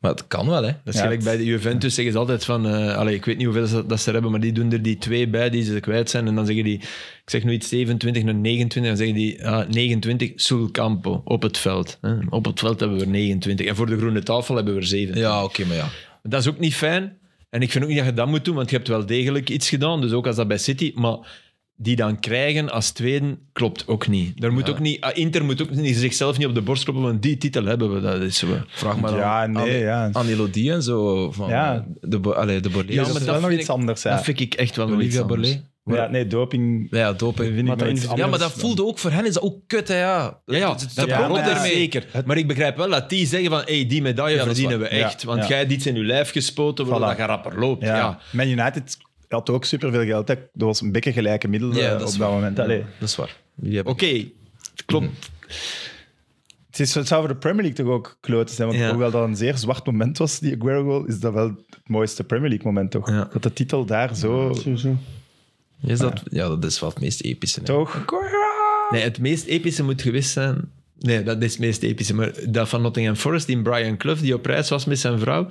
Speaker 1: Maar het kan wel, hè.
Speaker 4: Dat is
Speaker 2: Ja.
Speaker 4: gelijk bij de Juventus zeggen ze altijd van, eh, allee, ik weet niet hoeveel ze, dat ze hebben, maar die doen er die twee bij die ze kwijt zijn. En dan zeggen die, ik zeg nu iets 27, een 29, dan zeggen die ah, 29 sul campo, op het veld. hè. Op het veld hebben we er 29. En voor de groene tafel hebben we er 7.
Speaker 1: Ja, oké, maar ja.
Speaker 4: Dat is ook niet fijn. En ik vind ook niet dat je dat moet doen, want je hebt wel degelijk iets gedaan. Dus ook als dat bij City. Maar die dan krijgen als tweede, klopt ook niet. Daar moet ook niet ah, Inter moet ook niet, zichzelf niet op de borst kloppen, want die titel hebben we. Dat is zo.
Speaker 1: Vraag maar
Speaker 2: Ja,
Speaker 1: aan,
Speaker 2: nee,
Speaker 1: aan,
Speaker 2: ja.
Speaker 1: aan Elodie en zo. Van,
Speaker 2: Ja.
Speaker 1: eh, De, bo- allee, de Borlée.
Speaker 4: Ja,
Speaker 2: Dus
Speaker 4: maar
Speaker 2: dat is
Speaker 4: dat
Speaker 2: wel nog
Speaker 4: vind
Speaker 2: iets
Speaker 4: ik-
Speaker 2: anders.
Speaker 4: Dat
Speaker 2: Ja.
Speaker 4: vind ik echt wel nog iets
Speaker 1: Olivia
Speaker 4: anders.
Speaker 1: Borlée.
Speaker 2: Ja, nee, doping
Speaker 1: Ja, doping.
Speaker 2: vind ik
Speaker 3: Maar
Speaker 2: nog
Speaker 3: dat
Speaker 2: iets
Speaker 3: individu-
Speaker 1: Ja, maar
Speaker 2: anders
Speaker 1: dat
Speaker 2: dan-
Speaker 1: voelde ook voor hen is dat ook kut, hè, ja.
Speaker 4: Ja, ja,
Speaker 1: Ze- ze
Speaker 4: dat
Speaker 1: proppen
Speaker 2: klopt
Speaker 4: klopt
Speaker 2: maar-
Speaker 1: ermee.
Speaker 4: zeker. Maar ik begrijp wel dat die zeggen van, hey, die medaille
Speaker 1: dat is
Speaker 4: verdienen we
Speaker 1: waar.
Speaker 2: Ja,
Speaker 4: echt. want
Speaker 2: ja.
Speaker 4: jij hebt iets in je lijf gespoten waardoor
Speaker 2: Voilà.
Speaker 4: dat je rapper loopt.
Speaker 2: Ja.
Speaker 4: Ja.
Speaker 2: Man United had ook superveel geld. hè. Dat was een beetje gelijke middelen
Speaker 1: Ja,
Speaker 2: eh,
Speaker 1: dat
Speaker 2: op
Speaker 1: is
Speaker 2: dat
Speaker 1: waar.
Speaker 2: moment. Allee,
Speaker 1: Dat is waar. Die hebben-
Speaker 4: Oké, het
Speaker 2: Mhm.
Speaker 4: klopt.
Speaker 2: het, is, het zou voor de Premier League toch ook kloten zijn. Want
Speaker 4: Ja.
Speaker 2: hoewel dat een zeer zwart moment was, die Aguero goal, is dat wel het mooiste Premier League moment toch?
Speaker 4: Ja.
Speaker 2: Dat de titel daar zo...
Speaker 3: Sowieso.
Speaker 1: Is dat, ja, dat is wel het meest epische. hè.
Speaker 2: toch?
Speaker 4: Nee, het meest epische moet geweest zijn. Nee, dat is het meest epische. Maar dat van Nottingham Forest, die Brian Clough, die op reis was met zijn vrouw.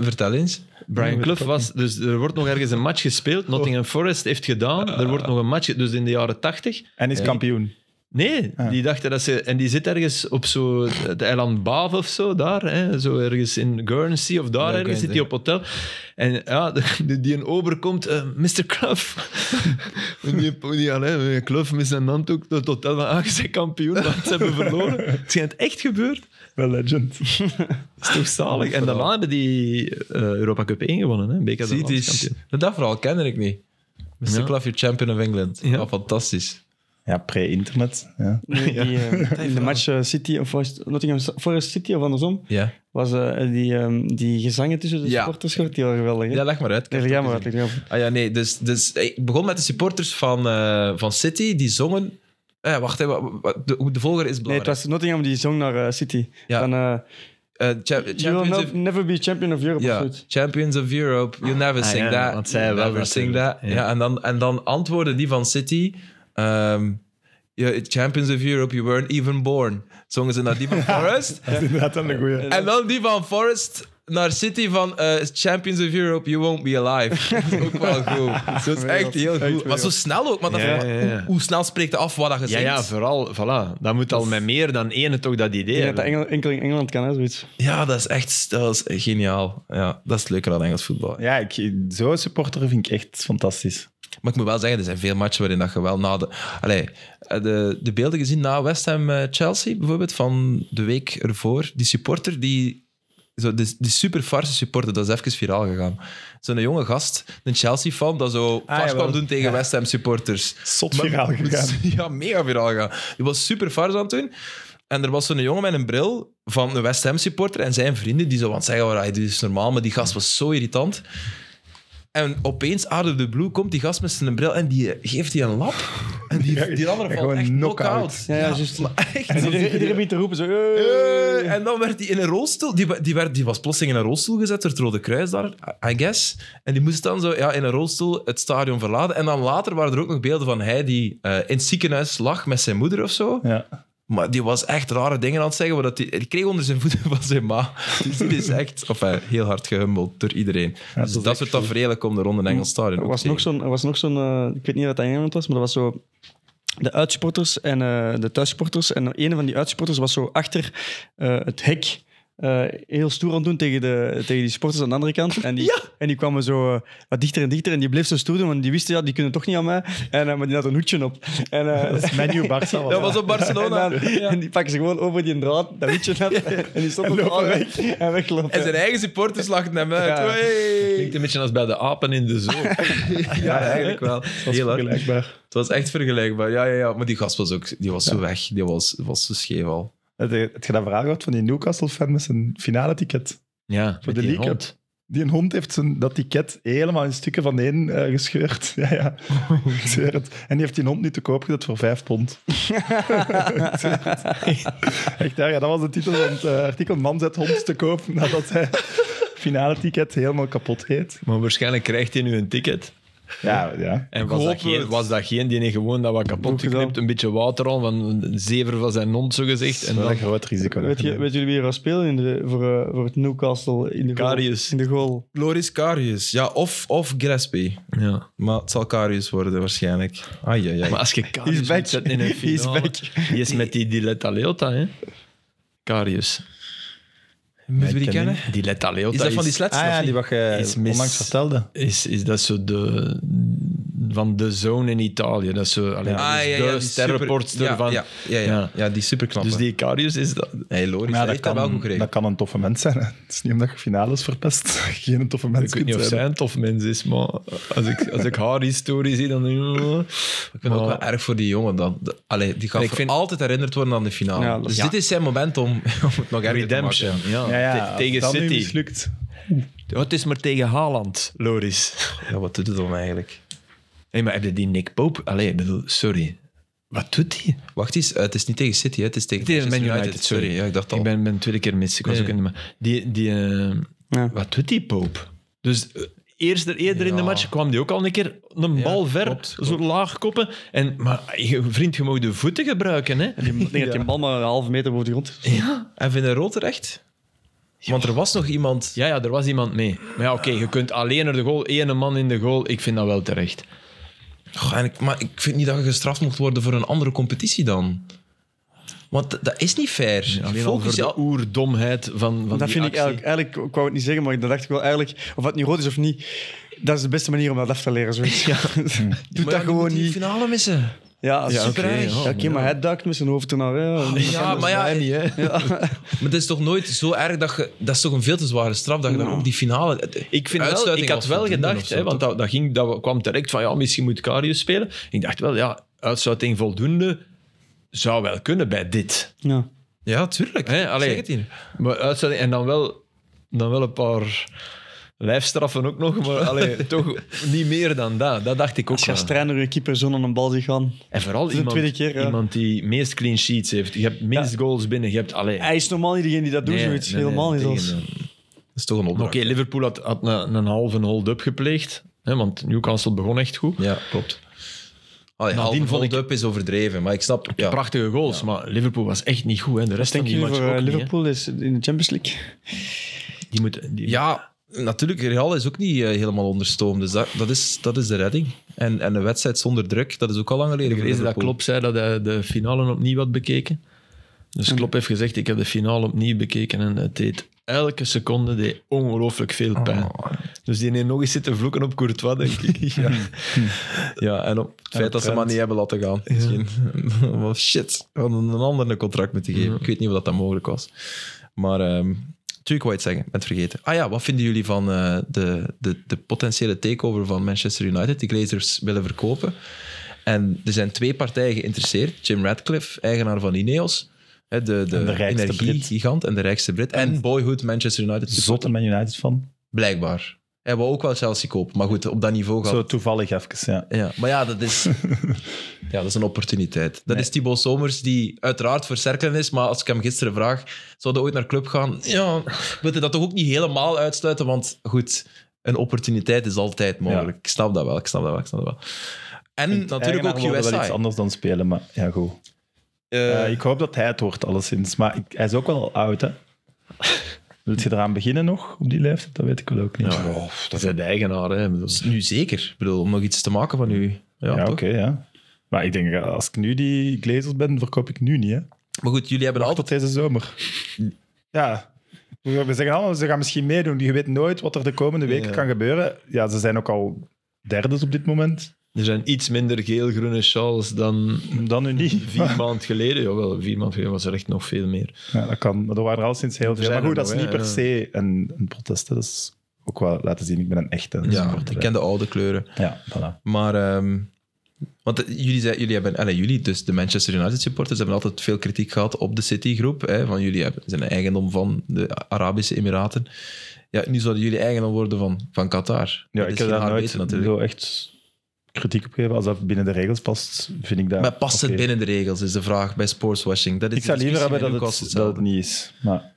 Speaker 1: Vertel eens.
Speaker 4: Brian Clough was... Dus er wordt nog ergens een match gespeeld. Nottingham Forest heeft gedaan. Er wordt nog een match... Dus in de jaren tachtig...
Speaker 2: En is kampioen.
Speaker 4: Nee,
Speaker 1: Ah.
Speaker 4: die dachten dat ze... En die zit ergens op zo het eiland Baaf of zo, daar. Hè, zo ergens in Guernsey of daar ergens
Speaker 1: Guernsey.
Speaker 4: zit hij op hotel. En ja, [LAUGHS] die, die een ober komt, eh, Mr. Clough. [LAUGHS] en die, die alleen, Clough met zijn handdoek naar het hotel van aangezien kampioen, want ze hebben verloren.
Speaker 1: [LAUGHS]
Speaker 4: Het schijnt echt gebeurd.
Speaker 2: Wel legend.
Speaker 4: Dat is toch zalig. En daarna hebben die eh, Europa Cup 1 gewonnen, hè. BK
Speaker 1: Zie, die is-
Speaker 4: landskampioen.
Speaker 1: dat verhaal kende ik niet. Mr.
Speaker 4: Ja.
Speaker 1: Clough, your champion of England.
Speaker 4: Ja.
Speaker 1: Ja. fantastisch.
Speaker 2: Ja, pre-internet. Ja.
Speaker 3: Nee, die, [LAUGHS] eh, in de match eh, City of was het Nottingham Forest City of andersom
Speaker 1: Ja.
Speaker 3: was eh, die, ehm, die gezangen tussen de
Speaker 1: Ja.
Speaker 3: supporters gehoord, die waren geweldig. hè?
Speaker 1: ja, leg maar uit.
Speaker 3: Nee, jij maar uit, leg jij maar.
Speaker 1: Ah ja, nee. Dus, dus ik begon met de supporters van, eh, van City, die zongen... Eh, wacht, hè, wa- wa- de, hoe de volger is
Speaker 3: Nee, het
Speaker 1: belangrijk.
Speaker 3: was Nottingham die zong naar eh, City.
Speaker 1: Ja.
Speaker 3: Van, eh,
Speaker 1: Eh, cha-
Speaker 3: you will
Speaker 1: champions
Speaker 3: no-
Speaker 1: of,
Speaker 3: never be champion of Europe. of
Speaker 1: ja,
Speaker 3: zoiets.
Speaker 1: champions of Europe, you never
Speaker 4: Ah,
Speaker 1: sing
Speaker 4: ja,
Speaker 1: that.
Speaker 4: want zij
Speaker 1: you
Speaker 4: wel
Speaker 1: never sing that.
Speaker 4: natuurlijk,
Speaker 1: Ja.
Speaker 4: ja.
Speaker 1: en, dan, en dan antwoorden die van City... ehm, ja, champions of Europe, you weren't even born. Zongen ze naar die
Speaker 4: [LAUGHS]
Speaker 1: van Forest.
Speaker 2: Dat is inderdaad wel een goeie.
Speaker 1: En dan die van Forest naar City van eh, Champions of Europe, you won't be alive. [LAUGHS] Dat is ook wel
Speaker 4: [LAUGHS]
Speaker 1: goed. Dat is echt heel goed. Maar zo snel ook. Maar dan
Speaker 4: Ja,
Speaker 1: vraag ik me,
Speaker 4: ja, ja.
Speaker 1: Hoe, hoe snel spreekt het af wat dat
Speaker 4: Ja,
Speaker 1: gezegd
Speaker 4: ja, vooral, voilà. Dat moet al met meer dan ene toch dat idee
Speaker 3: Ik denk dat
Speaker 4: hebben.
Speaker 3: dat Engel- enkel in Engeland kan, hè, zoiets.
Speaker 1: Ja, dat is echt dat is geniaal. Ja, dat is het leuke aan Engels voetbal.
Speaker 2: Ja, ik, zo'n supporter vind ik echt fantastisch.
Speaker 1: Maar ik moet wel zeggen, er zijn veel matchen waarin dat je wel na de... Allee, eh, de, de beelden gezien na West Ham-Chelsea bijvoorbeeld, van de week ervoor. Die supporter die... Zo, die, die super farse supporter, dat is even viraal gegaan. Zo'n jonge gast, een Chelsea-fan, dat zo vast
Speaker 2: jawel.
Speaker 1: kwam doen tegen West Ham-supporters.
Speaker 2: Zot
Speaker 1: Maar-
Speaker 2: viraal gegaan.
Speaker 1: [LAUGHS] Ja, mega viraal gegaan. Die was super fars aan het doen. En er was zo'n jongen met een bril van een West Ham supporter en zijn vrienden die zo aan het zeggen waren, "Ah, dit is normaal, maar die gast was zo irritant. En opeens, out of the blue, komt die gast met zijn bril en die geeft die een lap. En die, die andere valt
Speaker 2: Gewoon
Speaker 1: echt knock-out.
Speaker 2: knock-out.
Speaker 3: Ja, ja, juist.
Speaker 1: maar echt.
Speaker 3: En iedereen, iedereen begint te roepen zo...
Speaker 1: Eh, En dan werd hij in een rolstoel... Die, wa- die, werd, die was plotseling in een rolstoel gezet door het Rode Kruis daar, I guess. En die moest dan zo ja, in een rolstoel het stadion verlaten. En dan later waren er ook nog beelden van hij die eh, in het ziekenhuis lag met zijn moeder of zo.
Speaker 2: Ja.
Speaker 1: Maar die was echt rare dingen aan het zeggen. Waar dat die, die kreeg onder zijn voeten [LAUGHS] van zijn ma. Dus die is echt enfin, heel hard gehumbeld door iedereen. dus dat, soort tafereelen komen er rond een Engels stadion.
Speaker 3: Er
Speaker 1: ook
Speaker 3: was nog
Speaker 1: tegen.
Speaker 3: zo'n, er was nog zo'n eh, ik weet niet wat dat in Engeland was, maar dat was zo de uitsupporters en eh, de thuissupporters. En een van die uitsupporters was zo achter eh, het hek eh, heel stoer aan het doen tegen, de, tegen die supporters aan de andere kant.
Speaker 1: [LAUGHS]
Speaker 3: En die, en die kwamen zo eh, wat dichter en dichter en die bleef zo stoer doen, want die wisten, ja, die kunnen toch niet aan mij. En, eh, maar die had een hoedje op. En, eh,
Speaker 2: Menu
Speaker 3: [LAUGHS]
Speaker 2: Barca was
Speaker 1: Dat was op Barcelona.
Speaker 3: en, dan- en die pakken ze gewoon over die draad, dat hoedje af,
Speaker 1: [LAUGHS]
Speaker 3: en die stoppen
Speaker 2: lopen
Speaker 3: weg en weglopen.
Speaker 1: En zijn eigen supporters lachten hem uit.
Speaker 3: Ja.
Speaker 1: Hey.
Speaker 4: Klinkt een beetje als bij de apen in de zomer.
Speaker 1: Ja, eigenlijk wel.
Speaker 2: Dat is
Speaker 1: Heel hard.
Speaker 2: vergelijkbaar.
Speaker 1: Het was echt vergelijkbaar. Ja, ja, ja. Maar die gast was ook... Die was zo weg. Die was, was zo scheef al.
Speaker 2: Heb je heb je dat verhaal gehad van die Newcastle-fan met zijn finale ticket?
Speaker 4: Ja,
Speaker 2: Voor
Speaker 4: met
Speaker 2: de
Speaker 4: die
Speaker 2: League Cup.
Speaker 4: hond.
Speaker 2: Die een hond heeft zijn, dat ticket helemaal in stukken van één eh, gescheurd. [LAUGHS] Ja,
Speaker 4: [LAUGHS]
Speaker 2: ja. Ik zweer het. En die heeft die hond nu te koop gezet voor vijf [LAUGHS] pond. Ik zweer het. Echt, ja, ja, dat was de titel van het eh, artikel. Man zet hond te koop [LAUGHS] nadat hij finale ticket helemaal kapot heet.
Speaker 4: Maar waarschijnlijk krijgt hij nu een ticket.
Speaker 2: Ja, ja.
Speaker 4: En
Speaker 1: Ik
Speaker 4: was dat,
Speaker 1: hoop
Speaker 4: geen,
Speaker 1: het.
Speaker 4: was dat geen die gewoon dat wat kapot
Speaker 3: Opgedaan.
Speaker 4: geknipt, een beetje water aan, van een zever van zijn mond zo gezegd. En
Speaker 2: wel
Speaker 4: dan
Speaker 2: een groot risico.
Speaker 3: Weet,
Speaker 2: dat
Speaker 3: je,
Speaker 2: je
Speaker 3: weet jullie wie er was spelen in de, voor, eh, voor het Newcastle in de goal?
Speaker 4: Karius.
Speaker 3: In de goal.
Speaker 1: Loris Karius. Ja, of, of Gillespie.
Speaker 4: Ja.
Speaker 1: Maar het zal Karius worden waarschijnlijk. Ai, ai, ai.
Speaker 4: Maar als je Karius
Speaker 3: back.
Speaker 4: moet zetten in een
Speaker 3: He's
Speaker 4: finale,
Speaker 3: back.
Speaker 4: die is met die Diletta Leota, hè? Karius.
Speaker 1: Moeten we die
Speaker 2: ik ken
Speaker 1: kennen?
Speaker 4: Diletta Leota
Speaker 1: Is dat van die slets?
Speaker 2: Ah ja, die wat je
Speaker 4: is mis.
Speaker 2: onlangs vertelde.
Speaker 4: is, is dat zo de van de zone in Italië. Dat is zo, allee,
Speaker 1: Ah,
Speaker 4: dat
Speaker 1: dus
Speaker 4: is dus de sterrenportster
Speaker 1: ja,
Speaker 4: van.
Speaker 1: Ja, ja, ja,
Speaker 4: Ja.
Speaker 1: ja, die superknappe.
Speaker 4: Dus die Karius is dat.
Speaker 1: Hey, Loris,
Speaker 2: Maar
Speaker 1: hij
Speaker 2: ja,
Speaker 1: heeft
Speaker 2: dat,
Speaker 1: dat wel goed
Speaker 2: kan,
Speaker 1: geregeld.
Speaker 2: dat kan een toffe mens zijn. hè. Het is niet omdat je finales verpest. [LAUGHS] Geen toffe mens
Speaker 4: Ik weet niet
Speaker 2: kunt
Speaker 4: of zij
Speaker 2: zijn.
Speaker 4: een tof mens is, maar als ik, als ik haar historie zie, dan denk ik... oh.
Speaker 1: Ik vind het ook
Speaker 4: Maar-
Speaker 1: wel erg voor die jongen dan. De- Allee, die gaat
Speaker 4: Ik
Speaker 1: voor
Speaker 4: vind-
Speaker 1: altijd herinnerd worden aan de finale.
Speaker 3: Ja, dat-
Speaker 1: dus
Speaker 3: ja.
Speaker 1: dit is zijn moment om, [LAUGHS] om het nog erger te
Speaker 4: Redemption.
Speaker 1: maken.
Speaker 4: Ja.
Speaker 2: Ja, ja,
Speaker 4: Te-
Speaker 2: als
Speaker 4: tegen
Speaker 2: dat nu
Speaker 4: City.
Speaker 2: mislukt.
Speaker 4: Ja, het is maar tegen Haaland, Loris.
Speaker 1: Ja, wat doet het dan eigenlijk?
Speaker 4: Hé, maar heb je die Nick Pope? Allee, ik bedoel, sorry. Wat doet hij?
Speaker 1: Wacht eens, eh, het is niet tegen City, hè, het is tegen
Speaker 4: Tegen Man
Speaker 1: Manchester
Speaker 4: United,
Speaker 1: Sorry,
Speaker 4: sorry.
Speaker 1: ja, ik dacht al.
Speaker 4: Ik ben, ben twee keer mis. Ik was
Speaker 1: Nee,
Speaker 4: ook in de ma- Die, die, eh,
Speaker 3: Ja.
Speaker 4: Wat doet die Pope? Dus eh, eerst, eerder in de
Speaker 1: Ja.
Speaker 4: match kwam die ook al een keer een
Speaker 1: Ja,
Speaker 4: bal ver,
Speaker 1: klopt,
Speaker 4: zo laag koppen. En, maar je- vriend, je mag de voeten gebruiken, hè?
Speaker 3: Ik denk dat je een bal maar een halve meter boven de grond is.
Speaker 1: En vind je rood terecht? Want er was nog iemand...
Speaker 4: Ja, ja, er was iemand mee. Maar ja, oké, je kunt alleen naar de goal, één man in de goal. Ik vind dat wel terecht.
Speaker 1: Goh, en ik- maar ik vind niet dat je gestraft mocht worden voor een andere competitie dan. Want d- dat is niet fair.
Speaker 4: Alleen dus al
Speaker 1: Focus
Speaker 4: voor
Speaker 1: je
Speaker 4: de
Speaker 1: al-
Speaker 4: oerdomheid van,
Speaker 3: dat
Speaker 4: van die
Speaker 3: vind ik
Speaker 4: actie.
Speaker 3: eigenlijk, eigenlijk, ik wou het niet zeggen, maar dat dacht ik wel eigenlijk, of het nu rood is of niet, dat is de beste manier om dat af te leren. Zoiets. [LAUGHS] Doe
Speaker 1: Maar ja,
Speaker 3: dat
Speaker 1: die
Speaker 3: gewoon
Speaker 1: moet die
Speaker 3: niet.
Speaker 1: finale missen.
Speaker 3: Ja,
Speaker 4: Ja,
Speaker 3: super
Speaker 4: oké,
Speaker 3: erg.
Speaker 4: ja,
Speaker 3: Ja, Oké, maar hij duikt met zijn hoofd ernaar. Ja.
Speaker 1: Ja, maar [LAUGHS] ja,
Speaker 4: Niet, hè?
Speaker 1: Maar het is toch nooit zo erg dat je... Dat is toch een veel te zware straf dat je dan ook die finale...
Speaker 4: Ik, vind wel,
Speaker 1: Uitsluiting
Speaker 4: ik had
Speaker 1: was
Speaker 4: wel
Speaker 1: voldoende of
Speaker 4: gedacht,
Speaker 1: zo,
Speaker 4: hè, want
Speaker 1: toch?
Speaker 4: dat, dat, ging, dat kwam direct van ja, misschien moet Karius spelen. Ik dacht wel, ja, uitsluiting voldoende zou wel kunnen bij dit.
Speaker 3: Ja.
Speaker 1: Ja, tuurlijk.
Speaker 4: Hè, allee.
Speaker 1: zeg het hier.
Speaker 4: Maar uitsluiting, en dan wel, dan wel een paar lijfstraffen ook nog, maar [LAUGHS] allee, toch niet meer dan dat. Dat dacht ik ook
Speaker 3: Als je
Speaker 4: wel.
Speaker 3: als trainer je keeper zo aan een bal ziet gaan.
Speaker 4: En vooral
Speaker 3: is de
Speaker 4: iemand,
Speaker 3: tweede keer, ja.
Speaker 4: iemand die meest clean sheets heeft. Je hebt minst goals binnen, je hebt... Allee,
Speaker 3: Hij is normaal niet degene die dat doet,
Speaker 4: nee,
Speaker 3: zoiets.
Speaker 4: nee, nee,
Speaker 3: Helemaal niet zelfs.
Speaker 4: tegendeel.
Speaker 1: Dat is toch een
Speaker 4: Maar
Speaker 1: opdracht.
Speaker 4: Oké, Liverpool had, had een, een halve hold-up gepleegd, hè, want Newcastle begon echt goed.
Speaker 1: Ja, klopt. Allee,
Speaker 4: Nadien
Speaker 1: half
Speaker 4: vond ik-
Speaker 1: hold-up is overdreven, maar ik snap... Ja.
Speaker 4: Prachtige goals, maar Liverpool was echt niet goed. Hè. De rest
Speaker 3: Denk
Speaker 4: van die
Speaker 3: je
Speaker 4: match
Speaker 3: voor
Speaker 4: ook
Speaker 3: eh,
Speaker 4: niet, hè.
Speaker 3: Liverpool is in de Champions League?
Speaker 4: die moet, die,
Speaker 1: Ja, natuurlijk. Real is ook niet eh, helemaal onder stoom. Dus dat, dat, is, dat is de redding. En, en een wedstrijd zonder druk, dat is ook al lang geleden.
Speaker 4: ik lees
Speaker 1: voor
Speaker 4: dat
Speaker 1: Liverpool.
Speaker 4: Klopp zei dat hij de finale opnieuw had bekeken. Dus Klopp heeft gezegd, ik heb de finale opnieuw bekeken en het deed elke seconde deed ongelooflijk
Speaker 3: Oh,
Speaker 4: veel pijn. Dus die heeft nog eens zitten vloeken op Courtois, denk
Speaker 3: [LAUGHS]
Speaker 4: ik. ja.
Speaker 1: Ja, en op het feit dat ze
Speaker 2: Trent.
Speaker 1: maar niet hebben laten gaan. Misschien. [LAUGHS] Wel, shit, we hadden een ander een contract moeten geven. Ik weet niet of dat, dat mogelijk was. Maar ehm natuurlijk wou je het zeggen, ik ben het vergeten. Ah ja, wat vinden jullie van eh, de, de, de potentiële takeover van Manchester United? Die Glazers willen verkopen. En er zijn twee partijen geïnteresseerd. Jim Radcliffe, eigenaar van Ineos. hè, De, de,
Speaker 2: En de rijkste
Speaker 1: energiegigant en de rijkste Brit. En Boyhood Manchester United.
Speaker 2: Zotte Man United van.
Speaker 1: Blijkbaar. Hij wou ook wel Chelsea kopen, maar goed, op dat niveau gaat
Speaker 2: Zo toevallig even, ja.
Speaker 1: ja, maar ja, dat
Speaker 2: [LAUGHS]
Speaker 1: is, ja, dat is een opportuniteit. Dat
Speaker 2: Nee.
Speaker 1: is Thibaut Somers, die uiteraard voor Cerkelen is, maar als ik hem gisteren vraag, zou hij ooit naar club gaan? Ja, wil je dat toch ook niet helemaal uitsluiten? Want goed, een opportuniteit is altijd mogelijk. Ik snap dat wel, ik snap dat wel, ik snap dat wel. En natuurlijk ook
Speaker 2: Eigenaar wilde wel iets
Speaker 1: USA.
Speaker 2: anders dan spelen, maar ja, goed. Eh, ik hoop dat hij het hoort, alleszins. Maar ik- hij is ook wel oud, hè. Wilt je eraan beginnen nog, op die leeftijd? Dat weet ik wel ook niet. Ja,
Speaker 1: Oh,
Speaker 4: dat is de eigenaar. Hè. Ik bedoel,
Speaker 1: Nu zeker, ik bedoel, om nog iets te maken van u. Ja,
Speaker 2: oké,
Speaker 1: toch?
Speaker 2: ja. Maar ik denk, eh, als ik nu die glazers ben, verkoop ik nu niet, hè.
Speaker 1: Maar goed, jullie hebben
Speaker 2: Wacht
Speaker 1: altijd...
Speaker 2: tot deze zomer. Ja. We zeggen allemaal, ze gaan misschien meedoen. Je weet nooit wat er de komende weken kan gebeuren. Ja, ze zijn ook al derdes op dit moment.
Speaker 4: Er zijn iets minder geel-groene sjaals dan
Speaker 2: Dan nu niet.
Speaker 4: vier maanden geleden. Jawel, vier maanden geleden was er echt nog veel meer.
Speaker 2: Ja, dat kan. Maar er waren er al sinds heel veel.
Speaker 4: zijn
Speaker 2: Maar goed,
Speaker 4: er
Speaker 2: dat is
Speaker 4: nog,
Speaker 2: niet
Speaker 4: hè,
Speaker 2: per
Speaker 4: ja.
Speaker 2: se een, een protest. hè. Dat is ook wel laten zien, ik ben een echte
Speaker 1: Ja,
Speaker 2: supporter.
Speaker 1: ik
Speaker 2: hè.
Speaker 1: ken de oude kleuren.
Speaker 2: Ja, voilà.
Speaker 1: Maar, ehm, want eh, jullie, zei, jullie hebben, allee, jullie, dus de Manchester United supporters, hebben altijd veel kritiek gehad op de City-groep. Hè, van jullie hebben, zijn een eigendom van de Arabische Emiraten. Ja, nu zouden jullie eigendom worden van, van Qatar.
Speaker 2: Ja,
Speaker 1: Dat is
Speaker 2: ik heb
Speaker 1: geen
Speaker 2: daar
Speaker 1: haar
Speaker 2: nooit
Speaker 1: beter natuurlijk.
Speaker 2: zo echt kritiek op gegeven. Als dat binnen de regels past, vind ik dat...
Speaker 1: Maar past het
Speaker 2: oké.
Speaker 1: binnen de regels, is de vraag bij sportswashing. Dat is
Speaker 2: Ik zou
Speaker 1: de
Speaker 2: liever
Speaker 1: discussie
Speaker 2: hebben
Speaker 1: met
Speaker 2: dat het,
Speaker 1: Newcastle
Speaker 2: dat het niet is. Maar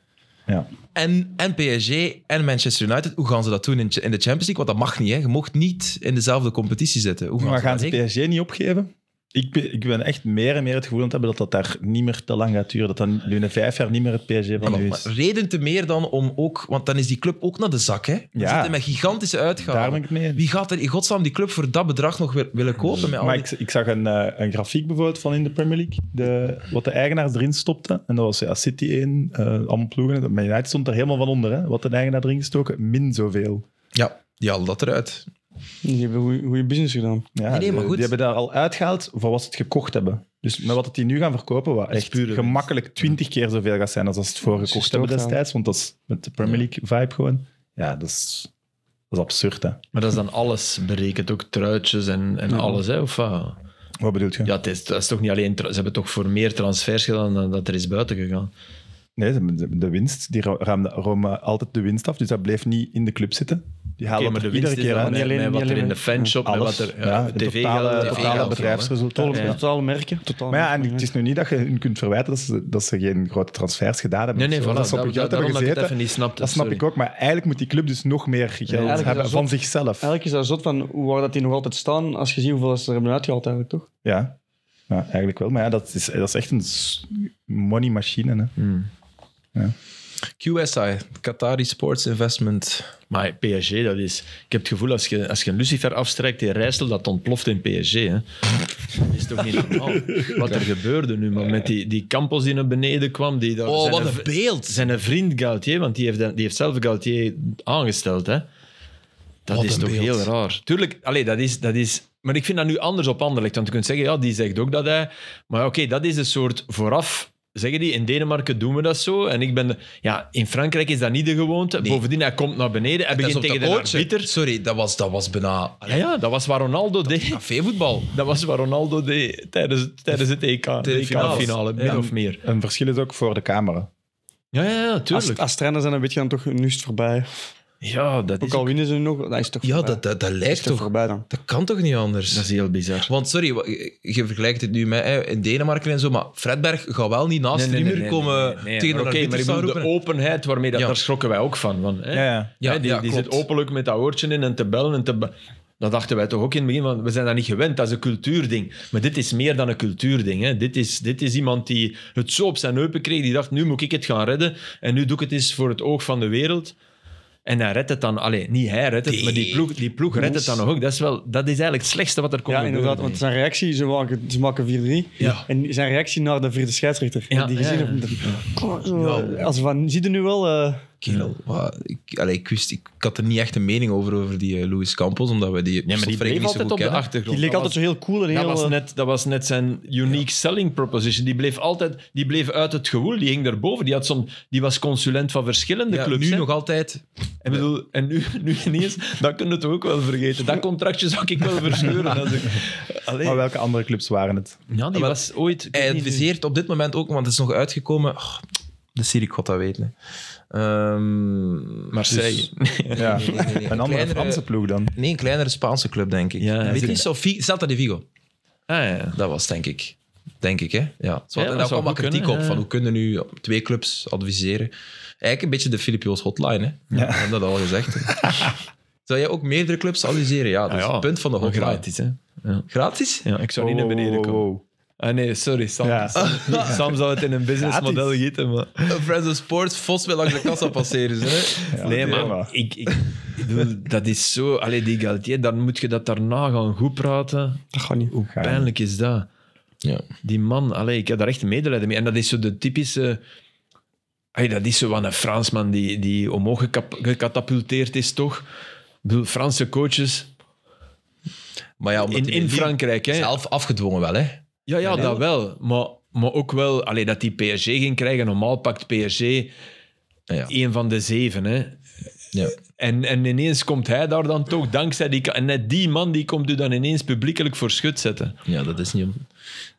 Speaker 2: Ja.
Speaker 1: En, en PSG en Manchester United, hoe gaan ze dat doen in, in de Champions League? Want dat mag niet, hè. je mocht niet in dezelfde competitie zitten. Hoe gaan
Speaker 2: Maar
Speaker 1: ze
Speaker 2: gaan
Speaker 1: dat
Speaker 2: ze
Speaker 1: regelen?
Speaker 2: PSG niet opgeven? Ik, be- ik ben echt meer en meer het gevoel aan het hebben dat dat daar niet meer te lang gaat duren. Dat dat nu in vijf jaar niet meer het PSG van
Speaker 1: Ah,
Speaker 2: nu
Speaker 1: Maar
Speaker 2: is.
Speaker 1: Reden te meer dan om ook, want dan is die club ook naar de zak. Hè? We
Speaker 2: Ja.
Speaker 1: zitten met gigantische uitgaven.
Speaker 2: Daar ben ik het mee eens.
Speaker 1: Wie gaat er in godsnaam die club voor dat bedrag nog wil- willen kopen? Met al
Speaker 2: Maar
Speaker 1: die-
Speaker 2: ik, Dus ik zag een, eh, een grafiek bijvoorbeeld van in de Premier League, de, wat de eigenaars erin stopten. En dat was ja, City 1, eh allemaal ploegen. Maar United stond er helemaal van onder, hè, wat de eigenaar erin gestoken. Min zoveel.
Speaker 1: Ja, die halen dat eruit.
Speaker 3: Die hebben goede business gedaan.
Speaker 2: Ja,
Speaker 1: Nee, nee, maar
Speaker 2: de-
Speaker 1: goed.
Speaker 2: Die hebben daar al uitgehaald voor wat ze het gekocht hebben. Dus met wat het die nu gaan verkopen, wat echt
Speaker 4: pure winst.
Speaker 2: gemakkelijk twintig keer zoveel gaat zijn als als ze het voor
Speaker 3: is
Speaker 2: gekocht hebben
Speaker 3: doodgaan.
Speaker 2: destijds. Want dat is met de Premier League vibe gewoon. Ja, dat is, dat is absurd, hè.
Speaker 4: Maar dat is dan alles berekend, ook truitjes en, en alles, hè? Of, wat?
Speaker 2: Wat bedoelt je?
Speaker 4: ja, het is, dat is toch niet alleen... tra- Ze hebben toch voor meer transfers gedaan dan dat er is buiten gegaan.
Speaker 2: Nee, ze- de, de winst, die ra- ruimde Roma altijd de winst af. Dus dat bleef niet in de club zitten. Die halen
Speaker 4: Oké, maar
Speaker 2: er iedere
Speaker 4: winst is
Speaker 2: keer
Speaker 4: dan
Speaker 2: uit.
Speaker 4: met-
Speaker 3: Niet alleen-
Speaker 4: met
Speaker 3: niet
Speaker 4: wat er
Speaker 3: alleen-
Speaker 4: in de fanshop, met
Speaker 2: Alles.
Speaker 4: wat er...
Speaker 2: ja,
Speaker 4: eh,
Speaker 2: het
Speaker 4: TV
Speaker 2: totale,
Speaker 4: geld,
Speaker 2: totale
Speaker 4: geld,
Speaker 2: bedrijfsresultaat.
Speaker 3: Totale,
Speaker 2: Ja.
Speaker 3: totale merken. Totale
Speaker 2: Maar ja, en
Speaker 3: merken.
Speaker 2: het is nu niet dat je hun kunt verwijten dat ze, dat ze geen grote transfers gedaan hebben.
Speaker 4: Nee, nee,
Speaker 2: Zo,
Speaker 4: voilà.
Speaker 2: dat ze op hun
Speaker 4: Daar-
Speaker 2: geld
Speaker 4: daarom
Speaker 2: hebben
Speaker 4: dat ik het
Speaker 2: gezeten.
Speaker 4: even niet snapte,
Speaker 2: Dat snap
Speaker 4: sorry.
Speaker 2: ik ook, maar eigenlijk moet die club dus nog meer geld
Speaker 3: eigenlijk is
Speaker 2: hebben
Speaker 3: dat
Speaker 2: van
Speaker 3: zo-
Speaker 2: zichzelf.
Speaker 3: Eigenlijk is dat zot van hoe waar dat die nog altijd staan, als je ziet hoeveel ze er hebben uitgehaald eigenlijk, toch?
Speaker 2: Ja. ja, eigenlijk wel. Maar ja, dat is, dat is echt een s- money machine. Hè.
Speaker 4: Mm.
Speaker 1: QSI, Qatari Sports Investment.
Speaker 4: Maar PSG, dat is... Ik heb het gevoel, als je, als je een lucifer afstrijkt in Rijssel, dat ontploft in PSG. Hè. Dat is toch niet normaal? Wat er gebeurde nu, man. Met die, die Campos die naar beneden kwam. Die daar,
Speaker 1: Oh,
Speaker 4: zijn
Speaker 1: wat
Speaker 4: een
Speaker 1: een
Speaker 4: v-
Speaker 1: beeld!
Speaker 4: Zijn een vriend Gauthier, want die heeft, die heeft zelf Gauthier aangesteld. Hè? Dat
Speaker 1: Wat
Speaker 4: is
Speaker 1: een
Speaker 4: toch
Speaker 1: beeld.
Speaker 4: heel raar. Tuurlijk, allee, dat is, dat is, maar ik vind dat nu anders op Anderlecht. Want je kunt zeggen, ja, die zegt ook dat hij... Maar oké, dat is een soort vooraf... Zeggen die, in Denemarken doen we dat zo. En ik ben... de- ja, in Frankrijk is dat niet de gewoonte. Bovendien, hij komt naar beneden. Hij
Speaker 1: Dat is
Speaker 4: begint
Speaker 1: op
Speaker 4: tegen de
Speaker 1: dat oortje.
Speaker 4: arbiter.
Speaker 1: Sorry, dat was, dat was bijna
Speaker 4: Ja, ja, dat was waar Ronaldo deed.
Speaker 1: cafévoetbal.
Speaker 4: [LAUGHS] Dat was waar Ronaldo deed tijdens, tijdens het EK. De
Speaker 1: finales.
Speaker 4: EK-finale, min
Speaker 1: Ja.
Speaker 4: of meer.
Speaker 2: Een verschil is ook voor de camera.
Speaker 4: Ja, ja, ja,
Speaker 3: Als,
Speaker 4: tuurlijk.
Speaker 3: als trainer zijn, dan weet je dan toch, nu is het voorbij.
Speaker 4: ja, dat
Speaker 3: Ook
Speaker 4: is,
Speaker 3: al winnen ze nu nog, dat is toch
Speaker 1: Ja,
Speaker 3: voorbij.
Speaker 1: dat, dat, dat
Speaker 3: is
Speaker 1: lijkt
Speaker 3: toch
Speaker 1: toch...
Speaker 3: voorbij dan.
Speaker 1: Dat kan toch niet anders?
Speaker 4: dat is heel bizar.
Speaker 1: Want sorry, wa- je je vergelijkt het nu met hè, in Denemarken en zo, maar Fredberg gaat wel niet naast de muur komen tegen
Speaker 4: maar
Speaker 1: een
Speaker 4: oké, maar
Speaker 1: arbiter
Speaker 4: ik
Speaker 1: staan
Speaker 4: bedoel,
Speaker 1: roepen.
Speaker 4: de openheid waarmee dat,
Speaker 1: Ja.
Speaker 4: daar schrokken wij ook van. van hè?
Speaker 2: Ja, ja.
Speaker 1: Ja,
Speaker 4: Hè, die
Speaker 1: ja,
Speaker 4: die
Speaker 1: klopt.
Speaker 4: zit openlijk met dat oortje in en te bellen en te... be- Dat dachten wij toch ook in het begin, want we zijn dat niet gewend. Dat is een cultuurding. Maar dit is meer dan een cultuurding. Hè. Dit, is, dit is iemand die het zo op zijn heupen kreeg, die dacht, nu moet ik het gaan redden. En nu doe ik het eens voor het oog van de wereld. En hij redt het dan. Allee, niet hij redt het, maar die ploeg, die ploeg redt het dan nog ook. Dat is, wel, dat is eigenlijk het slechtste wat er kon
Speaker 3: Ja,
Speaker 4: gebeuren.
Speaker 3: inderdaad, want zijn reactie, ze maken, ze maken 4-3.
Speaker 4: Ja.
Speaker 3: En zijn reactie naar de vierde scheidsrechter.
Speaker 4: Ja,
Speaker 3: die gezien
Speaker 4: ja,
Speaker 3: op de- Zo, eh, Als van, zie je nu wel... eh,
Speaker 1: Kerel, wat- ik, allee, ik, wist, ik, ik had er niet echt een mening over, over die eh, Luis Campos, omdat we die
Speaker 4: Ja, maar die
Speaker 1: slotverrekening
Speaker 4: bleef
Speaker 1: niet zo
Speaker 4: altijd
Speaker 1: goed
Speaker 4: op de
Speaker 1: kennen.
Speaker 4: achtergrond.
Speaker 3: die leek
Speaker 4: Dat
Speaker 3: altijd zo heel cool en heel...
Speaker 4: Dat was,
Speaker 3: eh,
Speaker 4: net, dat was net zijn unique selling proposition. Die bleef altijd die bleef uit het gewoel. Die hing daarboven. Die, had soms, die was consulent van verschillende
Speaker 1: Ja,
Speaker 4: clubs.
Speaker 1: nu
Speaker 4: hè.
Speaker 1: nog altijd.
Speaker 4: en bedoel, en nu, nu ineens, dat kunnen we toch ook wel vergeten. Dat contractje zou ik wel verscheuren. Als ik, Allee.
Speaker 2: Maar welke andere clubs waren het?
Speaker 4: ja, die
Speaker 1: Maar
Speaker 4: was ooit... ik weet
Speaker 1: Hij
Speaker 4: niet wie-
Speaker 1: adviseert op dit moment ook, want het is nog uitgekomen. Oh, de Siri, ik god dat weten. Ehm
Speaker 4: Marseille.
Speaker 1: dus-
Speaker 4: [LAUGHS]
Speaker 2: Ja.
Speaker 1: nee, nee, nee, nee.
Speaker 2: Een andere
Speaker 1: kleinere-
Speaker 2: Franse ploeg dan.
Speaker 1: Nee, een kleinere Spaanse club, denk ik.
Speaker 4: Ja,
Speaker 1: Ja,
Speaker 4: ja,
Speaker 1: Weet
Speaker 4: zeker.
Speaker 1: je, Sofie, Celta de Vigo.
Speaker 4: Ah, ja.
Speaker 1: Dat was, denk ik. Denk ik, hè? Ja. Zo, en
Speaker 4: Ja, dat
Speaker 1: daar
Speaker 4: zou
Speaker 1: kwam wat
Speaker 4: goed
Speaker 1: kritiek
Speaker 4: kunnen,
Speaker 1: op.
Speaker 4: ja.
Speaker 1: Van, hoe kunnen nu twee clubs adviseren? Eigenlijk een beetje de Filip Joos hotline, hè? Ja. Ik heb dat al gezegd. Zou jij ook meerdere clubs adviseren? Ja, dat is
Speaker 4: Ah, ja.
Speaker 1: het punt van de
Speaker 4: Maar
Speaker 1: hotline.
Speaker 4: Gratis, hè.
Speaker 1: Gratis?
Speaker 4: Ja, ik zou niet naar beneden komen. Ah nee, sorry, Sam.
Speaker 2: Oh, Ja.
Speaker 4: Sam, [LAUGHS] Sam zou het in een businessmodel
Speaker 2: Gratis.
Speaker 4: gieten, maar...
Speaker 1: [LAUGHS] Friends of Sports, Vos wil langs de kassa passeren. Hè?
Speaker 2: Ja,
Speaker 4: nee,
Speaker 2: oké,
Speaker 4: maar ik, ik, ik bedoel, dat is zo... Allee, die Galtier, dan moet je dat daarna gaan goed praten.
Speaker 3: Dat gaat niet.
Speaker 4: Hoe
Speaker 2: Gaar.
Speaker 4: pijnlijk is dat?
Speaker 1: Ja.
Speaker 4: Die man, allee, ik heb daar echt medelijden mee. En dat is zo de typische... Allee, dat is zo van een Fransman die, die omhoog gekap- gecatapulteerd is, toch? Ik bedoel, Franse coaches
Speaker 1: Maar ja, omdat
Speaker 4: in,
Speaker 1: die
Speaker 4: in
Speaker 1: die-
Speaker 4: Frankrijk, hè?
Speaker 1: Zelf afgedwongen wel, hè?
Speaker 4: Ja, ja, dat wel. Maar, maar ook wel allee, dat die PSG ging krijgen. Normaal pakt PSG
Speaker 1: Ja.
Speaker 4: één van de zeven, hè?
Speaker 1: Ja.
Speaker 4: En, en ineens komt hij daar dan toch, dankzij die... ka- En net die man die komt u dan ineens publiekelijk voor schut zetten.
Speaker 1: ja, dat is niet... om-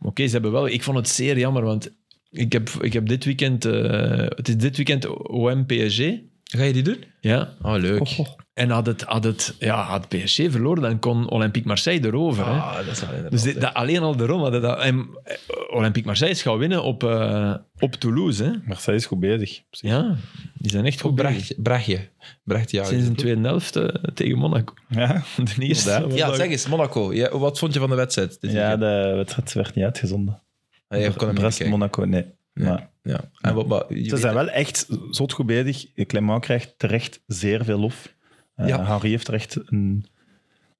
Speaker 4: Oké, ze hebben wel... Ik vond het zeer jammer, want ik heb, ik heb dit weekend... eh, het is dit weekend OM-PSG.
Speaker 1: Ga je die doen?
Speaker 4: Ja.
Speaker 1: Oh, leuk.
Speaker 4: En had het, had het ja, had PSG verloren, dan kon Olympique Marseille erover. hè.
Speaker 1: Ah, dat is wel
Speaker 4: Dus
Speaker 1: inderdaad,
Speaker 4: dit-
Speaker 1: hè.
Speaker 4: dat, alleen al daarom hadden dat... En eh, Olympique Marseille is gaan winnen op, eh, op Toulouse. Hè?
Speaker 2: Marseille is goed bezig.
Speaker 4: Ja, die zijn echt goed bezig.
Speaker 1: Brecht, Brechtje. Brechtje, ja.
Speaker 4: Sinds de tweede helft eh, tegen Monaco.
Speaker 2: Ja, [LAUGHS]
Speaker 4: De eerste.
Speaker 2: Ja.
Speaker 1: Ja, zeg eens, Monaco. Ja, wat vond je van de wedstrijd? dit
Speaker 2: ja
Speaker 1: weekend?
Speaker 2: de wedstrijd werd niet uitgezonden.
Speaker 1: Ah, jij kon hem niet
Speaker 2: Brest,
Speaker 1: kijken.
Speaker 2: Monaco, nee.
Speaker 1: Nee.
Speaker 2: Maar
Speaker 1: Ja. En wat, maar, je
Speaker 2: ze
Speaker 1: weet-
Speaker 2: zijn wel echt zot goed bezig. Clement krijgt terecht zeer veel lof. Eh,
Speaker 1: Ja.
Speaker 2: Henri heeft er echt een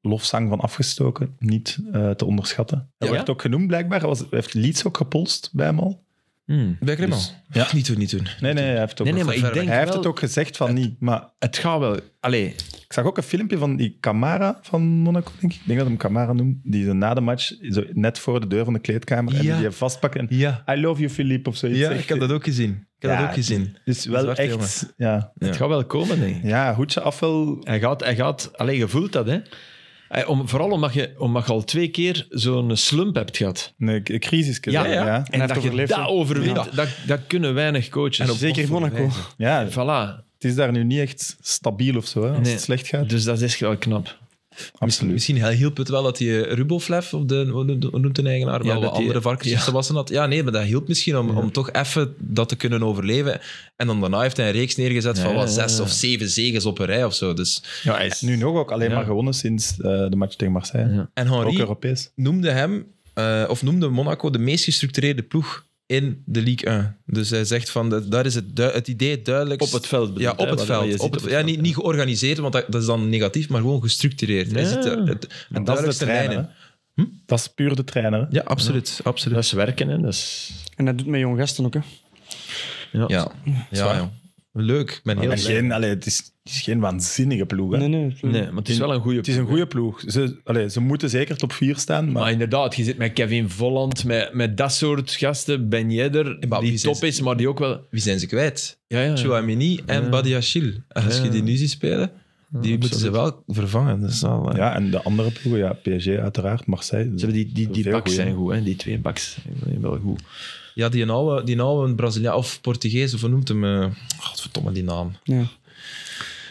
Speaker 2: lofzang van afgestoken. Niet eh, te onderschatten. Hij
Speaker 4: Ja.
Speaker 2: werd ook genoemd blijkbaar. Hij was, hij heeft Leeds ook gepolst bij hem al.
Speaker 4: Hmm.
Speaker 1: Bij Grimmel?
Speaker 2: Dus- Ja.
Speaker 1: Niet doen, niet doen.
Speaker 2: Nee, nee, hij heeft, ook
Speaker 4: Nee, nee, maar ik denk
Speaker 2: hij heeft
Speaker 4: wel-
Speaker 2: het ook gezegd van niet. Maar
Speaker 4: Het gaat wel... Allee,
Speaker 2: Ik zag ook een filmpje van die Camara van Monaco, denk ik. Ik denk dat hem Camara noemt. Die zo na de match, zo net voor de deur van de kleedkamer, en
Speaker 1: Ja.
Speaker 2: die je vastpakken. En,
Speaker 1: Ja.
Speaker 2: I love you, Philippe, of zoiets.
Speaker 1: Ja,
Speaker 2: zegt
Speaker 1: ik heb
Speaker 2: hij.
Speaker 1: dat ook gezien. Ik heb
Speaker 2: Ja,
Speaker 1: dat ook gezien.
Speaker 2: Dus wel
Speaker 1: Zwarte
Speaker 2: echt, ja.
Speaker 1: Ja.
Speaker 4: het gaat wel komen, denk ik.
Speaker 2: Ja, hoedje af wel.
Speaker 4: Hij gaat, hij gaat... Allee, je voelt dat, hè. Hij- Om, vooral omdat je, omdat je al twee keer zo'n slump hebt gehad.
Speaker 2: Een, een crisis.
Speaker 4: Ja,
Speaker 2: Ja, ja. ja.
Speaker 4: En,
Speaker 3: hij
Speaker 4: dat
Speaker 3: heeft
Speaker 4: je
Speaker 3: overleefd,
Speaker 4: dat
Speaker 3: hè?
Speaker 4: overwint, dat, dat kunnen weinig coaches.
Speaker 3: Zeker in Monaco.
Speaker 4: Voilà.
Speaker 2: het is daar nu niet echt stabiel of zo, hè, als
Speaker 4: Nee.
Speaker 2: het slecht gaat.
Speaker 4: Dus dat is echt wel knap.
Speaker 1: Misschien,
Speaker 2: Absoluut.
Speaker 1: misschien hielp het wel dat die eh, Ruboflev, of de, hoe noemt- hoe noemt de eigenaar, wel
Speaker 4: dat
Speaker 1: wat
Speaker 4: die-
Speaker 1: andere varkens
Speaker 4: ja.
Speaker 1: was had. Ja, nee, maar dat hielp misschien om, om toch even dat te kunnen overleven. En dan daarna heeft hij een reeks neergezet van
Speaker 4: Ja,
Speaker 1: wat,
Speaker 4: ja,
Speaker 1: zes
Speaker 4: ja.
Speaker 1: of zeven zegens op een rij of zo. Dus.
Speaker 4: Ja, hij is...
Speaker 2: Nu nog ook alleen
Speaker 4: Ja.
Speaker 2: maar gewonnen sinds eh, de match tegen Marseille.
Speaker 4: Ja.
Speaker 1: En
Speaker 2: Ook
Speaker 1: Henri
Speaker 2: Europees.
Speaker 1: noemde hem, eh, of noemde Monaco de meest gestructureerde ploeg in de Ligue 1. Dus hij zegt van, dat- daar is het, du- het idee duidelijk.
Speaker 4: Op het veld bedoeld,
Speaker 1: Ja, op
Speaker 4: hè,
Speaker 1: het
Speaker 4: wat
Speaker 1: veld.
Speaker 4: je
Speaker 1: Op
Speaker 4: ziet
Speaker 1: het, ja, niet, niet georganiseerd, want dat, dat is dan negatief, maar gewoon gestructureerd. Hij
Speaker 4: Ja.
Speaker 1: zit er- het,
Speaker 2: En
Speaker 1: het
Speaker 2: dat is
Speaker 1: duidelijkste
Speaker 2: de trainer.
Speaker 1: lijnen.
Speaker 2: hè. Hm? Dat is puur de trainer. hè.
Speaker 1: Ja, absoluut. absoluut.
Speaker 4: Dat is werken, hè. Dat is...
Speaker 3: En dat doet met jonge gasten ook. Hè.
Speaker 1: Ja, ja, joh. Leuk. Ik ben heel
Speaker 2: En
Speaker 1: blij.
Speaker 2: geen, allee, het, is, het is geen waanzinnige ploeg. Hè.
Speaker 3: Nee, nee.
Speaker 4: Nee, maar het is wel een goede
Speaker 2: Het is een goede ploeg. Ze, allee, ze moeten zeker top 4 staan, maar
Speaker 4: Maar inderdaad, je zit met Kevin Volland, met, met dat soort gasten. Ben Jedder,
Speaker 1: maar
Speaker 4: die
Speaker 1: wie
Speaker 4: top
Speaker 1: zijn
Speaker 4: is, maar die ook wel...
Speaker 1: Wie zijn ze kwijt?
Speaker 4: Ja, ja.
Speaker 1: Chouamini en Badiachil. Als je die nu ziet spelen, die moeten ze wel vervangen. Dat is wel, eh.
Speaker 2: Ja, en de andere ploegen, ja, PSG uiteraard, Marseille.
Speaker 4: Ze hebben die, die, die
Speaker 2: Veel
Speaker 4: backs
Speaker 2: goeie.
Speaker 4: zijn goed, hè. Die twee backs zijn wel goed.
Speaker 1: Ja, die oude, die oude Braziliaan of Portugees, of hoe noemt hem? eh, Godverdomme, die naam.
Speaker 3: Ja.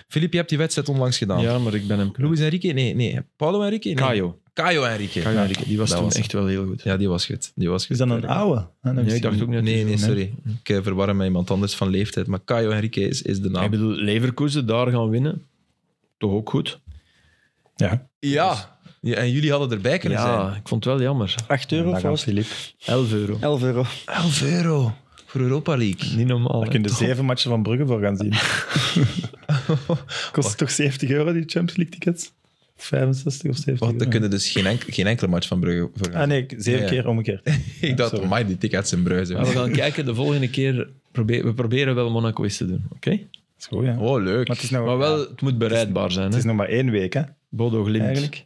Speaker 1: Filip, je hebt die wedstrijd onlangs gedaan.
Speaker 4: Ja, maar ik ben hem...
Speaker 1: Luis Enrique? Nee, nee. Paulo Enrique? Nee.
Speaker 4: Caio.
Speaker 1: Caio Enrique.
Speaker 4: Caio Henrique, die was
Speaker 1: dat
Speaker 4: toen
Speaker 1: was hem.
Speaker 4: echt wel heel goed.
Speaker 1: Ja, die was goed. Die was goed.
Speaker 2: Is dat een oude? Ah, dan
Speaker 4: Nee,
Speaker 2: is
Speaker 4: ik dacht ook net...
Speaker 1: Nee, nee, sorry. Ik verwarren met iemand anders van leeftijd. Maar Caio Enrique is, is de naam.
Speaker 4: Ik bedoel, Leverkusen, daar gaan winnen. Toch ook goed.
Speaker 2: Ja,
Speaker 1: Ja. ja. En jullie hadden erbij kunnen zijn.
Speaker 4: Ja, ik vond het wel jammer.
Speaker 3: 8 euro
Speaker 2: daar
Speaker 3: of
Speaker 2: gaan
Speaker 3: was het?
Speaker 2: Filip.
Speaker 4: 11 euro.
Speaker 3: 11 euro.
Speaker 1: 11 euro voor Europa League.
Speaker 4: Niet normaal.
Speaker 2: Daar
Speaker 4: hè.
Speaker 2: kun je zeven matchen van Brugge voor gaan
Speaker 4: [LAUGHS]
Speaker 2: zien. Kost het toch 70 euro, die Champions League tickets? 65 of 70
Speaker 1: Want daar
Speaker 2: euro?
Speaker 1: kunnen dus geen, enk- geen enkele match van Brugge voor gaan.
Speaker 2: Ah nee, zeven
Speaker 1: Ja, ja.
Speaker 2: keer
Speaker 4: [LAUGHS]
Speaker 2: omgekeerd.
Speaker 1: ik dacht,
Speaker 2: sorry.
Speaker 1: amai, die tickets in Brugge.
Speaker 4: Maar we
Speaker 1: zijn.
Speaker 4: gaan kijken de volgende keer. probeer- we proberen wel Monaco eens te doen, oké?
Speaker 2: Dat is goed, ja.
Speaker 1: Oh, leuk.
Speaker 2: Maar het is, nou,
Speaker 4: Maar wel,
Speaker 2: ja,
Speaker 4: het moet bereidbaar zijn.
Speaker 2: het
Speaker 4: Hè?
Speaker 2: is nog maar één week, hè,
Speaker 4: Bodo Glimt.
Speaker 2: eigenlijk.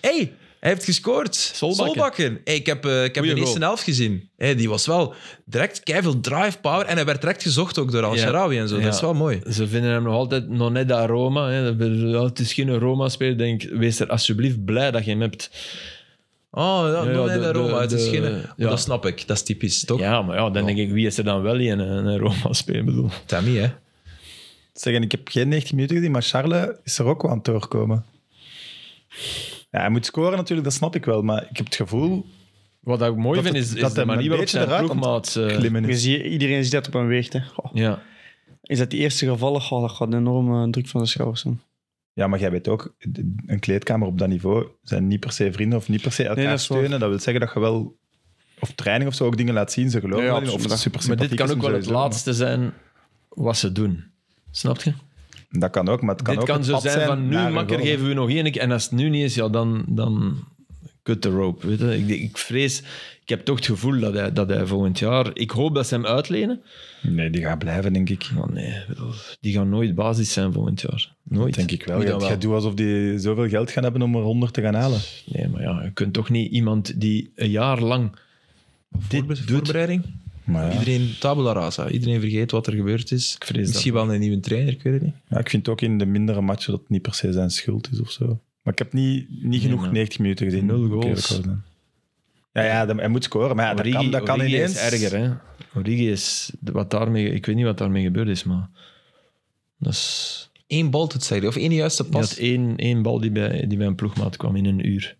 Speaker 1: hey, hij heeft gescoord.
Speaker 4: Solbakken.
Speaker 1: Solbakken. Hey, ik heb, eh, ik heb
Speaker 4: Goeie
Speaker 1: de eerste
Speaker 4: goal.
Speaker 1: helft gezien. Hey, die was wel direct keiveel drive power. En hij werd direct gezocht ook door Al-Sharawi en zo.
Speaker 4: Ja.
Speaker 1: Dat is wel mooi.
Speaker 4: Ze vinden hem nog altijd nog net dat Roma. Hè. Dat bedoel- ja, Het is geen Roma-speler. Denk, wees er alsjeblieft blij dat je hem hebt.
Speaker 1: Oh, ja,
Speaker 4: Ja,
Speaker 1: non
Speaker 4: de-
Speaker 1: de,
Speaker 4: de-
Speaker 1: Roma. het is
Speaker 4: de-
Speaker 1: geen...
Speaker 4: ja.
Speaker 1: Dat snap ik. Dat is typisch, toch?
Speaker 4: Ja, maar ja, dan denk ik, wie is er dan wel in een, een Roma-speler? bedoel.
Speaker 1: Tammy, hè?
Speaker 2: Zeg, en ik heb geen 90 minuten gezien, maar Charles is er ook wel aan het doorkomen. Ja, hij moet scoren natuurlijk, dat snap ik wel. Maar ik heb het gevoel
Speaker 4: Wat ik mooi
Speaker 2: Dat
Speaker 4: vind,
Speaker 2: het-
Speaker 4: is, is
Speaker 2: dat
Speaker 4: de
Speaker 2: hem een
Speaker 4: manier waarop
Speaker 2: beetje
Speaker 4: zijn
Speaker 2: eruit
Speaker 4: ploegmaat... eh,
Speaker 2: klimmen
Speaker 3: Je
Speaker 2: is.
Speaker 3: ziet, iedereen ziet dat op een Oh. weegt. Hè. Goh.
Speaker 4: ja.
Speaker 3: Is dat die eerste gevallen? Goh, dat gaat een enorme druk van de schouders zijn.
Speaker 2: Ja, maar jij weet ook, een kleedkamer op dat niveau zijn niet per se vrienden of niet per se elkaar
Speaker 3: Nee, dat is waar.
Speaker 2: steunen. Dat wil zeggen dat je wel op training of zo ook dingen laat zien. Ze geloven
Speaker 3: Ja,
Speaker 2: erin,
Speaker 3: absoluut.
Speaker 2: of het super
Speaker 4: Maar dit
Speaker 2: sympathiek
Speaker 4: kan
Speaker 2: is
Speaker 4: ook
Speaker 2: om
Speaker 4: wel het
Speaker 2: sowieso.
Speaker 4: laatste zijn wat ze doen. Snap je?
Speaker 2: Dat kan ook, maar het kan
Speaker 4: dit
Speaker 2: ook
Speaker 4: kan
Speaker 2: het
Speaker 4: zo
Speaker 2: pad
Speaker 4: zijn van nu
Speaker 2: naar een
Speaker 4: makker
Speaker 2: goal.
Speaker 4: geven we nog één keer. En als het nu niet is, ja, dan, dan cut the rope. Weet je? Ik, ik vrees, ik heb toch het gevoel dat hij, dat hij volgend jaar... Ik hoop dat ze hem uitlenen.
Speaker 2: Nee, die gaat blijven, denk ik.
Speaker 4: Maar nee, ik bedoel, die gaan nooit basis zijn volgend jaar. Nooit.
Speaker 2: Dat denk ik wel.
Speaker 1: Wie
Speaker 2: Je
Speaker 1: dan wel?
Speaker 2: gaat doen alsof die zoveel geld gaan hebben om er 100 te gaan halen.
Speaker 4: Nee, maar ja, je kunt toch niet iemand die een jaar lang dit
Speaker 1: Voorbe-
Speaker 4: doet...
Speaker 1: Voorbereiding?
Speaker 2: Maar ja.
Speaker 1: Iedereen tabula rasa. Iedereen vergeet wat er gebeurd is.
Speaker 4: vrees
Speaker 1: Misschien wel een nieuwe trainer, ik weet het niet.
Speaker 2: Ja, ik vind ook in de mindere matchen dat het niet per se zijn schuld is of zo. Maar ik heb niet, niet genoeg
Speaker 4: maar
Speaker 2: 90 minuten gezien.
Speaker 4: nul
Speaker 2: moet ik
Speaker 4: goals.
Speaker 2: eerlijk wel zijn. Ja, ja, dat- hij moet scoren, maar ja, dat
Speaker 4: Origi-
Speaker 2: kan, dat kan
Speaker 4: Origi
Speaker 2: ineens.
Speaker 4: is erger, hè. Origi is... Wat daarmee, ik weet niet wat daarmee gebeurd is, maar... Dat is
Speaker 1: Eén bal doet Serie, of één juiste
Speaker 4: je
Speaker 1: pas.
Speaker 4: had één, één bal die bij, die bij een ploegmaat kwam in een uur.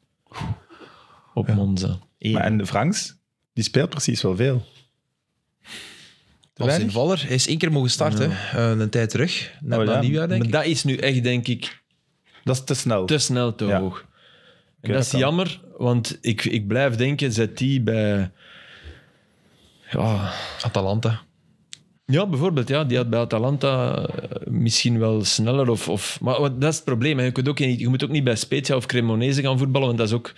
Speaker 4: Op Monza. Eén.
Speaker 2: Maar en de Franks, die speelt precies wel veel. Te
Speaker 1: Als
Speaker 2: weinig?
Speaker 1: invaller. Hij is één keer mogen starten, eh, een tijd terug. Net
Speaker 2: Oh,
Speaker 1: na
Speaker 2: ja.
Speaker 1: nieuwjaar, denk
Speaker 4: Maar
Speaker 1: ik.
Speaker 4: dat is nu echt, denk ik,
Speaker 2: Dat is te snel.
Speaker 4: te snel te
Speaker 2: Ja.
Speaker 4: hoog. En
Speaker 2: Oké,
Speaker 4: dat
Speaker 2: dat
Speaker 4: is
Speaker 2: kan.
Speaker 4: jammer, want ik, ik blijf denken, zet die bij... Ja,
Speaker 1: Atalanta.
Speaker 4: Ja, bijvoorbeeld, ja, die had bij Atalanta eh, misschien wel sneller. Of, of, maar wat- dat is het probleem. hè. Je, kunt ook niet, je moet ook niet bij Spezia of Cremonese gaan voetballen, want dat is ook...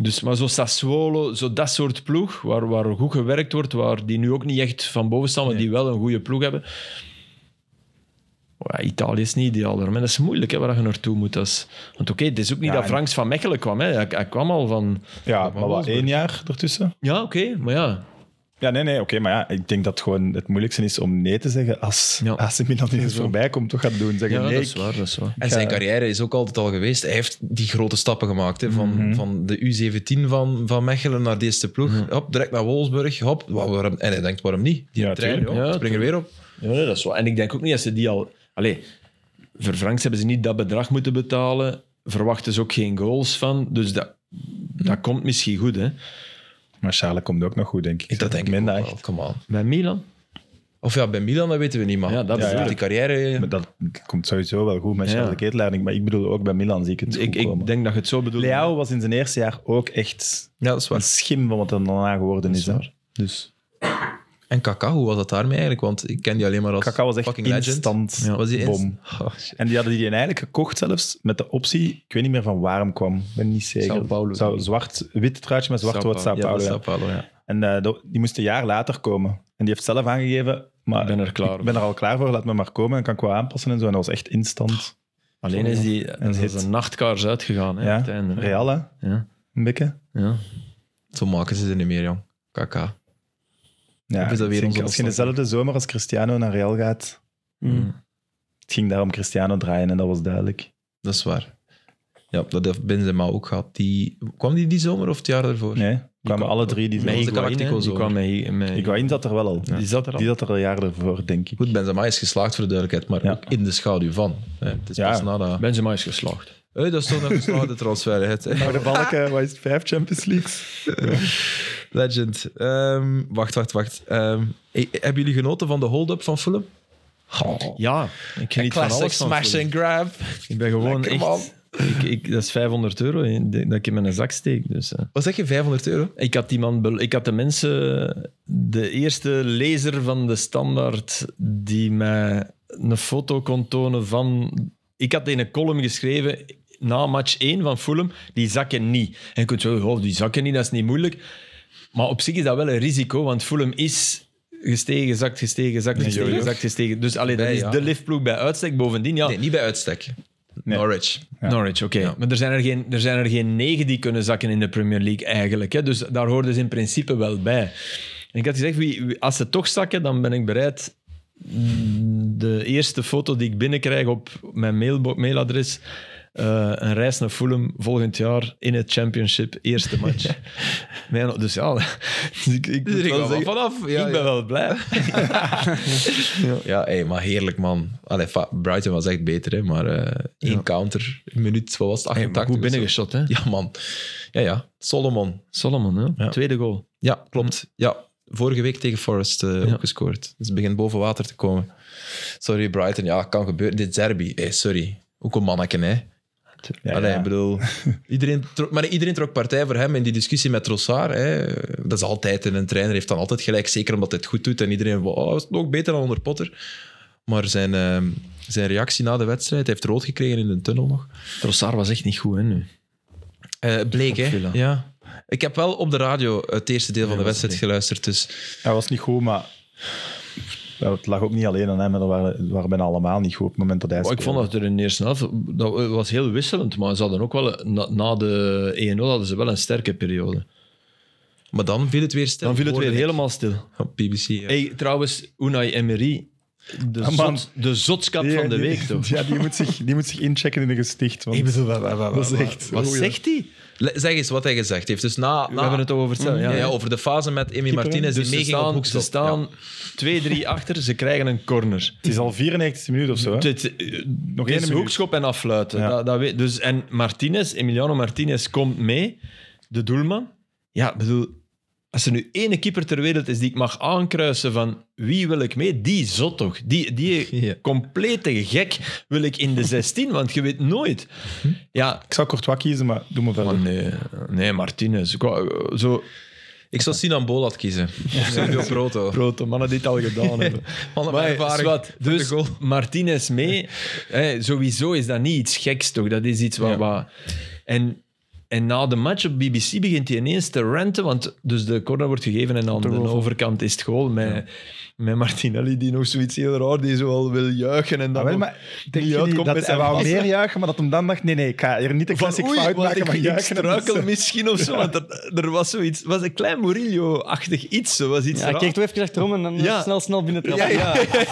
Speaker 4: Dus, maar zo Sassuolo, zo dat soort ploeg, waar, waar goed gewerkt wordt, waar die nu ook niet echt van boven staan, maar die wel een goede ploeg hebben. Ja, Italië is niet ideaal, daarom. en dat is moeilijk hè, waar je naartoe moet. Dat is- want oké, het is ook niet
Speaker 2: Ja,
Speaker 4: dat
Speaker 2: en-
Speaker 4: Franks van Mechelen kwam. Hè. Hij, hij kwam al van...
Speaker 2: Ja, maar wat, één jaar ertussen?
Speaker 4: Ja, oké, maar ja.
Speaker 2: Ja, nee, nee, oké. maar ja, ik denk dat het gewoon het moeilijkste is om nee te zeggen als,
Speaker 4: Ja.
Speaker 2: als Milan eens voorbij komt, toch gaat doen. Zeggen
Speaker 4: ja
Speaker 2: nee,
Speaker 4: dat is waar, dat is waar.
Speaker 1: En
Speaker 2: Ja.
Speaker 1: zijn carrière is ook altijd al geweest. Hij heeft die grote stappen gemaakt. Hè, van,
Speaker 2: Mhm.
Speaker 1: van de U17 van, van Mechelen naar de eerste ploeg. Hop, direct naar Wolfsburg. Hop, wa- waarom, en hij denkt, waarom niet? Die
Speaker 2: Ja,
Speaker 1: trein,
Speaker 2: tuurlijk.
Speaker 1: joh,
Speaker 4: Ja,
Speaker 1: spring er weer op.
Speaker 4: Ja, nee, dat is waar. En ik denk ook niet dat ze die al... Allee, voor Franks hebben ze niet dat bedrag moeten betalen. Verwachten ze ook geen goals van. Dus dat, dat komt misschien goed, hè.
Speaker 2: Maar Charles komt ook nog goed, denk ik.
Speaker 1: Dat denk ik
Speaker 2: Minder
Speaker 1: ook wel.
Speaker 2: echt.
Speaker 1: Come on.
Speaker 4: Bij Milan?
Speaker 1: Of ja, bij Milan, dat weten we niet, maar
Speaker 4: Ja, dat
Speaker 1: ja,
Speaker 4: bedoel
Speaker 1: die carrière... eh,
Speaker 2: Maar dat komt sowieso wel goed met
Speaker 4: Ja.
Speaker 2: Charles de Keetleiding. Maar ik bedoel, ook bij Milan zie ik het
Speaker 4: Dus Ik,
Speaker 2: goed
Speaker 4: ik
Speaker 2: komen.
Speaker 4: denk dat je het zo bedoelt.
Speaker 2: Leao was in zijn eerste jaar ook echt
Speaker 1: Ja, dat is
Speaker 2: een
Speaker 1: waar.
Speaker 2: schim van wat er daarna geworden is. hè. Dus
Speaker 1: En Kaká, hoe was dat daarmee eigenlijk? Want ik ken die alleen maar als
Speaker 2: Kaká was echt
Speaker 1: fucking
Speaker 2: instant
Speaker 1: legend. Was die inst-
Speaker 2: bom.
Speaker 1: Oh, shit.
Speaker 2: En die hadden die eigenlijk gekocht zelfs met de optie, ik weet niet meer van waar hem kwam, ik ben niet zeker.
Speaker 4: Sao Paulo.
Speaker 2: Zou zwart, wit truitje met zwart
Speaker 4: Sao
Speaker 2: wordt Sao
Speaker 1: Ja, dat
Speaker 2: Paulo.
Speaker 1: is
Speaker 2: ja.
Speaker 1: Sao Paulo, ja.
Speaker 2: En eh, dat- die moest een jaar later komen. En die heeft zelf aangegeven, maar
Speaker 4: Ik ben er klaar
Speaker 2: ik ben er al klaar voor, laat me maar komen en kan ik wel aanpassen en zo. En dat was echt instant.
Speaker 4: Alleen is die dat is
Speaker 2: hit.
Speaker 4: als een nachtkaars uitgegaan, hè,
Speaker 2: Ja.
Speaker 4: aan het einde. hè.
Speaker 2: Real, hè?
Speaker 4: Ja.
Speaker 2: Een beetje.
Speaker 4: Ja.
Speaker 1: Zo maken ze ze niet meer, jong. Kaká.
Speaker 2: Ja,
Speaker 1: Of is dat
Speaker 2: ik
Speaker 1: weer
Speaker 2: denk,
Speaker 1: onze
Speaker 2: als je in
Speaker 1: opstand?
Speaker 2: dezelfde zomer als Cristiano naar Real gaat,
Speaker 3: Mm.
Speaker 2: het ging daar om Cristiano draaien en dat was duidelijk.
Speaker 1: Dat is waar. Ja, dat heeft Benzema ook gehad. Die, kwam die die zomer of het jaar daarvoor?
Speaker 2: Nee, kwamen
Speaker 1: kwam-
Speaker 2: alle drie die
Speaker 1: Nee,
Speaker 2: zomer.
Speaker 1: onze
Speaker 4: Higuaín, hè,
Speaker 1: Galactico's
Speaker 4: die
Speaker 1: ook.
Speaker 4: kwam met... met-
Speaker 2: Higuaín zat er wel al.
Speaker 4: Die zat er al.
Speaker 2: Die zat er een jaar ervoor, denk ik.
Speaker 1: Goed, Benzema is geslaagd voor de duidelijkheid, maar
Speaker 2: Ja.
Speaker 1: ook in de schaduw van. Hè, Het is
Speaker 2: Ja.
Speaker 1: pas na dat...
Speaker 4: Benzema is geslaagd.
Speaker 1: Hey, dat is toch een geslaagde transfer. hè. [LAUGHS] Het-
Speaker 2: Maar de
Speaker 4: [LAUGHS]
Speaker 2: balken, wat is het, vijf Champions Leagues?
Speaker 1: Legend. Ehm, wacht, wacht, wacht. Ehm, eh, hebben jullie genoten van de hold-up van Fulham?
Speaker 4: Ja, ik geniet van alles van voetbal.
Speaker 1: grab.
Speaker 4: Ik ben gewoon
Speaker 1: Lekker,
Speaker 4: echt... Ik, ik, dat is 500 euro in- dat ik in mijn zak steek. Dus, hè.
Speaker 1: Wat zeg je, 500 euro?
Speaker 4: Ik had, die man bel- ik had de mensen, de eerste lezer van de standaard, die mij een foto kon tonen van. Ik had in een column geschreven na match 1 van Fulham: die zakken niet. En je kunt zeggen: oh, die zakken niet, dat is niet moeilijk. Maar op zich is dat wel een risico, want Fulham is gestegen, gezakt, gestegen, gezakt, gestegen,
Speaker 2: jojo.
Speaker 4: gezakt, gestegen. Dus alleen dat
Speaker 1: Bij,
Speaker 4: is
Speaker 1: ja.
Speaker 4: de liftploeg bij uitstek. Bovendien, ja.
Speaker 1: Nee, niet bij uitstek. Norwich.
Speaker 4: Norwich, oké.
Speaker 1: Ja.
Speaker 4: Maar er zijn er, geen, er zijn er geen negen die kunnen zakken in de Premier League eigenlijk. Hè? Dus daar hoorden ze in principe wel bij. En ik had gezegd, wie, wie- als ze toch zakken, dan ben ik bereid mm, de eerste foto die ik binnenkrijg op mijn mailbo- mailadres eh, een reis naar Fulham volgend jaar in het championship [LAUGHS] eerste match. Mijn- dus ja, [LAUGHS] dus ik, ik, moet
Speaker 1: ik
Speaker 4: wel
Speaker 1: wel
Speaker 4: zeggen,
Speaker 1: vanaf. Ja,
Speaker 4: ik ben
Speaker 1: ja.
Speaker 4: wel blij.
Speaker 1: Ja, hey, maar heerlijk, man. Allee, fa- Brighton was echt beter, hè, maar eh één counter, een minuut, wat was het, 88
Speaker 4: Maar goed
Speaker 1: of zo.
Speaker 4: binnengeschot, hè?
Speaker 1: Ja, man. Ja, ja. Solomon.
Speaker 4: Solomon, hè?
Speaker 1: Ja.
Speaker 4: tweede goal.
Speaker 1: Ja, klopt. Ja, vorige week tegen Forest eh
Speaker 4: Ja.
Speaker 1: opgescoord. Dus het begint boven water te komen. Sorry, Brighton. Ja, kan gebeuren. Dit is derby. Hey, sorry. Ook een manneken, hè.
Speaker 2: Ja,
Speaker 1: Allee,
Speaker 2: ja.
Speaker 1: ik bedoel... Iedereen trok, maar iedereen trok partij voor hem in die discussie met Trossard. Hè. Dat is altijd... en Een trainer heeft dan altijd gelijk. Zeker omdat hij het goed doet. En iedereen... Oh, is het nog beter dan onder Potter? Maar zijn, ehm, zijn reactie na de wedstrijd... Hij heeft rood gekregen in de tunnel nog.
Speaker 4: Trossard was echt niet goed, hè, nu.
Speaker 1: Eh, bleek, hè.
Speaker 4: Villa.
Speaker 1: Ja. Ik heb wel op de radio het eerste deel van de wedstrijd geluisterd. Dus...
Speaker 2: Hij was niet goed, maar ja, het lag ook niet alleen aan hem. maar Dat waren, het waren bijna allemaal niet goed op het moment dat hij
Speaker 4: Maar Oh, ik vond
Speaker 2: speelde.
Speaker 4: dat er in de eerste helft, dat was heel wisselend, maar ze hadden ook wel, na, na de 1-0 hadden ze wel een sterke periode.
Speaker 1: Maar dan viel het weer stil.
Speaker 4: Dan viel het weer
Speaker 1: hoorde ik
Speaker 4: helemaal stil.
Speaker 1: Op BBC. ja.
Speaker 4: Hey, trouwens, Unai Emery, de,
Speaker 2: Ah, man.
Speaker 4: zot, de zotskap
Speaker 2: Ja,
Speaker 4: van de
Speaker 2: die-
Speaker 4: week, toch? [LAUGHS]
Speaker 2: Ja, die moet zich, die moet zich inchecken in een gesticht. Want dat is echt...
Speaker 4: Wat
Speaker 2: oei,
Speaker 4: zegt hij?
Speaker 1: Le- Zeg eens wat hij gezegd heeft. Dus na, na,
Speaker 4: We hebben het al over hetzelfde.
Speaker 1: ja,
Speaker 4: Ja, ja.
Speaker 1: over de fase met Emi
Speaker 2: Keeper,
Speaker 1: Martinez die
Speaker 4: Dus ze
Speaker 1: meeging op
Speaker 4: staan, ze
Speaker 1: hoekschop.
Speaker 4: staan
Speaker 1: Ja.
Speaker 4: 2-3 achter, ze krijgen een corner.
Speaker 2: Het is al 94 minuten of zo. Hè?
Speaker 4: Het,
Speaker 2: Nog
Speaker 4: het
Speaker 2: één
Speaker 4: is
Speaker 2: minuut.
Speaker 4: hoekschop en affluiten.
Speaker 2: Ja.
Speaker 4: Dat, dat weet, dus, en Martinez, Emiliano Martinez komt mee, de doelman. Ja, ik bedoel, als er nu ene keeper ter wereld is die ik mag aankruisen van wie wil ik mee, die zot toch.
Speaker 2: [LAUGHS]
Speaker 4: Die, die
Speaker 1: Ja.
Speaker 4: complete gek wil ik in de 16, want je weet nooit.
Speaker 2: Hm?
Speaker 4: Ja,
Speaker 2: Ik zou Courtois kiezen, maar doe me verder.
Speaker 4: maar nee, nee Martinez. Ik wou- Zo,
Speaker 1: Ik zou Sinan Bolat kiezen. Of
Speaker 4: [LAUGHS]
Speaker 1: Sergio Proto.
Speaker 4: grote mannen die het al
Speaker 2: [LAUGHS]
Speaker 4: gedaan hebben.
Speaker 1: Mannen
Speaker 4: Maar
Speaker 1: met ervaring
Speaker 4: zwart,
Speaker 1: voor de
Speaker 4: dus
Speaker 1: goal.
Speaker 4: Martinez mee. Hè, sowieso is dat niet iets geks, toch? Dat is iets wat...
Speaker 1: Ja.
Speaker 4: wat- en, en na de match op BBC begint hij ineens te renten, want dus de corner wordt gegeven en aan de, overkant is het goal met, met Martinelli, die nog zoiets heel raar, die zo al wil juichen en dan...
Speaker 2: Ah, wel,
Speaker 4: nog-
Speaker 2: maar denk
Speaker 4: die
Speaker 2: je niet
Speaker 4: uitkomt
Speaker 2: dat
Speaker 4: met
Speaker 2: hij
Speaker 4: zijn
Speaker 2: wou
Speaker 4: vast.
Speaker 2: meer juichen, maar dat hem dan dacht, nee, nee, ik ga hier niet een
Speaker 4: Van,
Speaker 2: classic
Speaker 4: oei,
Speaker 2: fout
Speaker 4: want
Speaker 2: maken, maar
Speaker 4: ik, ik
Speaker 2: juichen. dat is, [LAUGHS]
Speaker 4: struikel
Speaker 2: eh,
Speaker 4: misschien of zo, want er, er was zoiets... was een klein Murillo-achtig iets, zo was iets
Speaker 3: Ja,
Speaker 4: raar.
Speaker 3: hij keek toch even achterom en dan eh,
Speaker 4: Ja.
Speaker 3: snel, snel binnen trappen.
Speaker 4: ja, ja.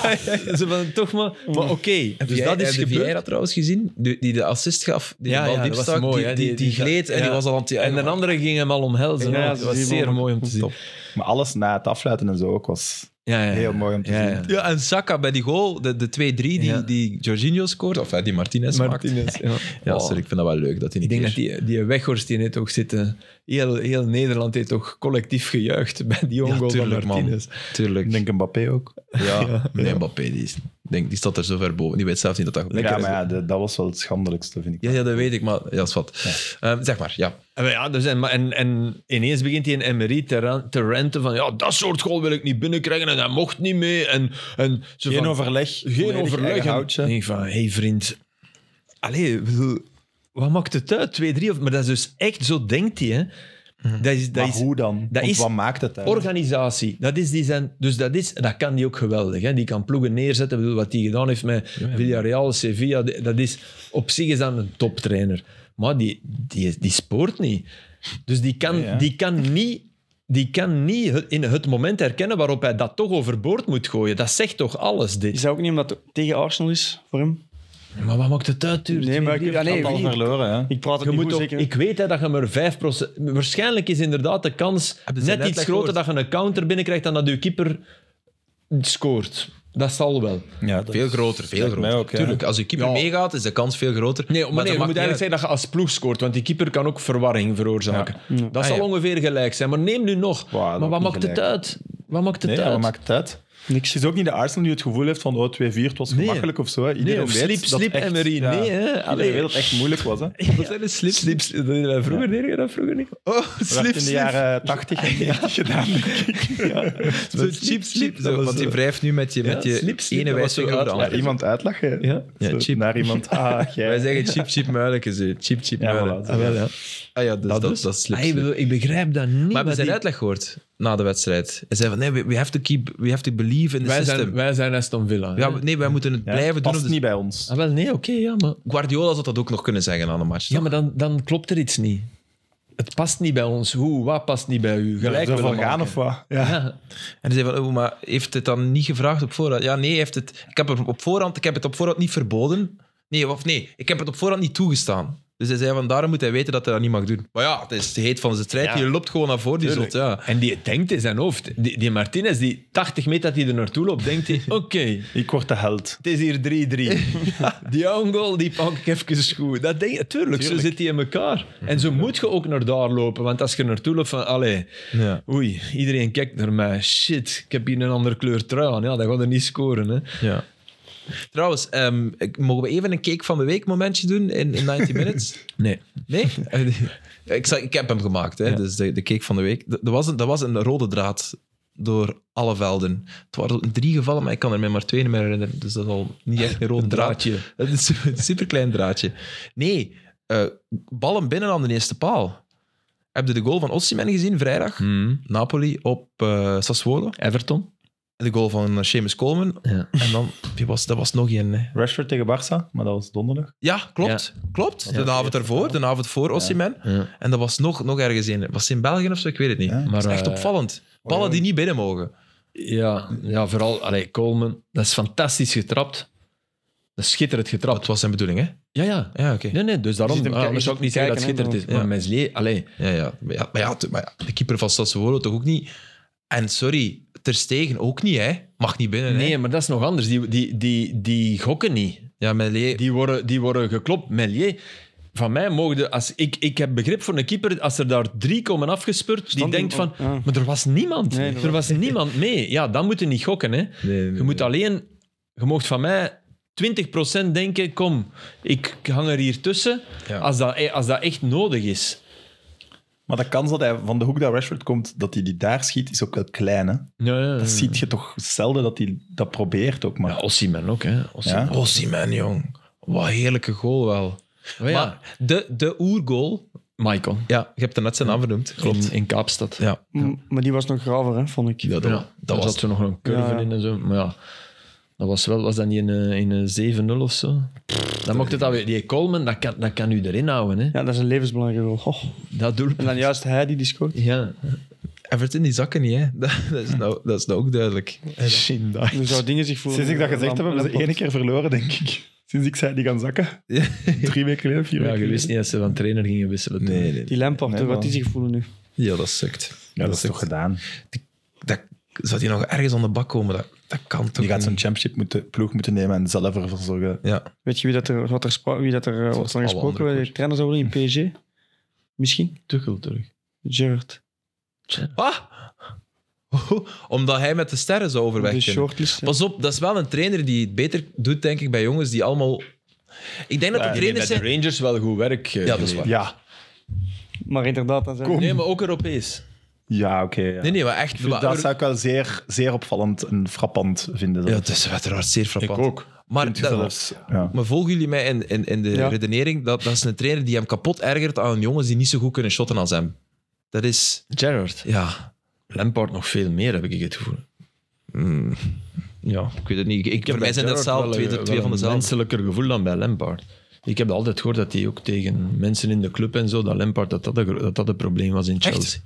Speaker 4: Ze van, toch maar... Maar oké, dus dat is
Speaker 1: de
Speaker 4: gebeurd.
Speaker 1: Vieira trouwens gezien, die, die de assist gaf, die
Speaker 4: Ja,
Speaker 1: de bal
Speaker 4: ja,
Speaker 1: diep
Speaker 4: dat was
Speaker 1: stak,
Speaker 4: mooi,
Speaker 1: die,
Speaker 4: hè,
Speaker 1: die,
Speaker 4: die-
Speaker 1: die gleed en
Speaker 4: ja.
Speaker 1: die was al aan het...
Speaker 4: En een andere ging hem al omhelzen.
Speaker 3: Ja,
Speaker 4: hè.
Speaker 3: ja,
Speaker 4: dat
Speaker 3: ze
Speaker 4: was
Speaker 3: zien
Speaker 4: zeer
Speaker 3: wel
Speaker 4: mooi om te zien.
Speaker 2: Maar alles na het afsluiten en zo ook was
Speaker 4: Ja, ja.
Speaker 2: heel mooi om te
Speaker 4: Ja,
Speaker 2: zien.
Speaker 4: ja.
Speaker 1: Ja, en Saka bij die goal, de, de 2-3 die,
Speaker 4: Ja.
Speaker 1: die Jorginho scoort, of eh, die Martinez, maakt.
Speaker 4: Martinez, ja.
Speaker 1: Ja,
Speaker 4: Oh.
Speaker 1: sorry, ik vind dat wel leuk dat hij
Speaker 4: Ik
Speaker 1: niet
Speaker 4: denk dat die, die Weghorst die net toch zitten. Heel, heel Nederland heeft toch collectief gejuicht [LAUGHS] bij die
Speaker 1: Ja,
Speaker 4: ongoal van
Speaker 1: tuurlijk, man.
Speaker 4: Martinez.
Speaker 1: Tuurlijk.
Speaker 2: Ik denk Mbappé ook.
Speaker 1: ja, nee, Mbappé, die, is, denk, die staat er zo ver boven. Die weet zelf niet dat dat gebeurt.
Speaker 2: ja, maar ja, de- dat was wel het schandelijkste, vind ik.
Speaker 1: Ja, ja, dat weet ik, maar ja, is wat. Ehm, zeg maar, ja.
Speaker 4: En, maar ja, dus en, maar- en, en ineens begint hij in Emery te, ran- te renten van ja, dat soort goal wil ik niet binnenkrijgen en hij mocht niet mee. En, en ze
Speaker 2: Geen
Speaker 4: van,
Speaker 2: overleg.
Speaker 4: Geen overleg.
Speaker 2: eigen
Speaker 4: En
Speaker 2: houtje.
Speaker 4: Ik denk van, hé hey vriend. Allee, ik bedoel, wat maakt het uit? 2, 3? Maar dat is dus echt, zo denkt hij. Hè. Dat is, dat
Speaker 2: Mhm. Maar
Speaker 4: is
Speaker 2: hoe dan?
Speaker 4: dat
Speaker 2: Want
Speaker 4: is
Speaker 2: wat maakt het uit?
Speaker 4: organisatie. Dat is die zijn, dus dat, is, dat kan die ook geweldig. Hè. Die kan ploegen neerzetten. Ik bedoel, wat hij gedaan heeft met Villarreal, Sevilla. die- Dat is, op zich is dat een toptrainer. Maar die, die, die spoort niet. Dus die kan,
Speaker 2: hè?
Speaker 4: die kan niet... Die kan niet het- in het moment herkennen waarop hij dat toch overboord moet gooien. Dat zegt toch alles, dit.
Speaker 3: Is dat ook niet omdat het tegen Arsenal is voor hem?
Speaker 4: Maar wat maakt het uit, duur?
Speaker 3: Nee, maar ik, ja, nee,
Speaker 2: Al
Speaker 3: ik,
Speaker 2: verloren, hè?
Speaker 3: ik praat het
Speaker 4: Je
Speaker 3: niet
Speaker 4: moet
Speaker 3: goed,
Speaker 4: toch-
Speaker 3: zeker.
Speaker 4: ik weet hè, dat je maar 5%. Waarschijnlijk is inderdaad de kans
Speaker 1: Hebben ze
Speaker 4: net
Speaker 1: net
Speaker 4: iets
Speaker 1: dat
Speaker 4: groter
Speaker 1: gehoord?
Speaker 4: dat je een counter binnenkrijgt dan dat je keeper scoort. Dat zal wel.
Speaker 2: Ja, dat
Speaker 1: Veel
Speaker 2: is-
Speaker 1: groter, veel
Speaker 2: lijkt mij
Speaker 1: groter.
Speaker 2: ook, ja.
Speaker 1: Tuurlijk, als je keeper
Speaker 4: Ja.
Speaker 1: meegaat, is de kans veel groter.
Speaker 4: Nee, maar, nee,
Speaker 1: dat maakt
Speaker 4: je moet
Speaker 1: niet
Speaker 4: eigenlijk
Speaker 1: uit.
Speaker 4: zeggen dat je als ploeg scoort, want die keeper kan ook verwarring veroorzaken. Dat
Speaker 1: Ah,
Speaker 4: zal
Speaker 1: ja.
Speaker 4: ongeveer gelijk zijn, maar neem nu nog.
Speaker 2: Wauw, dat
Speaker 4: maar wat
Speaker 2: niet
Speaker 4: maakt het
Speaker 2: gelijk.
Speaker 4: uit? Wat maakt het
Speaker 2: Nee, ja,
Speaker 4: uit?
Speaker 2: wat maakt het uit? Niks. Het is ook niet de Arsenal die het gevoel heeft van oh, 2-4, het was gemakkelijk of zo. Hè. Iedereen
Speaker 4: Nee, of
Speaker 2: weet
Speaker 4: sleep,
Speaker 2: dat
Speaker 4: sleep,
Speaker 2: echt-
Speaker 4: Emery.
Speaker 2: ja,
Speaker 4: Nee, hè.
Speaker 2: Iedereen
Speaker 4: Allee.
Speaker 2: weet dat het echt moeilijk was. Hè.
Speaker 4: [LAUGHS] Wat zijn de slips? slips dat deden wij vroeger, deden we dat vroeger niet?
Speaker 1: Oh,
Speaker 2: Dat werd in de jaren 80 en 90 gedaan, denk ik.
Speaker 1: Zo cheap, cheap.
Speaker 4: Dat
Speaker 1: Zo,
Speaker 4: was,
Speaker 1: want je
Speaker 4: eh,
Speaker 1: wrijft nu met je,
Speaker 4: ja,
Speaker 1: met je
Speaker 4: slip, slip,
Speaker 1: ene
Speaker 4: dat
Speaker 1: wijs
Speaker 4: was zo
Speaker 1: over de
Speaker 4: uit-
Speaker 2: Ja,
Speaker 1: andere.
Speaker 2: iemand uitlachen.
Speaker 4: Ja.
Speaker 1: Ja,
Speaker 2: Zo,
Speaker 1: cheap.
Speaker 2: Naar iemand. [LAUGHS] Ah, jij.
Speaker 1: Wij zeggen cheap, cheap muilen. Cheap, cheap
Speaker 2: Ja,
Speaker 1: muilen.
Speaker 2: voilà.
Speaker 4: Ah, wel, ja.
Speaker 1: Ah ja, dus dat, dat, is slip,
Speaker 4: Ah, ik
Speaker 1: slip.
Speaker 4: bedoel, ik begrijp dat niet.
Speaker 1: Maar we zijn
Speaker 4: die-
Speaker 1: uitleg gehoord na de wedstrijd. Hij zei van, nee, we, we have to keep, we have to believe in the
Speaker 4: wij,
Speaker 1: system.
Speaker 4: zijn, wij zijn Aston Villa. hè.
Speaker 1: ja, we- nee, wij moeten het
Speaker 2: Ja,
Speaker 1: blijven doen.
Speaker 2: past
Speaker 1: om de-
Speaker 2: niet bij ons.
Speaker 4: Ah, wel, nee, oké, ja, maar,
Speaker 1: Guardiola zou dat ook nog kunnen zeggen aan de match.
Speaker 4: ja, maar dan, dan klopt er iets niet. Het past niet bij ons. Hoe, wat past niet bij u? Gelijk
Speaker 2: Zullen we
Speaker 4: willen
Speaker 2: gaan
Speaker 4: maken.
Speaker 2: of wat? Ja.
Speaker 4: Ja,
Speaker 1: En hij zei van, oh, maar heeft het dan niet gevraagd op voorhand? Ja, nee, hij heeft het, ik, heb er op voorhand, ik heb het op voorhand niet verboden. Nee, of nee, ik heb het op voorhand niet toegestaan. Dus hij zei van, daarom moet hij weten dat hij dat niet mag doen. Maar ja, het is de heet van zijn strijd.
Speaker 4: Ja.
Speaker 1: Je loopt gewoon naar voor, die zot. Ja.
Speaker 4: En die denkt in zijn hoofd. Die, die Martinez, die 80 meter dat hij er naartoe loopt, denkt
Speaker 1: [LAUGHS]
Speaker 4: hij: oké,
Speaker 2: Ik word de held.
Speaker 4: het is hier 3-3. die own goal, die pak ik even goed. Dat denk, tuurlijk, zo zit hij in elkaar. En zo moet je ook naar daar lopen. Want als je er naartoe loopt van, allee,
Speaker 1: Ja.
Speaker 4: oei, iedereen kijkt naar mij. Shit, ik heb hier een andere kleur trui aan. Ja, dat gaat er niet scoren. Hè.
Speaker 1: ja. Trouwens, ehm, ik- mogen we even een cake van de week momentje doen in, in 90 minutes?
Speaker 4: Nee.
Speaker 1: Nee? Eh, ik, zal- ik heb hem gemaakt, hè? dus de, de cake van de week. D- Dat was, een, dat was een rode draad door alle velden. Het waren in drie gevallen, maar ik kan er mij maar twee meer herinneren. Dus dat is al niet echt
Speaker 4: [LAUGHS]
Speaker 1: een rode draad.
Speaker 4: Draadje.
Speaker 1: Het is een superklein draadje. Nee, eh, ballen binnen aan de eerste paal. Heb je de goal van Osimhen gezien vrijdag? Napoli op eh, Sassuolo.
Speaker 4: Hmm. Everton.
Speaker 1: De goal van Seamus Coleman.
Speaker 4: Ja.
Speaker 1: En dan, wie was, dat was nog één. hè.
Speaker 2: Rashford tegen Barça, maar dat was donderdag.
Speaker 1: Ja, klopt. Klopt. De avond ervoor, de avond voor Osimhen.
Speaker 4: Ja.
Speaker 1: En dat was nog, nog ergens in. Was het in België of zo? Ik weet het niet.
Speaker 2: Ja.
Speaker 1: maar
Speaker 4: Maar,
Speaker 1: echt
Speaker 4: eh,
Speaker 1: opvallend. Ballen die niet binnen mogen.
Speaker 4: Ja, ja vooral allee, Coleman. Dat is fantastisch getrapt. Dat is schitterend getrapt.
Speaker 1: Wat was zijn bedoeling, hè?
Speaker 4: Ja, ja.
Speaker 1: Ja, oké.
Speaker 4: Nee, nee, dus daarom.
Speaker 3: Je ziet hem kijken,
Speaker 4: Ah, anders
Speaker 3: je
Speaker 4: zou ik niet
Speaker 3: ziet hem
Speaker 4: zeggen dat
Speaker 3: kijken,
Speaker 4: het schitterend is.
Speaker 3: hè,
Speaker 4: Maar Meslier, allee.
Speaker 1: Ja, ja. Maar ja, maar ja, t- maar ja, de keeper van Sassuolo toch ook niet. En sorry, Ter Stegen ook niet, hè? Mag niet binnen, hè?
Speaker 4: Nee, maar dat is nog anders. Die, die, die, die gokken niet.
Speaker 1: Ja, Melier.
Speaker 4: Die worden, die worden geklopt. Melier, van mij mogen... de- Als, ik, ik heb begrip voor een keeper, als er daar drie komen afgespurt, die
Speaker 3: Standing
Speaker 4: denkt van...
Speaker 3: op- ja.
Speaker 1: ah.
Speaker 4: Maar er was niemand.
Speaker 3: Nee,
Speaker 4: er was niemand mee. Ja, dan moet je niet gokken, hè. Je moet alleen... Je mocht van mij 20% denken, kom, ik hang er hier tussen,
Speaker 1: Ja.
Speaker 4: als, dat, eh, als dat echt nodig is.
Speaker 2: Maar de kans dat hij van de hoek dat Rashford komt, dat hij die daar schiet, is ook wel klein. Hè?
Speaker 4: Ja, ja,
Speaker 2: Dat ziet je toch zelden dat hij dat probeert ook. Maar
Speaker 4: Ossiman ook, hè. Osimhen.
Speaker 2: Ja.
Speaker 1: Osimhen, jong. Wat een heerlijke goal wel.
Speaker 4: Oh, ja.
Speaker 1: Maar de, de oergoal...
Speaker 4: Maicon.
Speaker 1: Ja, je hebt er net zijn naam vernoemd.
Speaker 4: In, in Kaapstad.
Speaker 1: Ja,
Speaker 3: M- Maar die was nog graver, hè, vond ik.
Speaker 1: ja, dat,
Speaker 4: Ja,
Speaker 1: dat
Speaker 4: daar
Speaker 1: was...
Speaker 4: zat zo nog een curve
Speaker 3: Ja.
Speaker 4: in en zo. Maar ja, dat was wel, was dat niet in, eh, in een 7-0 of zo? Dan mocht het alweer, die Coleman, dat kan, dat kan u erin houden. Hè?
Speaker 3: Ja, dat is een levensbelangrijke rol. Oh.
Speaker 4: Dat doel.
Speaker 3: En dan juist hij die die scoort.
Speaker 4: Ja.
Speaker 1: Everton, die zakken niet, hè? [LAUGHS] Dat, dat is, nou, dat is nou ook duidelijk.
Speaker 2: Shinda.
Speaker 3: Nu zou dingen zich voelen.
Speaker 2: Sinds ik dat gezegd heb, hebben ze
Speaker 3: Lampard.
Speaker 2: één keer verloren, denk ik. Sinds ik zei die gaan zakken. Drie weken geleden, vier weken
Speaker 4: ja, je
Speaker 2: geleden.
Speaker 4: wist niet dat ze van trainer gingen wisselen. toen.
Speaker 1: Nee, nee.
Speaker 3: Die Lampard,
Speaker 2: Nee,
Speaker 3: hè, wat
Speaker 2: man.
Speaker 3: die zich voelen nu.
Speaker 1: Ja, dat sukt.
Speaker 2: Ja, dat is toch
Speaker 1: sukt.
Speaker 2: gedaan.
Speaker 1: Dat, zou die nog ergens aan de bak komen? Dat, dat kan toch
Speaker 2: Die gaat
Speaker 1: niet?
Speaker 2: zo'n championship moeten, ploeg moeten nemen en zelf ervoor zorgen.
Speaker 1: Ja.
Speaker 3: Weet je wie dat er, wat er, spra- wie dat er eh,
Speaker 1: Zoals
Speaker 3: wat er
Speaker 1: alle
Speaker 3: gesproken
Speaker 1: andere
Speaker 3: werd? die Trainer zou worden in PSG? Misschien?
Speaker 4: Tuchel terug.
Speaker 3: Gerrard.
Speaker 1: Ah! Oh, Omdat hij met de sterren zou overweg
Speaker 3: De
Speaker 1: kunnen.
Speaker 3: shortlist. hè.
Speaker 1: Pas op, dat is wel een trainer die het beter doet, denk ik, bij jongens die allemaal... Ik denk dat de trainers zijn...
Speaker 4: Rangers wel goed werk.
Speaker 1: Ja, dat is waar.
Speaker 2: Ja,
Speaker 3: Maar inderdaad, dan zijn
Speaker 4: Nee, maar ook Europees.
Speaker 2: ja oké. ja.
Speaker 1: Nee, nee, maar echt...
Speaker 2: Ik vind
Speaker 1: maar-
Speaker 2: dat zou ik wel zeer, zeer opvallend en frappant vinden.
Speaker 1: Ja,
Speaker 2: Dat
Speaker 1: het is uiteraard zeer frappant.
Speaker 2: ook.
Speaker 1: Maar,
Speaker 2: Vind je
Speaker 1: dat-
Speaker 2: zelfs, ja.
Speaker 1: maar volgen jullie mij in, in, in de
Speaker 3: Ja.
Speaker 1: redenering? Dat, dat is een trainer die hem kapot ergert aan jongens die niet zo goed kunnen shotten als hem. Dat is...
Speaker 4: Gerrard.
Speaker 1: Ja...
Speaker 4: Lampard nog veel meer, heb ik het gevoel.
Speaker 1: mm,
Speaker 4: Ja.
Speaker 1: ik weet het niet. Ik, ik, voor
Speaker 4: bij
Speaker 1: mij zijn dat
Speaker 4: Gerrard
Speaker 1: zelf
Speaker 4: wel
Speaker 1: twee,
Speaker 4: een-
Speaker 1: twee
Speaker 4: wel
Speaker 1: van
Speaker 4: een
Speaker 1: dezelfde.
Speaker 4: menselijker gevoel dan bij Lampard. Ik heb altijd gehoord dat hij ook tegen mensen in de club en zo, dat Lampard, dat dat, de gro- dat, dat het probleem was in Chelsea.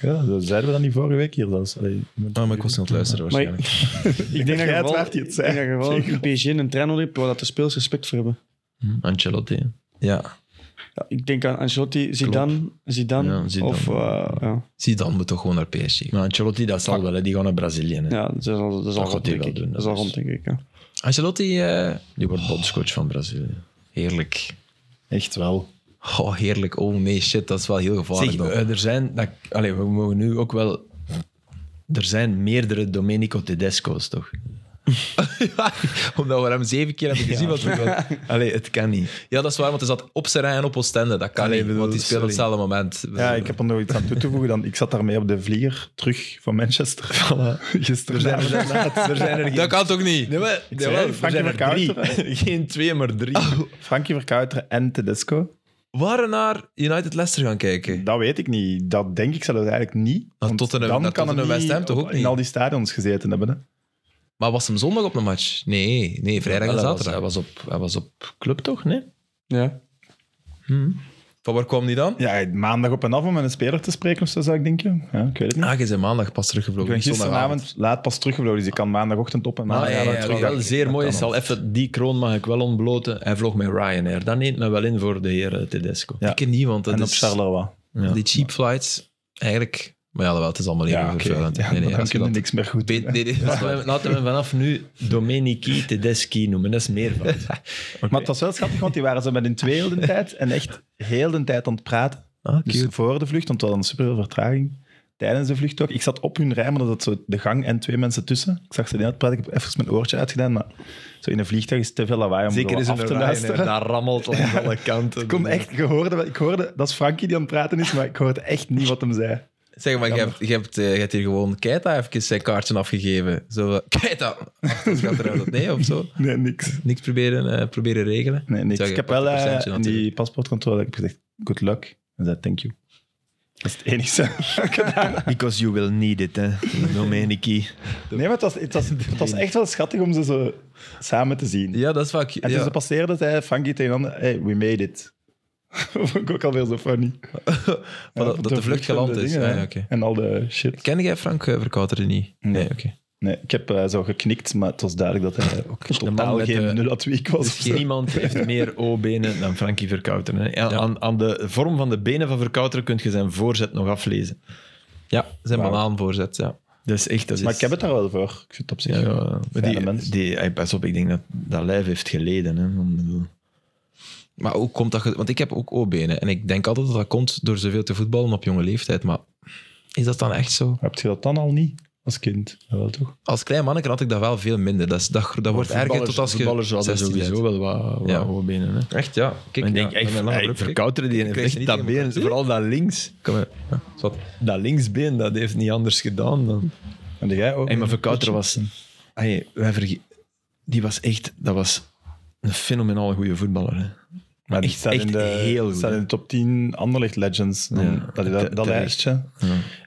Speaker 2: ja, dat zeiden we dan niet vorige week hier. Dat is, allee,
Speaker 1: Ah, maar ik was niet aan het luisteren,
Speaker 3: Maar
Speaker 1: waarschijnlijk.
Speaker 3: ik,
Speaker 2: Ik
Speaker 3: [LAUGHS] ik denk dat
Speaker 2: jij
Speaker 3: je
Speaker 2: het
Speaker 3: wel,
Speaker 2: waard die het
Speaker 3: ik
Speaker 2: zei.
Speaker 3: denk dat je wel
Speaker 2: Zeker.
Speaker 3: in PSG een trainer hebt waar dat de spelers respect voor hebben.
Speaker 4: Hm, Ancelotti. hè.
Speaker 1: Ja.
Speaker 3: Ja, ik denk aan Ancelotti, Zidane, Zidane,
Speaker 4: Ja, Zidane.
Speaker 3: of... eh, ja.
Speaker 1: Zidane moet toch gewoon naar PSG.
Speaker 4: Maar Ancelotti, dat zal wel, hè. die gaan naar Brazilië. Hè.
Speaker 3: ja, dat is al, dat is al
Speaker 4: gaat
Speaker 3: rond,
Speaker 4: hij
Speaker 3: denk
Speaker 4: wel
Speaker 3: ik.
Speaker 4: doen,
Speaker 3: Dat is
Speaker 4: dat
Speaker 3: al
Speaker 4: is-
Speaker 3: rond, denk ik. Ja.
Speaker 1: Ancelotti, eh,
Speaker 4: Die wordt bondscoach van Brazilië.
Speaker 1: heerlijk.
Speaker 2: Echt wel.
Speaker 1: Oh, heerlijk. Oh nee, shit, dat is wel heel gevaarlijk.
Speaker 4: Zeg,
Speaker 1: dan.
Speaker 4: eh, er zijn, dat, allee, we mogen nu ook wel... Er zijn meerdere Domenico Tedesco's, toch?
Speaker 1: [LAUGHS] Omdat we hem zeven keer hebben gezien. wat we doen.
Speaker 4: [LAUGHS] Allee, het kan niet.
Speaker 1: Ja, dat is waar, want hij zat op Serrain en op Oostende. Dat kan
Speaker 4: Allee,
Speaker 1: niet,
Speaker 4: bedoel,
Speaker 1: want die speelt op
Speaker 4: sorry.
Speaker 1: hetzelfde moment.
Speaker 2: Ja, ik heb er nog iets aan toe te voegen. Dan, ik zat daarmee op de vlieger terug van [LAUGHS] Manchester. Gisteren.
Speaker 4: er zijn er
Speaker 2: [LAUGHS]
Speaker 4: geen...
Speaker 1: Dat kan toch niet?
Speaker 4: Nee, maar,
Speaker 2: zei,
Speaker 4: jawel, er
Speaker 2: Frankie
Speaker 4: zijn er
Speaker 2: Verkouter,
Speaker 4: drie. Geen twee, maar drie.
Speaker 2: Frankie Verkuiteren en Tedesco.
Speaker 1: Oh, Waren naar United Leicester gaan kijken?
Speaker 2: Dat weet ik niet. Dat denk ik zelfs eigenlijk niet.
Speaker 1: Naar
Speaker 2: Want
Speaker 1: Tottenham-
Speaker 2: dan
Speaker 1: naar
Speaker 2: kan
Speaker 1: Tottenham
Speaker 2: hem
Speaker 1: West Ham
Speaker 2: niet
Speaker 1: toch ook
Speaker 2: op-
Speaker 1: niet?
Speaker 2: in al die stadions gezeten hebben. Hè?
Speaker 1: Maar was hem zondag op een match? Nee, nee vrijdag en
Speaker 4: Wel, hij was-
Speaker 1: zaterdag.
Speaker 4: Hij was op, hij was op club, toch? Nee?
Speaker 3: Ja.
Speaker 1: Van waar kwam die dan?
Speaker 2: Ja, maandag op en af om met een speler te spreken of zo, zou ik denken. Ja, ik weet het niet.
Speaker 1: Ah, je bent maandag pas
Speaker 2: ik
Speaker 1: teruggevlogen.
Speaker 2: ben
Speaker 1: niet zondagavond.
Speaker 2: gisteravond laat pas teruggevlogen, dus ik kan maandagochtend op en
Speaker 4: Maar
Speaker 2: maandag
Speaker 4: Ah, ja, wat
Speaker 2: terug.
Speaker 4: wel zeer
Speaker 2: Dat
Speaker 4: mooi
Speaker 2: kan
Speaker 4: is,
Speaker 2: nog.
Speaker 4: al even die kroon mag ik wel ontbloten. Hij vloog met Ryanair. Dat neemt me wel in voor de heer eh, Tedesco.
Speaker 2: Ja.
Speaker 1: Ik niet, want dat
Speaker 2: En op
Speaker 1: is,
Speaker 2: Charleroi.
Speaker 4: Ja.
Speaker 1: die cheap flights, eigenlijk... Maar ja, wel, het is allemaal even
Speaker 2: oké.
Speaker 1: vervuilend.
Speaker 2: Ja,
Speaker 1: nee,
Speaker 2: maar
Speaker 1: nee,
Speaker 2: dan
Speaker 1: als je
Speaker 2: kun je
Speaker 1: dat...
Speaker 2: niks meer goed
Speaker 1: Nee,
Speaker 2: doen.
Speaker 1: nee, dat is
Speaker 4: Laten
Speaker 1: waar.
Speaker 4: we, laten we hem vanaf nu Domenici Tedeschi noemen. Dat is [LAUGHS] meervoud.
Speaker 2: Maar het was wel schattig, want die waren zo met in twee heel de tijd en echt heel de tijd aan het praten.
Speaker 1: Ah,
Speaker 2: Dus
Speaker 1: cute.
Speaker 2: voor de vlucht, want we hadden superveel vertraging. Tijdens de vlucht ook. Ik zat op hun rij, maar dat zo de gang en twee mensen tussen. Ik zag ze niet uitpraten. Ik heb even mijn oortje uitgedaan, maar zo in een vliegtuig is te veel lawaai om
Speaker 4: Zeker
Speaker 2: zo
Speaker 4: is een
Speaker 2: af te luisteren.
Speaker 4: Daar rammelt [LAUGHS] langs alle kanten.
Speaker 2: Ik kon echt, ik hoorde, wel- ik hoorde, dat is Frankie die aan het praten is, maar ik hoorde echt niet wat hem zei.
Speaker 1: Zeg maar, je hebt, je, hebt, eh, je hebt hier gewoon Keita even zijn kaartje afgegeven. Zo, eh,
Speaker 4: [LAUGHS]
Speaker 1: Keita! Achtens gaat eruit dat nee of zo.
Speaker 2: Nee, niks.
Speaker 1: Niks proberen, eh, proberen regelen.
Speaker 2: Nee, niks.
Speaker 1: Zou je
Speaker 2: Ik heb wel eh,
Speaker 1: percentje
Speaker 2: in
Speaker 1: natuurlijk.
Speaker 2: die paspoortcontrole heb ik gezegd, good luck. En zei, thank you. Dat is het enige.
Speaker 1: [LAUGHS]
Speaker 4: Because you will need it, hè. Domenici.
Speaker 2: Nee, maar het was, het, was, het was echt wel schattig om ze zo samen te zien.
Speaker 1: Ja, dat is vaak.
Speaker 2: En toen
Speaker 1: ja.
Speaker 2: ze passeerden, zei Frankie tegen de ander, hey, we made it. [LAUGHS] vond ik ook alweer zo
Speaker 1: [LAUGHS]
Speaker 2: funny.
Speaker 1: dat-
Speaker 2: Ja,
Speaker 1: dat de vlucht
Speaker 2: van
Speaker 1: geland
Speaker 2: de
Speaker 1: is.
Speaker 2: dingen,
Speaker 1: Ah,
Speaker 2: hè.
Speaker 1: ja, oké.
Speaker 2: En al de shit.
Speaker 1: Ken jij Frank eh, Verkouteren niet?
Speaker 2: Nee.
Speaker 1: oké.
Speaker 2: Nee, ik heb eh, zo geknikt, maar het was duidelijk dat
Speaker 1: [LAUGHS]
Speaker 2: hij ook
Speaker 4: man
Speaker 2: totaal
Speaker 4: met de-
Speaker 1: eh,
Speaker 2: geen nul had week was.
Speaker 4: Dus niemand heeft meer O-benen dan Frankie Verkouteren. Hè.
Speaker 1: Ja.
Speaker 4: Ja, Aan, aan de vorm van de benen van Verkouteren kun je zijn voorzet nog aflezen.
Speaker 1: Ja, zijn
Speaker 2: Wauw.
Speaker 1: banaanvoorzet, ja.
Speaker 4: Dat is echt... Dat is,
Speaker 2: Maar ik heb het daar wel voor. Ik vind het op zich
Speaker 4: Ja,
Speaker 2: wel
Speaker 4: ja,
Speaker 2: een
Speaker 4: maar
Speaker 2: fijne
Speaker 4: die,
Speaker 2: mens.
Speaker 4: die, ey, pas op, ik denk dat dat lijf heeft geleden. Hè. Ik bedoel,
Speaker 1: Maar hoe komt dat... ge- Want ik heb ook O-benen. En ik denk altijd dat dat komt door zoveel te voetballen op jonge leeftijd. Maar is dat dan echt zo?
Speaker 2: Heb je dat dan al niet als kind? Wel toch?
Speaker 1: Als klein manneke had ik dat wel veel minder. Dat, is, dat, dat wordt erger tot als je
Speaker 4: Voetballers hadden
Speaker 1: 16 bent.
Speaker 4: sowieso wel wat, wat
Speaker 1: Ja.
Speaker 4: O-benen. Hè.
Speaker 1: Echt, ja. Kijk,
Speaker 4: Ik denk
Speaker 1: ja,
Speaker 4: echt,
Speaker 1: met mijn lange
Speaker 4: ey,
Speaker 1: broek, kijk.
Speaker 4: Verkouteren die heeft
Speaker 1: krijg je
Speaker 4: echt
Speaker 1: niet
Speaker 4: dat
Speaker 1: tegen elkaar.
Speaker 4: been, vooral dat links.
Speaker 1: Kom maar. Ja, zwart.
Speaker 4: Dat linksbeen, dat heeft niet anders gedaan dan...
Speaker 2: En jij ook?
Speaker 4: Hey, maar Verkouteren was... Hey, wij verge- die was echt... Dat was een fenomenaal goede voetballer. Hè.
Speaker 2: Maar die
Speaker 4: echt-
Speaker 2: staat
Speaker 4: echt
Speaker 2: in de,
Speaker 4: heel goed,
Speaker 2: staat in
Speaker 4: hè.
Speaker 2: de top 10 Anderlecht Legends. Dan-
Speaker 4: Ja,
Speaker 2: dat, dat,
Speaker 4: te-
Speaker 2: dat
Speaker 4: terecht.
Speaker 2: lijstje.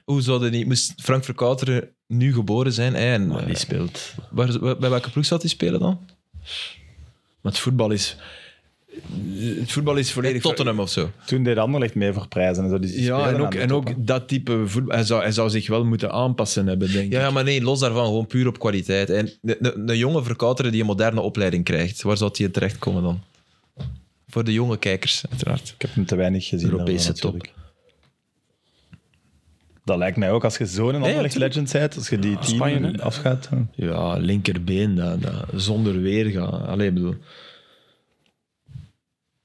Speaker 1: Hoe zou die... Moest Frank Verkouteren nu geboren zijn? hè, En,
Speaker 4: Maar
Speaker 1: eh,
Speaker 4: Oh, die speelt...
Speaker 1: waar, waar- bij welke ploeg zat hij spelen dan?
Speaker 4: Maar het voetbal is... Het voetbal is volledig...
Speaker 1: Tottenham of zo.
Speaker 2: Toen deed Anderlecht mee voor prijzen. En zo, dus die
Speaker 4: Ja,
Speaker 2: spelen
Speaker 4: en
Speaker 2: aan
Speaker 4: ook,
Speaker 2: de
Speaker 4: en
Speaker 2: top,
Speaker 4: ook
Speaker 2: hè.
Speaker 4: dat type voetbal. Hij zou, hij zou zich wel moeten aanpassen hebben, denk ik.
Speaker 1: Ja, ja, maar nee, los daarvan, gewoon puur op kwaliteit. En de- de- een jonge verkouteren die een moderne opleiding krijgt, waar zou die in terechtkomen dan? Voor de jonge kijkers, uiteraard.
Speaker 2: Ik heb hem te weinig gezien.
Speaker 4: Europese
Speaker 2: daarvan,
Speaker 4: top.
Speaker 2: natuurlijk. Dat lijkt mij ook als je zo'n Anderlecht
Speaker 1: natuurlijk.
Speaker 2: Legend bent. Als je die team
Speaker 3: Spanje, hè?
Speaker 2: afgaat. hè.
Speaker 4: Ja, linkerbeen, dat, dat, zonder weergaan. Allee, ik bedoel...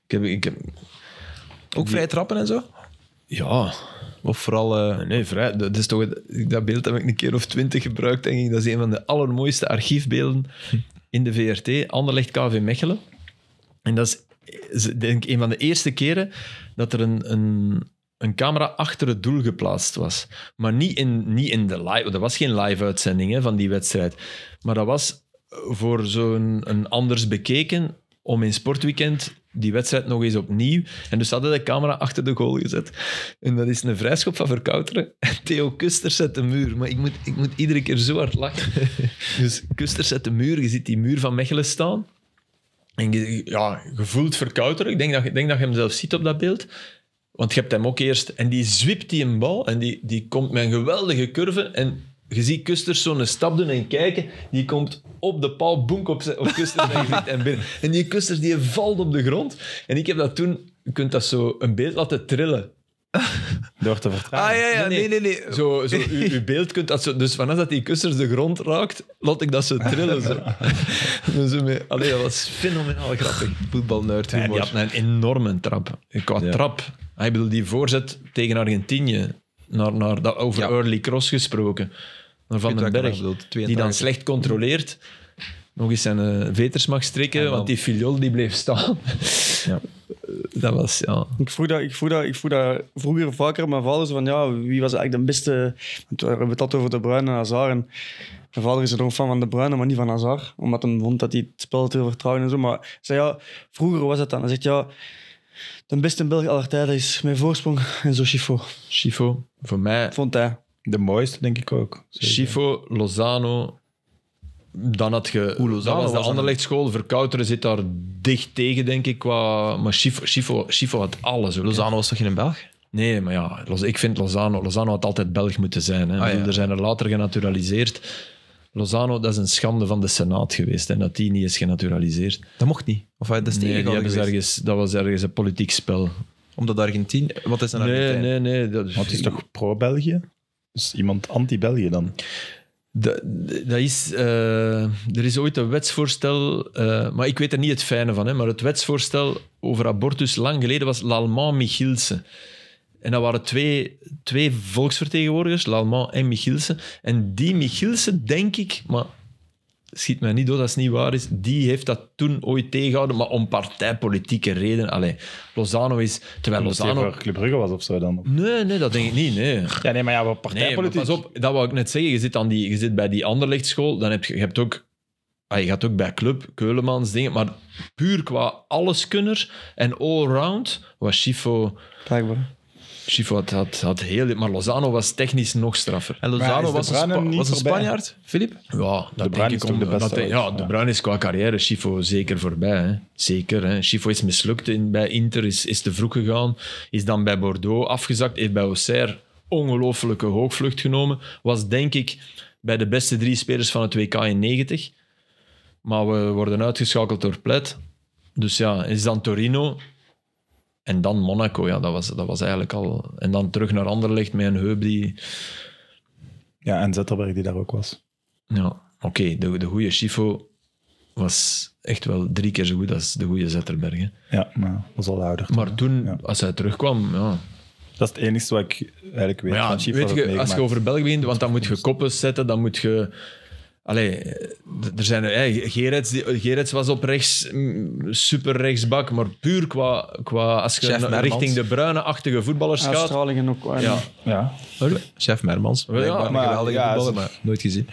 Speaker 4: Ik heb, ik heb,
Speaker 1: Ook vrij trappen en zo?
Speaker 4: ja,
Speaker 1: Of vooral... eh,
Speaker 4: nee, vrij. Dat, is toch, dat beeld heb ik een keer of twintig gebruikt, denk ik. Dat is een van de allermooiste archiefbeelden
Speaker 1: Hm.
Speaker 4: in de VRT. Anderlecht KV Mechelen. En dat is is denk ik een van de eerste keren dat er een, een, een camera achter het doel geplaatst was. Maar niet in, niet in de live... Er was geen live uitzending hè, van die wedstrijd. Maar dat was voor zo'n een anders bekeken om in sportweekend die wedstrijd nog eens opnieuw... En dus hadden de camera achter de goal gezet. En dat is een vrijschop van Verkouteren. [LAUGHS] En Theo Kuster zet de muur. Maar ik moet, ik moet iedere keer zo hard lachen. Dus Kuster zet de muur. Je ziet die muur van Mechelen staan. En je- ja, gevoeld verkouteren. Ik denk dat, je- ik denk dat je hem zelf ziet op dat beeld. Want je hebt hem ook eerst. En die zwipt die een bal. En die, die komt met een geweldige curve. En je ziet Kusters zo'n stap doen en kijken. Die komt op de paal, boenk op, zijn- op [LAUGHS] Kusters zijn gezicht en binnen. En die Kusters die valt op de grond. En ik heb dat toen... Je kunt dat zo een beeld laten trillen.
Speaker 2: Door te vertragen.
Speaker 4: Ah, nee, nee, nee. Zo, zo, uw, uw beeld kunt dat zo... Dus vanaf dat die kussers de grond raakt, laat ik dat zo trillen. [LAUGHS] Zo. Dus zo mee- Allee, dat was fenomenaal grappig.
Speaker 1: Voetbalnerd
Speaker 4: En die
Speaker 1: humor.
Speaker 4: had een enorme trap. Qua
Speaker 1: Ja.
Speaker 4: trap. Ah, Ik bedoel, die voorzet tegen Argentinië. Naar, naar dat, over
Speaker 1: Ja.
Speaker 4: early cross gesproken. Naar Van
Speaker 1: weet
Speaker 4: den
Speaker 1: wat ik
Speaker 4: Berg.
Speaker 1: bedoel, 82.
Speaker 4: Die dan slecht controleert. Nog eens zijn eh, veters mag strikken,
Speaker 1: dan-
Speaker 4: want die filiol die bleef staan.
Speaker 1: Ja.
Speaker 4: [LAUGHS] Dat was, ja...
Speaker 3: Ik vroeg, dat, ik, vroeg dat, ik vroeg dat vroeger vaker aan mijn vader. Zo van, ja, wie was eigenlijk de beste... Want we hebben het altijd over De Bruyne en Hazard. En mijn vader is er ook fan van De Bruyne, maar niet van Hazard. Omdat hij vond dat hij het spel te veel vertrouwen en zo. Maar ik zei, ja, vroeger was het dan. Hij zegt, ja, de beste Belg aller tijden is mijn voorsprong en zo Schifo.
Speaker 4: Schifo, voor mij...
Speaker 3: Vond hij.
Speaker 4: Ah.
Speaker 2: De mooiste, denk ik ook. Zeker.
Speaker 4: Schifo, Lozano. Dan had je...
Speaker 1: Lozano
Speaker 4: dat was de
Speaker 1: was dan-
Speaker 4: Anderlechtschool. Verkouteren zit daar dicht tegen, denk ik. Qua... Maar Schifo, Schifo, Schifo had alles. Ook, hè.
Speaker 1: Lozano was toch geen Belg?
Speaker 4: Nee, maar ja, Loz- ik vind Lozano... Lozano had altijd Belg moeten zijn. Hè. Ik bedoel,
Speaker 1: Ah, ja.
Speaker 4: Er zijn er later genaturaliseerd. Lozano, dat is een schande van de Senaat geweest. Hè, dat die niet is genaturaliseerd.
Speaker 1: Dat mocht niet. Of hij dat is
Speaker 4: Nee, die
Speaker 1: tegengehouden
Speaker 4: hebben ze
Speaker 1: geweest.
Speaker 4: ergens, dat was ergens een politiek spel.
Speaker 1: Omdat Argentinië... Wat is een
Speaker 4: Nee,
Speaker 1: Argentijn?
Speaker 4: nee, nee. Dat,
Speaker 2: Maar het is toch pro-België? Dus iemand anti-België dan?
Speaker 4: Dat, dat is, eh, er is ooit een wetsvoorstel, eh, maar ik weet er niet het fijne van, hè, maar het wetsvoorstel over abortus lang geleden was Lalman Michielsen. En dat waren twee, twee volksvertegenwoordigers, Lalman en Michielsen. En die Michielsen, denk ik, maar schiet mij niet door dat het niet waar is, die heeft dat toen ooit tegengehouden, maar om partijpolitieke redenen. Allee, Lozano is... Terwijl
Speaker 2: Omdat hij
Speaker 4: Lozano...
Speaker 2: voor Club Brugge was of zo dan?
Speaker 4: Nee, nee, dat denk ik niet, nee.
Speaker 2: Ja, nee, maar ja, wat
Speaker 4: Nee, maar
Speaker 2: partijpolitiek.
Speaker 4: pas op, dat wou ik net zeggen. Je zit, aan die, je zit bij die Anderlechtschool, dan heb je, je hebt ook... ah, je gaat ook bij Club, Keulemans, dingen. Maar puur qua alleskunner en allround was Schifo...
Speaker 3: Blijkbaar.
Speaker 4: Schifo had, had, had heel... Maar Lozano was technisch nog straffer.
Speaker 1: En
Speaker 2: Maar is
Speaker 1: Lozano
Speaker 2: De
Speaker 1: was een,
Speaker 2: Bruyne
Speaker 1: Spa-
Speaker 2: niet
Speaker 1: was een
Speaker 2: voorbij?
Speaker 1: Spanjaard, Filip?
Speaker 4: Ja, dat
Speaker 2: Bruyne
Speaker 4: denk ik
Speaker 2: is toch
Speaker 4: om,
Speaker 2: de beste
Speaker 4: dat hij-
Speaker 2: ooit,
Speaker 4: ja, De
Speaker 2: ja.
Speaker 4: Bruin is qua carrière Schifo zeker voorbij. Hè. Zeker. Hè. Schifo is mislukt in, bij Inter, is, is te vroeg gegaan. Is dan bij Bordeaux afgezakt. Heeft bij Auxerre ongelooflijke hoogvlucht genomen. Was denk ik bij de beste drie spelers van het WK in 90. Maar we worden uitgeschakeld door Plet. Dus ja, is dan Torino. En dan Monaco, ja, dat was, dat was eigenlijk al... En dan terug naar Anderlecht met een heup die...
Speaker 2: Ja, en Zetterberg die daar ook was.
Speaker 4: Ja, oké. De, de goede Schifo was echt wel drie keer zo goed als de goede Zetterberg. hè.
Speaker 2: Ja, maar was al ouder.
Speaker 4: Maar toen,
Speaker 2: Ja.
Speaker 4: als hij terugkwam, ja.
Speaker 2: Dat is het enige wat ik eigenlijk weet.
Speaker 4: Maar ja,
Speaker 2: van Schiffer
Speaker 4: weet
Speaker 2: dat
Speaker 4: je,
Speaker 2: het
Speaker 4: als je
Speaker 2: meegemaakt.
Speaker 4: over België begint, want dan moet je koppen zetten, dan moet je... Allee, eh, d- er zijn... er- Hey, Gerets, die- Gerets was op rechts, mm, super rechtsbak, maar puur qua... qua als je
Speaker 1: Chef
Speaker 4: na-
Speaker 1: Mermans.
Speaker 4: richting de bruine-achtige voetballers gaat...
Speaker 3: Uitstraling en ook... eh,
Speaker 4: Ja,
Speaker 2: Ja,
Speaker 1: Chef Mermans. Blijkbaar een
Speaker 2: maar-
Speaker 1: geweldige
Speaker 2: ja,
Speaker 1: voetballer,
Speaker 2: ze-
Speaker 1: maar nooit gezien.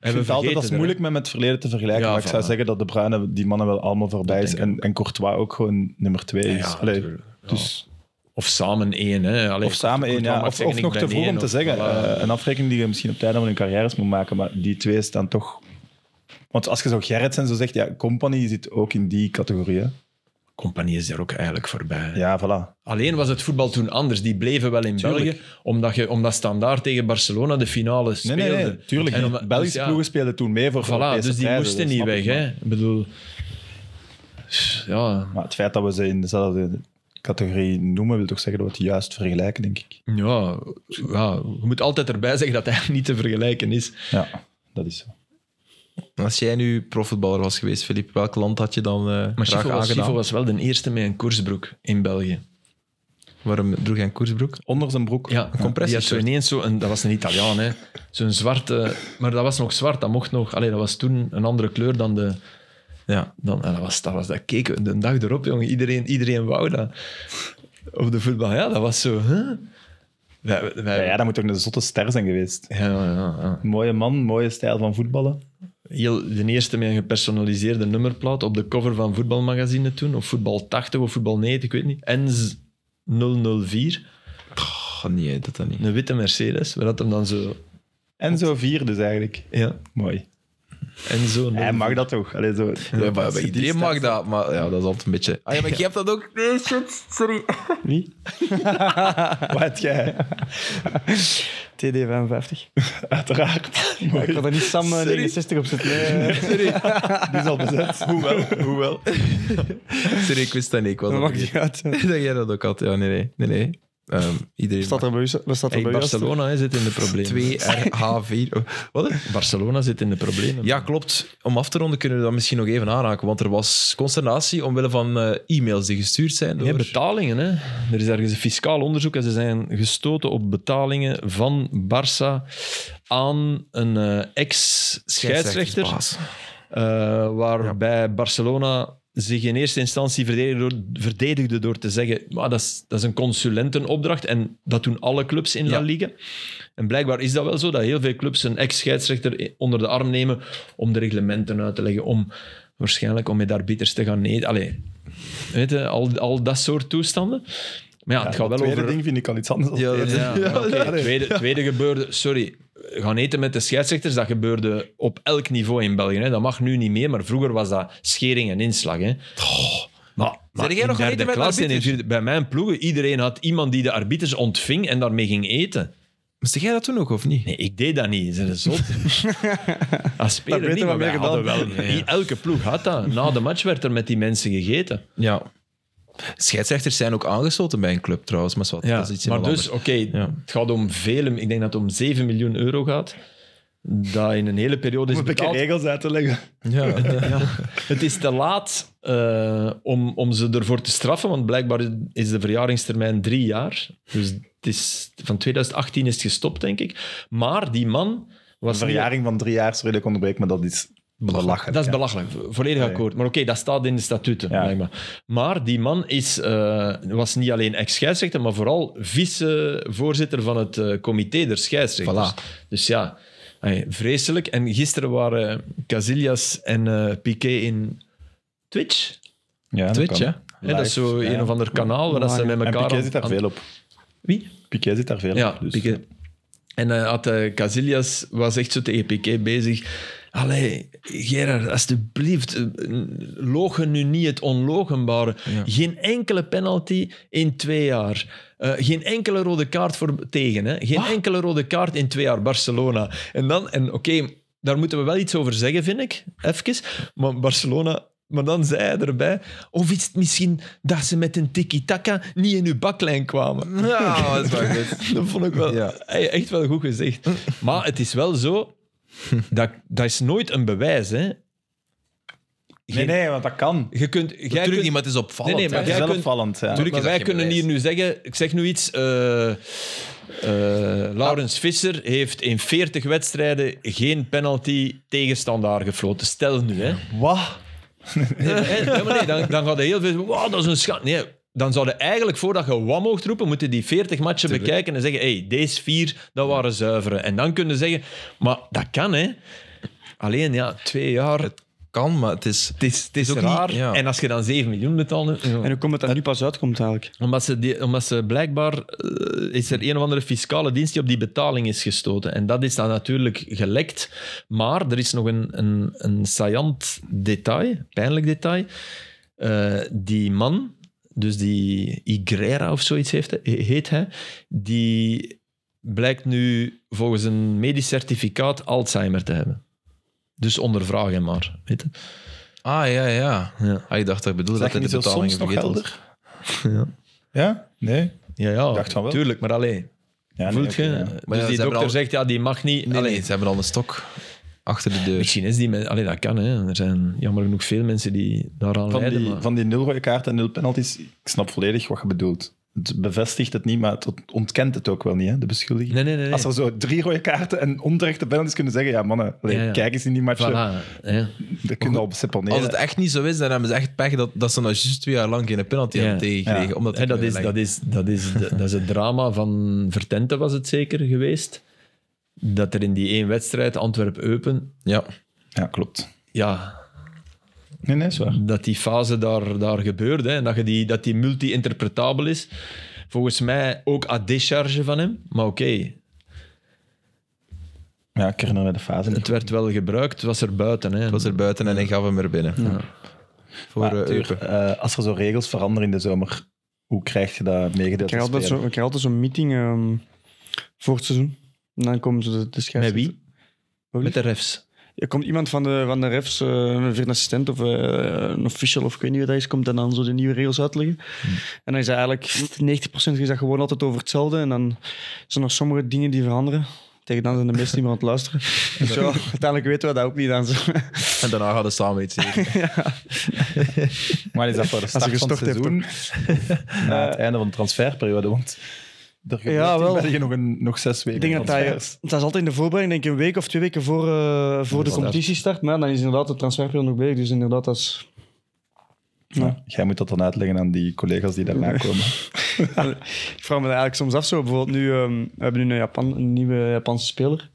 Speaker 2: Ik vind het altijd dat is
Speaker 4: vergeten,
Speaker 2: moeilijk met, met het verleden te vergelijken.
Speaker 4: Ja,
Speaker 2: maar ik zou
Speaker 4: voilà.
Speaker 2: zeggen dat De Bruyne die mannen wel allemaal voorbij is. En, en Courtois ook gewoon nummer twee
Speaker 4: hè.
Speaker 2: is.
Speaker 4: Ja,
Speaker 2: Allee,
Speaker 4: natuurlijk. Ja.
Speaker 2: dus,
Speaker 4: Of samen één, hè. Allee,
Speaker 2: of samen één,
Speaker 4: Courtois
Speaker 2: ja.
Speaker 4: mag
Speaker 2: Of,
Speaker 4: zeggen,
Speaker 2: of
Speaker 4: ik
Speaker 2: nog
Speaker 4: ben
Speaker 2: te vroeg
Speaker 4: één,
Speaker 2: om te
Speaker 4: of-
Speaker 2: zeggen.
Speaker 4: voilà.
Speaker 2: Eh, een afrekening die je misschien op tijd van hun carrières moet maken. Maar die twee staan toch... Want als je zo Gerrits en zo zegt, ja, Company zit ook in die categorie. hè.
Speaker 4: Compagnie is daar ook eigenlijk voorbij.
Speaker 2: Ja, voilà.
Speaker 4: Alleen was het voetbal toen anders. Die bleven wel in
Speaker 2: Tuurlijk.
Speaker 4: België, omdat, je, omdat Standaard tegen Barcelona de finale
Speaker 2: Nee,
Speaker 4: speelde.
Speaker 2: nee, nee, tuurlijk.
Speaker 4: En
Speaker 2: niet.
Speaker 4: omdat-
Speaker 2: Belgische
Speaker 4: dus ja,
Speaker 2: ploegen speelden toen mee voor
Speaker 4: Voilà,
Speaker 2: Europese
Speaker 4: dus die
Speaker 2: prijzen,
Speaker 4: moesten
Speaker 2: dat
Speaker 4: niet
Speaker 2: snap
Speaker 4: weg.
Speaker 2: ik, maar-
Speaker 4: Hè. Ik bedoel... Ja,
Speaker 2: Maar het feit dat we ze in dezelfde categorie noemen, wil toch zeggen dat we het juist vergelijken, denk ik.
Speaker 4: ja, ja, je moet altijd erbij zeggen dat hij [LAUGHS] niet te vergelijken is.
Speaker 2: Ja, dat is zo.
Speaker 1: Als jij nu profvoetballer was geweest, Filip, welk land had je dan eh,
Speaker 4: Maar
Speaker 1: graag
Speaker 4: Schifo was,
Speaker 1: aangedaan?
Speaker 4: Schifo was wel de eerste met een koersbroek in België.
Speaker 1: Waarom droeg jij een koersbroek?
Speaker 2: Onder zijn broek.
Speaker 4: Ja, een
Speaker 1: compressieshirt.
Speaker 4: Die had zo ineens zo een, dat was een Italiaan, hè. Zo'n zwarte... Maar dat was nog zwart, dat mocht nog... Allee, dat was toen een andere kleur dan de...
Speaker 1: Ja.
Speaker 4: Dan, en dat was dat, was, dat keken we de dag erop, jongen. Iedereen, iedereen wou dat. Op de voetbal, ja, dat was zo. Huh? Wij, wij,
Speaker 2: Ja, ja, dat moet toch een zotte ster zijn geweest.
Speaker 4: ja, ja, ja.
Speaker 2: Mooie man, mooie stijl van voetballen.
Speaker 4: Heel, de eerste met een gepersonaliseerde nummerplaat op de cover van voetbalmagazine toen, of voetbal 80 of voetbal 90, ik weet niet. En 004,
Speaker 1: Goh, nee, dat dan niet.
Speaker 4: een witte Mercedes, waar dat hem dan zo.
Speaker 2: En zo vier dus eigenlijk.
Speaker 4: Ja,
Speaker 2: Mooi.
Speaker 4: en zo.
Speaker 2: Hij mag dat toch? Allee, zo.
Speaker 1: Ja, maar bij iedereen mag dat, maar ja, dat is altijd een beetje... Ah ja, maar je hebt dat ook... Nee, shit, sorry.
Speaker 2: Wie? Wat jij?
Speaker 3: [LAUGHS] TD55.
Speaker 2: Uiteraard. Mooi.
Speaker 3: Ik had er niet Sam eh,
Speaker 1: Sorry.
Speaker 3: 69 op zitten.
Speaker 2: Die is al [LAUGHS] bezet.
Speaker 1: Hoewel, hoewel. sorry, ik wist dat niet. Ik was
Speaker 3: [LAUGHS] dat
Speaker 1: al
Speaker 3: maakt
Speaker 1: vergeten. [LAUGHS]
Speaker 3: niet uit.
Speaker 1: dat jij dat ook had. Ja, nee, nee. nee, nee. Ehm, iedereen
Speaker 3: Staat er bij u? Wat staat er
Speaker 4: Hey,
Speaker 3: bij u? als het-
Speaker 4: Barcelona hè, zit in de problemen.
Speaker 1: 2RH4. Oh, Wat?
Speaker 4: Barcelona zit in de problemen.
Speaker 1: Ja, klopt. Om af te ronden kunnen we dat misschien nog even aanraken, want er was consternatie omwille van eh, e-mails die gestuurd zijn door...
Speaker 4: Nee, betalingen. Hè. Er is ergens een fiscaal onderzoek en ze zijn gestoten op betalingen van Barça aan een eh, ex-scheidsrechter. eh, waarbij Barcelona zich in eerste instantie verdedigde door, verdedigde door te zeggen maar dat, is, dat is een consulentenopdracht en dat doen alle clubs in La
Speaker 1: Ja.
Speaker 4: Liga. En blijkbaar is dat wel zo, dat heel veel clubs een ex-scheidsrechter onder de arm nemen om de reglementen uit te leggen, om waarschijnlijk om met arbiters te gaan nee, Allee, weet je, al, al dat soort toestanden. Maar ja, het gaat
Speaker 2: Het
Speaker 4: wel
Speaker 2: tweede
Speaker 4: over...
Speaker 2: ding vind ik al iets anders. dan
Speaker 1: Ja,
Speaker 2: het
Speaker 1: dat
Speaker 2: eerste.
Speaker 4: Ja,
Speaker 2: [LAUGHS]
Speaker 4: oké. tweede, tweede gebeurde, sorry, gaan eten met de scheidsrechters, dat gebeurde op elk niveau in België. Hè. Dat mag nu niet meer, maar vroeger was dat schering en inslag. Hè. Maar, maar
Speaker 1: jij
Speaker 4: in
Speaker 1: nog gaan
Speaker 4: derde
Speaker 1: eten met
Speaker 4: klas en in
Speaker 1: arbiters?
Speaker 4: vierde, bij mijn ploegen, iedereen had iemand die de arbiters ontving en daarmee ging eten.
Speaker 1: Moest jij dat toen ook, of niet?
Speaker 4: Nee, ik deed dat niet. Ze zijn zot. Als speler
Speaker 3: beter
Speaker 4: niet,
Speaker 3: wat
Speaker 4: maar wij
Speaker 3: meer
Speaker 4: hadden wel.
Speaker 3: gedaan.
Speaker 4: Elke ploeg had dat. Na de match werd er met die mensen gegeten.
Speaker 1: Ja. Scheidsrechters zijn ook aangesloten bij een club trouwens, maar zwart,
Speaker 4: Ja,
Speaker 1: dat is iets
Speaker 4: maar
Speaker 1: helemaal
Speaker 4: dus, oké,
Speaker 1: Ja.
Speaker 4: het gaat om vele... Ik denk dat het om 7 miljoen euro gaat. Dat in een hele periode is
Speaker 2: Om een beetje
Speaker 4: betaald.
Speaker 2: regels uit te leggen.
Speaker 1: [LAUGHS] anders. Ja.
Speaker 4: Het is te laat eh, om, om ze ervoor te straffen, want blijkbaar is de verjaringstermijn drie jaar. Dus het is, van 2018 is het gestopt, denk ik. Maar die man was... niet-
Speaker 2: Verjaring van drie jaar, sorry dat ik onderbreek, maar dat is belachelijk.
Speaker 4: Dat is
Speaker 2: ja.
Speaker 4: belachelijk, vo- volledig
Speaker 2: Ja, ja.
Speaker 4: akkoord. Maar oké, dat staat in de statuten,
Speaker 2: Ja.
Speaker 4: blijkbaar. Maar die man is, eh, was niet alleen ex-scheidsrechter, maar vooral vice-voorzitter van het eh, comité der scheidsrechters. Dus ja, ay, vreselijk. En gisteren waren Casillas en eh, Piqué in Twitch.
Speaker 2: Ja, dat
Speaker 1: Twitch,
Speaker 2: kan.
Speaker 1: hè?
Speaker 4: Hè, dat is zo
Speaker 2: Live,
Speaker 4: een
Speaker 2: ja.
Speaker 4: of ander kanaal waar dat ze met
Speaker 2: En
Speaker 4: elkaar...
Speaker 2: Piqué
Speaker 4: aan-
Speaker 2: zit daar
Speaker 4: aan-
Speaker 2: veel op.
Speaker 4: Wie?
Speaker 2: Piquet zit daar veel
Speaker 4: Ja,
Speaker 2: op, dus-
Speaker 4: Piqué. En eh had, eh, Casillas was echt zo tegen Piqué bezig. Allee, Gerard, alsjeblieft, eh, logen nu niet het onlogenbare.
Speaker 1: Ja.
Speaker 4: Geen enkele penalty in twee jaar. Eh, geen enkele rode kaart voor tegen. Hè? Geen enkele rode kaart in twee jaar, Barcelona. En dan, en oké, daar moeten we wel iets over zeggen, vind ik. Even. Maar Barcelona, maar dan zei hij erbij. Of is het misschien dat ze met een tiki-taka niet in uw baklijn kwamen?
Speaker 1: Ja, dat is wel goed.
Speaker 4: Dat vond ik wel
Speaker 1: Ja.
Speaker 4: hey, echt wel goed gezegd. Maar het is wel zo, dat, dat is nooit een bewijs. Hè.
Speaker 2: Nee, nee, want dat kan.
Speaker 4: Je kunt, [LAUGHS] jij
Speaker 1: Natuurlijk
Speaker 4: kunt-
Speaker 1: niet, maar het is opvallend.
Speaker 4: Nee, nee, maar
Speaker 1: hè.
Speaker 2: Dat is
Speaker 4: jij
Speaker 2: wel
Speaker 4: kunt-
Speaker 2: opvallend. Ja.
Speaker 1: Tuurlijk
Speaker 4: maar
Speaker 1: is dat
Speaker 4: wij
Speaker 1: geen
Speaker 4: kunnen
Speaker 1: bewijs.
Speaker 4: hier nu zeggen, ik zeg nu iets, eh, eh, Laurens Visser heeft in 40 wedstrijden geen penalty tegenstandaar gefloten. Stel nu, hè.
Speaker 2: Wat?
Speaker 4: [LAUGHS] Nee, maar, hè, ja, maar nee, dan, dan gaat er heel veel zeggen, wow, dat is een schat. Nee, dan zouden eigenlijk, voordat je wat moogt roepen, moeten die 40 matchen bekijken en zeggen, hey, deze vier, dat waren zuivere. En dan kunnen zeggen, maar dat kan, hè. Alleen, ja, twee jaar, het
Speaker 1: Het kan, maar het is...
Speaker 4: is, het is
Speaker 1: ook
Speaker 4: raar.
Speaker 1: niet- ja.
Speaker 4: En als je dan 7 miljoen betaalt... ja.
Speaker 3: En hoe komt het dat nu pas uitkomt eigenlijk?
Speaker 4: Omdat ze, die, omdat ze blijkbaar eh, is er een of andere fiscale dienst die op die betaling is gestoten. En dat is dan natuurlijk gelekt. Maar er is nog een, een, een saillant detail, pijnlijk detail. Eh, die man, dus die Igrera of zoiets heeft, hij- heet hij, die blijkt nu volgens een medisch certificaat Alzheimer te hebben. Dus ondervraag hem maar. Weet je?
Speaker 1: Ah, ja, ja.
Speaker 4: Ja.
Speaker 1: Ah, ik dacht dat ik bedoelde
Speaker 2: Zeg
Speaker 1: dat
Speaker 2: je
Speaker 1: hij
Speaker 2: niet
Speaker 1: de
Speaker 2: zo soms
Speaker 1: betalingen
Speaker 2: nog
Speaker 1: vergeten was.
Speaker 2: helder? Ja? Nee?
Speaker 4: Ja, ja,
Speaker 2: dacht van wel.
Speaker 4: tuurlijk, maar alleen.
Speaker 2: Ja,
Speaker 4: Voelt je?
Speaker 2: nee, oké, ja.
Speaker 4: Dus
Speaker 1: Maar ja,
Speaker 4: die
Speaker 1: ze hebben
Speaker 4: dokter
Speaker 1: al-
Speaker 4: zegt, ja, die mag niet.
Speaker 1: Nee,
Speaker 4: Allee,
Speaker 1: nee, ze hebben al een stok achter de deur.
Speaker 4: Misschien is die... men- Allee, dat kan, hè. Er zijn jammer genoeg veel mensen die daaraan
Speaker 2: Van
Speaker 4: lijden.
Speaker 2: die,
Speaker 4: maar-
Speaker 2: van die nul rode kaarten en nul penalties, ik snap volledig wat je bedoelt. Het bevestigt het niet, maar het ontkent het ook wel niet, hè, de beschuldiging.
Speaker 4: Nee, nee, nee. nee.
Speaker 2: Als er zo drie rode kaarten en onterechte penalties kunnen zeggen, ja mannen, allee,
Speaker 4: Ja, ja.
Speaker 2: kijk eens in die match, dat
Speaker 4: Voilà, hè.
Speaker 2: kunnen we op seponeren.
Speaker 1: Als het echt niet zo is, dan hebben ze echt pech dat, dat ze nou juist twee jaar lang geen penalty
Speaker 4: Ja.
Speaker 1: hebben tegengekregen.
Speaker 2: Ja.
Speaker 1: Omdat die
Speaker 4: Hè, dat, is,
Speaker 1: kunnen
Speaker 4: dat,
Speaker 1: leggen.
Speaker 4: is, dat, is, de- dat is het drama van Vertente, was het zeker geweest. Dat er in die één wedstrijd, Antwerp-Eupen,
Speaker 1: Ja.
Speaker 2: Ja, klopt.
Speaker 4: ja,
Speaker 2: Nee, nee, is waar.
Speaker 4: dat die fase daar, daar gebeurde. Hè, en dat, je die, dat die multi-interpretabel is. Volgens mij ook à décharge van hem. Maar oké,
Speaker 2: Ja, ik herinner me de fase niet.
Speaker 4: het werd wel gebruikt, het was er buiten. Hè.
Speaker 1: Het was er buiten en hij gaf hem er binnen. Voor
Speaker 2: Maar,
Speaker 1: eh,
Speaker 2: tuur,
Speaker 1: Eupen.
Speaker 2: eh, als er zo regels veranderen in de zomer, hoe krijg je dat meegedeeld?
Speaker 3: Ik krijg
Speaker 2: aan
Speaker 3: altijd, zo,
Speaker 2: spelers?
Speaker 3: ik krijg altijd zo'n meeting ehm, voor het seizoen. En dan komen ze de, de
Speaker 4: Met
Speaker 3: scheidsrechter.
Speaker 4: wie? Met de refs.
Speaker 3: Er komt iemand van de, van de refs, eh, een vierde assistent of eh, een official of ik weet niet wie dat is, komt en dan zo de nieuwe regels uitleggen. En dan is dat eigenlijk 90% is dat gewoon altijd over hetzelfde. En dan zijn er nog sommige dingen die veranderen. Tegen dan zijn de meesten niet meer aan het luisteren. Dus ja, [LAUGHS] uiteindelijk weten we dat ook niet dan. [LAUGHS] zo.
Speaker 1: En daarna hadden ze samen iets eten.
Speaker 2: Maar is dat voor de start van het
Speaker 3: gestort hebt, Eh,
Speaker 2: seizoen? [LAUGHS] Na het einde van de transferperiode, want er gebeurt
Speaker 3: Ja, wel.
Speaker 2: in België nog, een, nog zes weken
Speaker 3: Ik denk dat dat,
Speaker 2: transfers.
Speaker 3: dat is altijd in de voorbereiding, denk ik een week of twee weken voor, eh, voor de competitiestart. Maar ja, dan is inderdaad de transferperiode nog bezig. Dus inderdaad, dat is...
Speaker 2: Ja, jij moet dat dan uitleggen aan die collega's die daarna komen. [LAUGHS]
Speaker 3: [LAUGHS] Ik vraag me dat eigenlijk soms af. Zo, bijvoorbeeld nu, ehm, we hebben nu een, Japan, een nieuwe Japanse speler.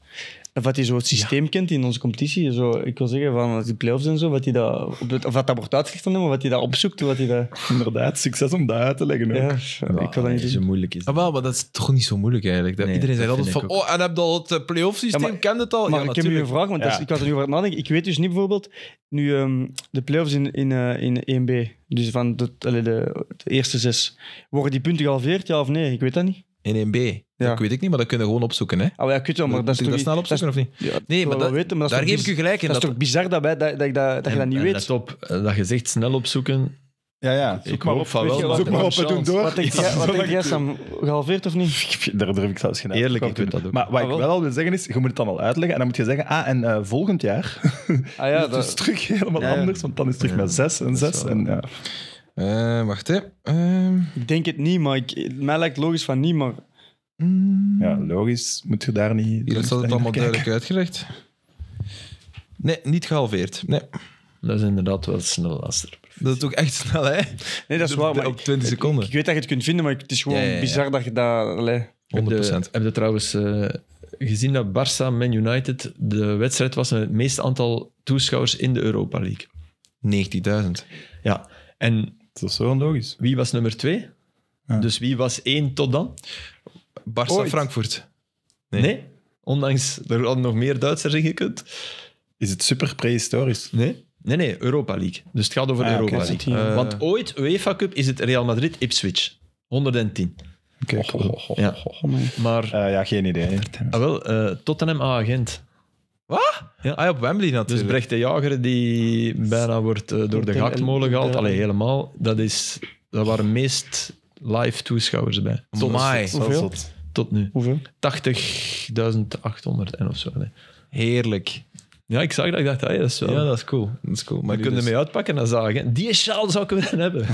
Speaker 3: Of dat hij zo het systeem kent in onze competitie. Zo, ik wil zeggen, van die play-offs en zo. Wat hij dat, op het- of dat dat wordt uitgelegd aan hem, of wat hij dat opzoekt. Wat hij dat,
Speaker 2: Inderdaad, succes om dat uit te leggen ook.
Speaker 3: ja, ik wil dat niet
Speaker 4: zo
Speaker 3: doen.
Speaker 4: moeilijk
Speaker 1: [LAUGHS]
Speaker 4: is.
Speaker 1: Ah, wel, maar dat is toch niet zo moeilijk eigenlijk. Dat
Speaker 4: Nee,
Speaker 1: Iedereen
Speaker 4: dat
Speaker 1: zei altijd
Speaker 4: vind
Speaker 1: van,
Speaker 4: ik
Speaker 1: oh, en heb je al het eh, play-off systeem?
Speaker 3: Ja, maar-
Speaker 1: Kende het al?
Speaker 3: Maar
Speaker 1: ja,
Speaker 3: ik heb nu een
Speaker 1: natuurlijk.
Speaker 3: vraag, want dat is-
Speaker 2: Ja.
Speaker 3: ik was er nu over aan het nadenken. Ik weet dus niet bijvoorbeeld nu ehm, de play-offs in, in, eh, in 1B, dus van de, allee, de, de eerste zes, worden die punten gehalveerd, ja of nee? Ik weet dat niet.
Speaker 1: In 1B.
Speaker 3: Ja.
Speaker 1: Dat weet ik niet, maar dat kunnen we gewoon opzoeken. Hè.
Speaker 3: Ah, ja, ik weet wel, maar dat is
Speaker 1: Moet ik
Speaker 3: toch
Speaker 1: dat snel
Speaker 3: iets- dat is-
Speaker 1: opzoeken of niet?
Speaker 3: ja,
Speaker 1: Nee,
Speaker 3: ik
Speaker 1: maar
Speaker 3: wil wel
Speaker 1: dat-
Speaker 3: weten, maar dat
Speaker 1: Daar
Speaker 3: is toch
Speaker 1: geef ik
Speaker 3: biz-
Speaker 1: u gelijk in.
Speaker 3: Dat is toch bizar dat, wij, dat, dat, ik dat, dat je dat niet weet?
Speaker 4: Let op, eh, dat je zegt snel opzoeken.
Speaker 2: Ja, ja.
Speaker 4: Ik hoop van
Speaker 3: weet
Speaker 4: wel.
Speaker 3: je
Speaker 4: maar
Speaker 3: wat-
Speaker 2: Zoek maar op [LAUGHS] en doe door.
Speaker 3: Wat denk
Speaker 2: Ja,
Speaker 3: jij, wat
Speaker 2: zo
Speaker 3: denk
Speaker 2: lang
Speaker 3: jij,
Speaker 2: duurt.
Speaker 3: Sam? Gehalveerd of niet?
Speaker 2: Daar durf ik zelfs geen uitspraak
Speaker 4: Eerlijk, ik
Speaker 2: op
Speaker 4: doe
Speaker 2: te
Speaker 4: dat
Speaker 2: doen.
Speaker 4: ook.
Speaker 2: Maar wat
Speaker 3: Ah,
Speaker 2: ik
Speaker 3: wel.
Speaker 2: wel al wil zeggen is, je moet het dan al uitleggen en dan moet je zeggen, ah, en eh, volgend jaar [LAUGHS]
Speaker 3: Ah ja,
Speaker 2: is het
Speaker 3: [LAUGHS] dat,
Speaker 2: terug helemaal
Speaker 4: Ja, ja.
Speaker 2: anders, want dan is het terug met zes en zes.
Speaker 4: wel-
Speaker 2: En, ja.
Speaker 1: Eh, wacht, hè. Ehm,
Speaker 3: ik denk het niet, maar ik, mij lijkt het logisch van niet, maar
Speaker 2: ja, logisch moet je daar niet...
Speaker 1: hier staat het allemaal
Speaker 2: Kijken.
Speaker 1: duidelijk uitgelegd. Nee, niet gehalveerd. Nee,
Speaker 4: Dat is inderdaad wel snel laster.
Speaker 1: dat is ook echt snel, hè.
Speaker 3: nee, dat is waar. Maar
Speaker 1: Op
Speaker 3: ik,
Speaker 1: 20 seconden.
Speaker 3: ik weet dat je het kunt vinden, maar het is gewoon
Speaker 1: Ja, ja, ja.
Speaker 3: bizar dat je dat... allee.
Speaker 1: 100%.
Speaker 4: Heb je, heb je trouwens eh, gezien dat Barça Man United de wedstrijd was met het meeste aantal toeschouwers in de Europa League?
Speaker 1: 19.000.
Speaker 4: Ja. En
Speaker 2: Dat is zo onlogisch.
Speaker 4: wie was nummer twee?
Speaker 2: Ja.
Speaker 4: Dus wie was één tot dan?
Speaker 1: Barça
Speaker 4: Ooit.
Speaker 1: Frankfurt.
Speaker 4: Nee. Ondanks, er hadden nog meer Duitsers in gekund.
Speaker 2: Is het super prehistorisch?
Speaker 4: Nee? Nee, nee, Europa League. Dus het gaat over
Speaker 2: Ah, oké,
Speaker 4: Europa
Speaker 2: is het
Speaker 4: League.
Speaker 2: hier?
Speaker 4: Eh, Want ooit, UEFA Cup, is het Real Madrid-Ipswich. 110.
Speaker 2: Oké, cool.
Speaker 4: Ja. Maar
Speaker 2: Eh, ja, geen idee. hè.
Speaker 4: ah, wel, eh, Tottenham A-agent.
Speaker 1: Ah ja, op Wembley
Speaker 4: Dus
Speaker 1: natuurlijk.
Speaker 4: Brecht de Jager, die bijna wordt eh, door de
Speaker 3: Tegen-
Speaker 4: gaktmolen gehaald.
Speaker 3: ja.
Speaker 4: Allee, helemaal. Dat is, daar waren meest live toeschouwers bij.
Speaker 1: Tot mij.
Speaker 2: Zo
Speaker 3: Hoeveel?
Speaker 2: zot.
Speaker 4: Tot nu.
Speaker 3: Hoeveel?
Speaker 4: 80.800 en of zo. nee.
Speaker 1: Heerlijk.
Speaker 4: Ja, ik zag dat. Ik dacht, ah, ja, dat is wel...
Speaker 1: Ja, dat is cool. dus. Dat is cool. Maar
Speaker 4: we kunnen mee uitpakken en zagen. Die sjaal zou ik willen
Speaker 1: [LAUGHS]
Speaker 4: hebben.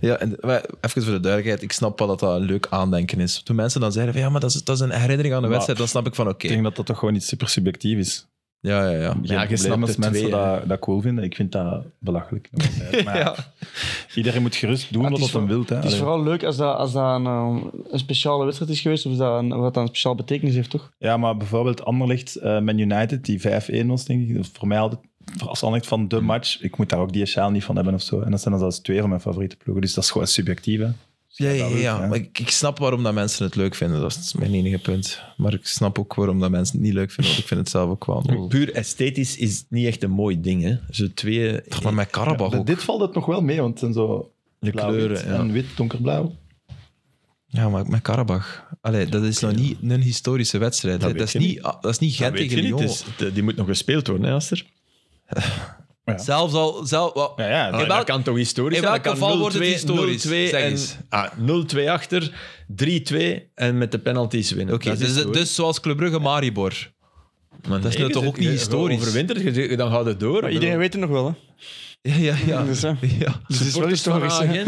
Speaker 1: Ja, en, maar even voor de duidelijkheid, ik snap wel dat dat een leuk aandenken is. Toen mensen dan zeiden van ja, maar dat is, dat is een herinnering aan de
Speaker 2: Maar-
Speaker 1: wedstrijd, dan snap ik van oké.
Speaker 2: Ik denk dat dat toch gewoon iets super subjectief is.
Speaker 1: Ja, ja, ja.
Speaker 4: Ja, je
Speaker 2: Geen
Speaker 4: snapt
Speaker 2: probleem als
Speaker 4: er
Speaker 2: mensen
Speaker 4: twee,
Speaker 2: dat, dat cool vinden. Ik vind dat belachelijk. Dat maakt niet uit. Maar
Speaker 4: Ja.
Speaker 2: Iedereen moet gerust doen
Speaker 3: Ja, het
Speaker 2: wat
Speaker 3: is
Speaker 2: hij wil. hè.
Speaker 3: Het is
Speaker 2: Allee.
Speaker 3: vooral leuk als dat, als dat een, eh, een speciale wedstrijd is geweest, of dat een, wat dat een speciaal betekenis heeft, toch?
Speaker 2: Ja, maar bijvoorbeeld Anderlecht, eh Man United, die 5-1 was, denk ik. dat is Voor mij altijd, voor als Anderlecht van de match, ik moet daar ook die sjaal niet van hebben of zo. En dat zijn dan zelfs twee van mijn favoriete ploegen. Dus dat is gewoon subjectief. Hè.
Speaker 1: Ja, ja, ja,
Speaker 2: Ja.
Speaker 1: Maar ik, ik snap waarom dat mensen het leuk vinden. Dat is mijn enige punt. Maar ik snap ook waarom dat mensen het niet leuk vinden, want ik vind het zelf
Speaker 4: [LAUGHS]
Speaker 1: ook wel. een-
Speaker 4: Puur esthetisch is het niet echt een mooi ding. Hè. Ze twee
Speaker 1: Toch maar met Karabach
Speaker 2: Bij
Speaker 1: ook.
Speaker 2: dit valt het nog wel mee, want het zijn zo
Speaker 4: de
Speaker 2: blauw-wit
Speaker 4: kleuren. Ja.
Speaker 2: en wit, donkerblauw.
Speaker 1: Ja, maar met Karabach. Allee, dat is nog niet een historische wedstrijd. hè. Dat,
Speaker 4: Dat weet
Speaker 1: is
Speaker 4: je
Speaker 1: niet, ah, dat is niet
Speaker 4: Dat
Speaker 1: Gent
Speaker 4: weet je
Speaker 1: tegen
Speaker 4: niet,
Speaker 1: Lyon.
Speaker 4: dus het, eh, die moet nog gespeeld worden, hè, Aster?
Speaker 2: Ja.
Speaker 1: Zelfs al... Zelf, wel-
Speaker 2: Ja, Oh, ja.
Speaker 1: In welk-
Speaker 4: Ah, dat kan toch historisch
Speaker 1: in
Speaker 4: zijn?
Speaker 1: welk
Speaker 4: Dat kan
Speaker 1: geval wordt het
Speaker 4: 0-2,
Speaker 1: historisch?
Speaker 4: 0-2
Speaker 1: Zeg
Speaker 4: en-
Speaker 1: eens.
Speaker 4: ah, 0-2 achter, 3-2 en met de penalties winnen.
Speaker 1: Oké,
Speaker 4: Dat is
Speaker 1: dus,
Speaker 4: historisch.
Speaker 1: dus zoals Club Brugge Maribor.
Speaker 4: Maar
Speaker 1: dat is
Speaker 4: nee,
Speaker 1: nu
Speaker 4: je
Speaker 1: toch ook
Speaker 4: zit-
Speaker 1: niet
Speaker 4: je- je
Speaker 1: historisch?
Speaker 4: Overwintert, je- je- dan gaat het door.
Speaker 3: Maar iedereen weet het nog wel, hè?
Speaker 1: Ja, [LAUGHS] ja, ja.
Speaker 3: Dus, hè.
Speaker 1: ja.
Speaker 3: Dus het is wel historisch. hè.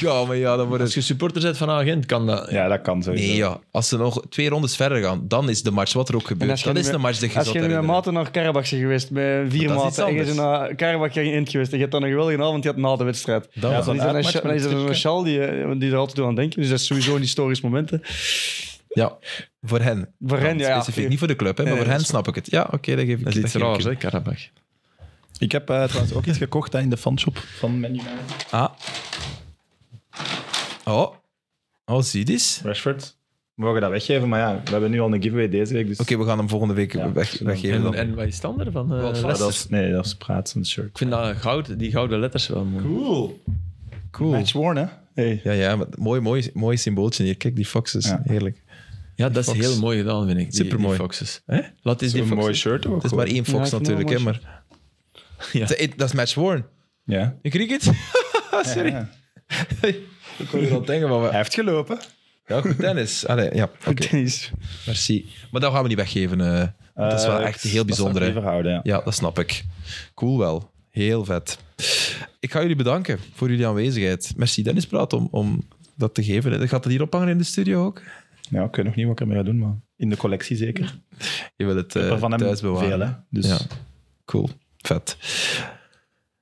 Speaker 3: [LAUGHS]
Speaker 1: Ja, maar ja, dan wordt
Speaker 4: Als
Speaker 1: het...
Speaker 4: je supporter bent van Agent, kan dat.
Speaker 2: Ja, dat kan sowieso.
Speaker 1: Nee, ja. Als ze nog twee rondes verder gaan, dan is de match wat er ook
Speaker 3: En als
Speaker 1: gebeurt.
Speaker 3: je
Speaker 1: Dat
Speaker 3: nu
Speaker 1: is
Speaker 3: met-
Speaker 1: een match die je
Speaker 3: Als je
Speaker 1: zult
Speaker 3: nu met
Speaker 1: herinneren.
Speaker 3: maten naar Karabach bent geweest, met vier
Speaker 1: Maar dat is iets
Speaker 3: maten, en je bent
Speaker 1: anders.
Speaker 3: naar Karabach geen eind geweest, en je hebt dan een geweldige avond, je had na de wedstrijd.
Speaker 2: Ja,
Speaker 3: Dan
Speaker 2: zo'n
Speaker 3: is er een
Speaker 2: uitmatch
Speaker 3: sja-
Speaker 2: met
Speaker 3: dan is er een
Speaker 2: trucje.
Speaker 3: sjaal die, eh, die er altijd door aan denken. Dus dat is sowieso een historisch moment. hè.
Speaker 1: Ja, voor hen.
Speaker 3: Voor hen, ja.
Speaker 1: Specifiek,
Speaker 3: ja. [LAUGHS]
Speaker 1: niet voor de club, hè, maar
Speaker 3: Nee,
Speaker 1: voor
Speaker 3: dat
Speaker 1: hen snap ik het. Ja, oké, dat geef ik
Speaker 4: Dat is iets
Speaker 1: geef ik
Speaker 4: raars,
Speaker 1: u.
Speaker 4: hè, Karabach.
Speaker 2: Ik heb eh, trouwens ook iets gekocht hè, in de fanshop van Man United.
Speaker 1: Ah. Oh. Oh, zie dit.
Speaker 2: Rashford. We mogen dat weggeven, maar ja, we hebben nu al een giveaway deze week. Dus
Speaker 1: Oké, we gaan hem volgende week
Speaker 2: Ja,
Speaker 1: weg,
Speaker 2: dan-
Speaker 1: weggeven.
Speaker 4: En,
Speaker 1: Dan.
Speaker 4: en wat is het andere van eh,
Speaker 2: Ja,
Speaker 4: Leicester?
Speaker 2: dat is, nee, dat is praat, zo'n shirt.
Speaker 4: Ik vind dat goud, die gouden letters wel mooi.
Speaker 2: Cool.
Speaker 1: Cool.
Speaker 2: Match worn, hè? Hey.
Speaker 1: Ja, ja, maar mooi, mooi, mooi symbooltje hier. Kijk, die foxes.
Speaker 2: Ja.
Speaker 1: Heerlijk.
Speaker 4: Ja, dat is
Speaker 1: Fox.
Speaker 4: heel mooi gedaan, vind ik. Die,
Speaker 1: Supermooi.
Speaker 4: Die foxes.
Speaker 1: Hè?
Speaker 4: Laat eens die
Speaker 2: Een
Speaker 4: foxes.
Speaker 2: mooi shirt ook.
Speaker 1: Het is maar één fox
Speaker 3: Ja, ik vind
Speaker 1: natuurlijk, hè,
Speaker 3: het wel
Speaker 1: maar...
Speaker 2: [LAUGHS]
Speaker 1: Ja. Dat is match worn.
Speaker 2: Ja.
Speaker 1: Ik riek het. Sorry.
Speaker 2: Ja, ja.
Speaker 1: Ik kon er al denken van...
Speaker 2: Hij
Speaker 1: wat-
Speaker 2: heeft gelopen.
Speaker 1: Ja, goed tennis. [LAUGHS] Allee, ja, oké.
Speaker 3: Tennis.
Speaker 1: Merci. Maar dat gaan we niet weggeven. eh, want dat is wel
Speaker 2: Eh,
Speaker 1: echt heel
Speaker 2: dat zou ik
Speaker 1: bijzonder. hè.
Speaker 2: liever houden, ja.
Speaker 1: Ja, dat snap ik. Cool wel. Heel vet. Ik ga jullie bedanken voor jullie aanwezigheid. Merci Dennis Praat om, om dat te geven. hè. Gaat dat hier ophangen in de studio ook?
Speaker 2: Ja, ik weet nog niet wat ik ermee ga doen, maar in de collectie zeker. Ik
Speaker 1: Je wil het
Speaker 2: heb
Speaker 1: eh
Speaker 2: er van hem
Speaker 1: thuis bewaren.
Speaker 2: veel, hè. Dus
Speaker 1: Ja. Cool. Vet.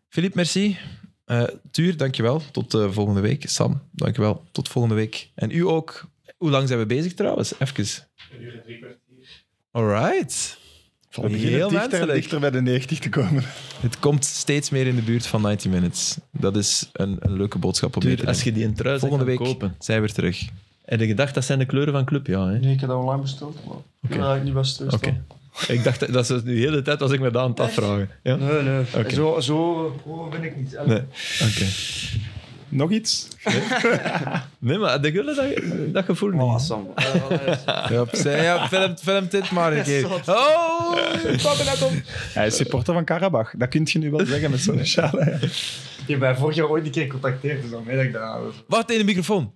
Speaker 1: Filip, merci. Eh Tuur, dankjewel. Tot eh, volgende week. Sam, dankjewel. Tot volgende week. En u ook. Hoe lang zijn we bezig trouwens? Even. All right.
Speaker 2: we beginnen
Speaker 1: Heel
Speaker 2: dichter en
Speaker 1: menselijk.
Speaker 2: dichter bij de 90 te komen.
Speaker 1: Het komt steeds meer in de buurt van 90 Minutes. Dat is een, een leuke boodschap om mee te
Speaker 4: Duur, als
Speaker 1: nemen.
Speaker 4: je die in trui zou
Speaker 1: Volgende
Speaker 4: gaan
Speaker 1: week
Speaker 4: kopen.
Speaker 1: zijn we weer terug.
Speaker 4: Heb je gedacht, dat zijn de kleuren van Club? Ja, hè?
Speaker 3: Nee, ik heb dat online besteld, maar ik ben eigenlijk niet best besteld.
Speaker 4: Oké. ik dacht, dat- dat is de hele tijd was ik me daar aan het afvragen. Ja? Oké.
Speaker 3: Nee, nee. Zo, zo oh, ben ik niet.
Speaker 4: Nee.
Speaker 2: Nog iets?
Speaker 4: Nee, maar had ik willen dat, dat gevoel niet.
Speaker 3: [LAUGHS] Eh,
Speaker 1: Ja, opzij. ja film, film dit maar een keer. Oh, pap er net op.
Speaker 2: Hij is supporter van Karabach. Dat kun je nu wel zeggen [LAUGHS] met zo'n sjaal. hè.
Speaker 3: Ik heb mij vorig jaar ooit een keer contacteerd, dus dan weet ik dat.
Speaker 1: Wacht in de microfoon.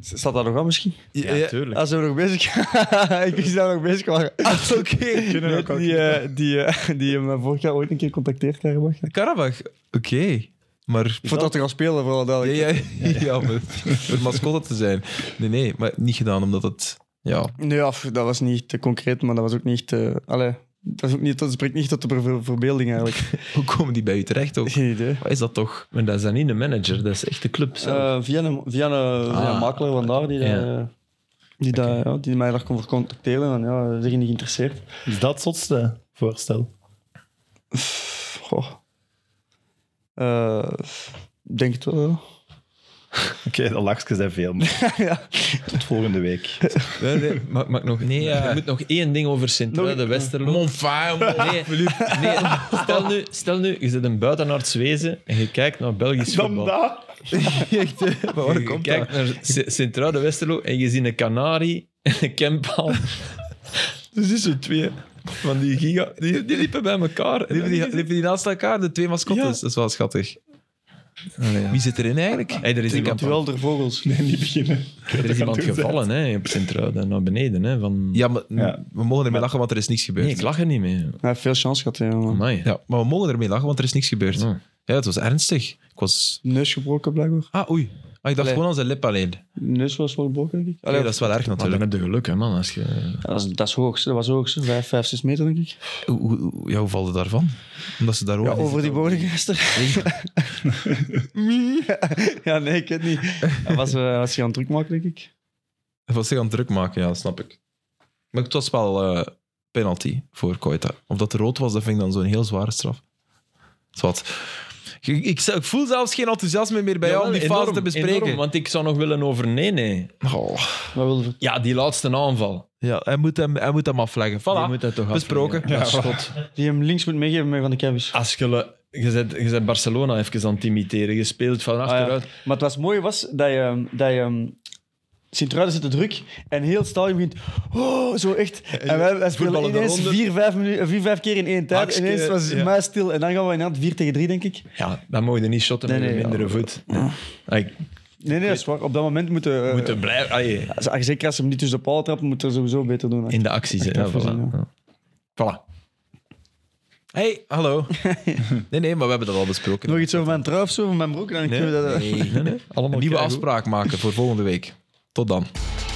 Speaker 3: Staat dat nog wel misschien?
Speaker 1: Ja,
Speaker 4: tuurlijk.
Speaker 3: Als we nog bezig [LAUGHS] Ik wist dat we nog bezig [LAUGHS] waren.
Speaker 1: Ah, Oké.
Speaker 2: Kunnen we ook wel
Speaker 3: die, eh, die, eh, [LAUGHS] die mij vorig jaar ooit een keer contacteerd hebben. Ik
Speaker 1: Karabach. Oké. Maar...
Speaker 3: vond dat er al spelen, vooral
Speaker 1: Ja,
Speaker 3: duidelijk.
Speaker 1: ja, [LAUGHS] ja, maar voor mascotte te zijn. Nee, nee, maar niet gedaan omdat het... Ja,
Speaker 3: Nee, af, dat was niet te concreet, maar dat was ook niet... eh allee, dat, is ook niet, dat spreekt niet tot de verbe- verbeelding eigenlijk.
Speaker 1: hoe komen die bij u terecht ook?
Speaker 3: Geen idee.
Speaker 1: Wat is dat toch?
Speaker 4: Maar dat is dan niet de manager, dat is echt de club zelf.
Speaker 3: Eh, via een, via een, via een makelaar van daar, die, dat,
Speaker 4: ja.
Speaker 3: eh, die, dat, ja, die mij daar kon voor contacteren. En ja, ze zijn niet geïnteresseerd.
Speaker 2: Is dat het zotste voorstel?
Speaker 3: Goh. Eh, denk het wel. ja.
Speaker 2: Oké, de lachjes zijn veel. [LAUGHS] maar Tot volgende week.
Speaker 4: Nee, nee, maak, maak nog.
Speaker 5: Nee, ja.
Speaker 4: Er moet nog één ding over Sint-Truiden, Westerlo.
Speaker 1: Mon fire, mon-
Speaker 4: Nee, nee. Stel, nu, stel nu, je zit een buitenarts wezen en je kijkt naar
Speaker 2: [LAUGHS]
Speaker 4: Belgisch
Speaker 2: Dan
Speaker 4: voetbal.
Speaker 2: dat.
Speaker 1: Echt, hè? Van waar
Speaker 4: je
Speaker 1: komt
Speaker 4: kijkt
Speaker 1: dat?
Speaker 4: naar Sint- Sint-Truiden, Westerlo en je ziet een kanarie en een kempal. Dus die zijn twee van die giga... Die, die liepen bij elkaar. En
Speaker 1: Liepen die,
Speaker 4: dan-
Speaker 1: liepen die naast elkaar, de twee mascottes?
Speaker 4: Ja. Oh,
Speaker 1: Dat is wel schattig. Wie zit erin eigenlijk? Hey, er is iemand,
Speaker 3: Duel der vogels.
Speaker 2: Nee, niet beginnen.
Speaker 4: Er is iemand
Speaker 2: doen,
Speaker 4: gevallen hè, op Sint-Truiden, naar beneden. Hè, van...
Speaker 1: Ja, maar
Speaker 2: Ja.
Speaker 1: we mogen ermee lachen, want er is niks gebeurd.
Speaker 4: Nee, ik lach er niet mee.
Speaker 3: Hij heeft veel chance gehad, hè, man.
Speaker 4: Amai.
Speaker 1: ja, maar we mogen ermee lachen, want er is niks gebeurd.
Speaker 4: Ja.
Speaker 1: Ja, het was ernstig. Ik was...
Speaker 3: Neus gebroken, blijkbaar.
Speaker 1: Ah, oei. Ah, ik dacht
Speaker 3: Allee.
Speaker 1: gewoon aan zijn lip alleen. Nee,
Speaker 3: Neus was wel gebroken, denk ik. Allee,
Speaker 1: dat is wel erg
Speaker 4: Maar dan
Speaker 1: natuurlijk.
Speaker 4: heb je geluk, hè, man. Als je...
Speaker 3: dat, was, dat is hoogst. Dat was hoogst. Vijf, vijf, zes meter, denk ik.
Speaker 1: Hoe, hoe, hoe- ja, hoe valt het daarvan? Omdat ze daar
Speaker 3: Ja,
Speaker 1: ook-
Speaker 3: over die [LAUGHS] bodemgeister. ja, nee, ik weet niet. Hij was, eh, hij was zich aan het druk maken, denk ik.
Speaker 1: Hij was zich aan het druk maken, ja, dat snap ik. Maar het was wel eh, penalty voor Koita. Of dat rood was, dat vind ik dan zo'n heel zware straf. Dat is wat. Ik, ik, ik voel zelfs geen enthousiasme meer bij jou om die
Speaker 4: Jawel,
Speaker 1: fase te
Speaker 4: enorm,
Speaker 1: bespreken.
Speaker 4: enorm, want ik zou nog willen over nee, nee.
Speaker 1: Oh.
Speaker 3: Wat wilde ver-
Speaker 4: Ja, die laatste aanval.
Speaker 1: Ja, hij moet hem, hij moet hem afleggen.
Speaker 4: Je
Speaker 1: Voilà,
Speaker 4: moet dat toch
Speaker 1: besproken.
Speaker 4: afleggen.
Speaker 1: Dat is goed.
Speaker 3: Die hem links moet meegeven met Van de Kebbers.
Speaker 4: Als je, le- je, zet, je zet Barcelona even aan het imiteren. Je speelt van
Speaker 3: Ah, ja.
Speaker 4: achteruit.
Speaker 3: Maar het was mooie was dat je... Dat je ehm, Sint-Truiden zit te druk en heel het stadion begint... Oh, zo echt. En wij, wij spelen
Speaker 4: Eh, voetballen de
Speaker 3: ineens
Speaker 4: ronde.
Speaker 3: vier vijf, minu- eh, vier, vijf keer in één tijd.
Speaker 4: Hakske,
Speaker 3: ineens was het
Speaker 4: ja.
Speaker 3: muis stil. En dan gaan we in hand 4 tegen 3, denk ik.
Speaker 4: ja. dan mogen je niet shotten
Speaker 3: Nee,
Speaker 4: met
Speaker 3: nee,
Speaker 4: een mindere voet. Ah, ik
Speaker 3: Nee, nee, dat is waar. Op dat moment moeten... we, eh,
Speaker 4: moet er blijven. ah, je-
Speaker 3: als- als- Zeker als ze hem niet tussen de paal trappen, moeten we sowieso beter doen.
Speaker 4: in de actie zitten. Ja,
Speaker 3: even
Speaker 4: voilà.
Speaker 3: zijn,
Speaker 4: Voilà.
Speaker 1: Hey, hallo. Nee, nee, maar we hebben dat al besproken.
Speaker 3: Nog iets over mijn trui of zo, over mijn broek? Dan kunnen we dat... [LAUGHS]
Speaker 4: Nee, nee, Allemaal
Speaker 1: Een nieuwe
Speaker 4: keigoed.
Speaker 1: afspraak maken voor volgende week. Tot dan.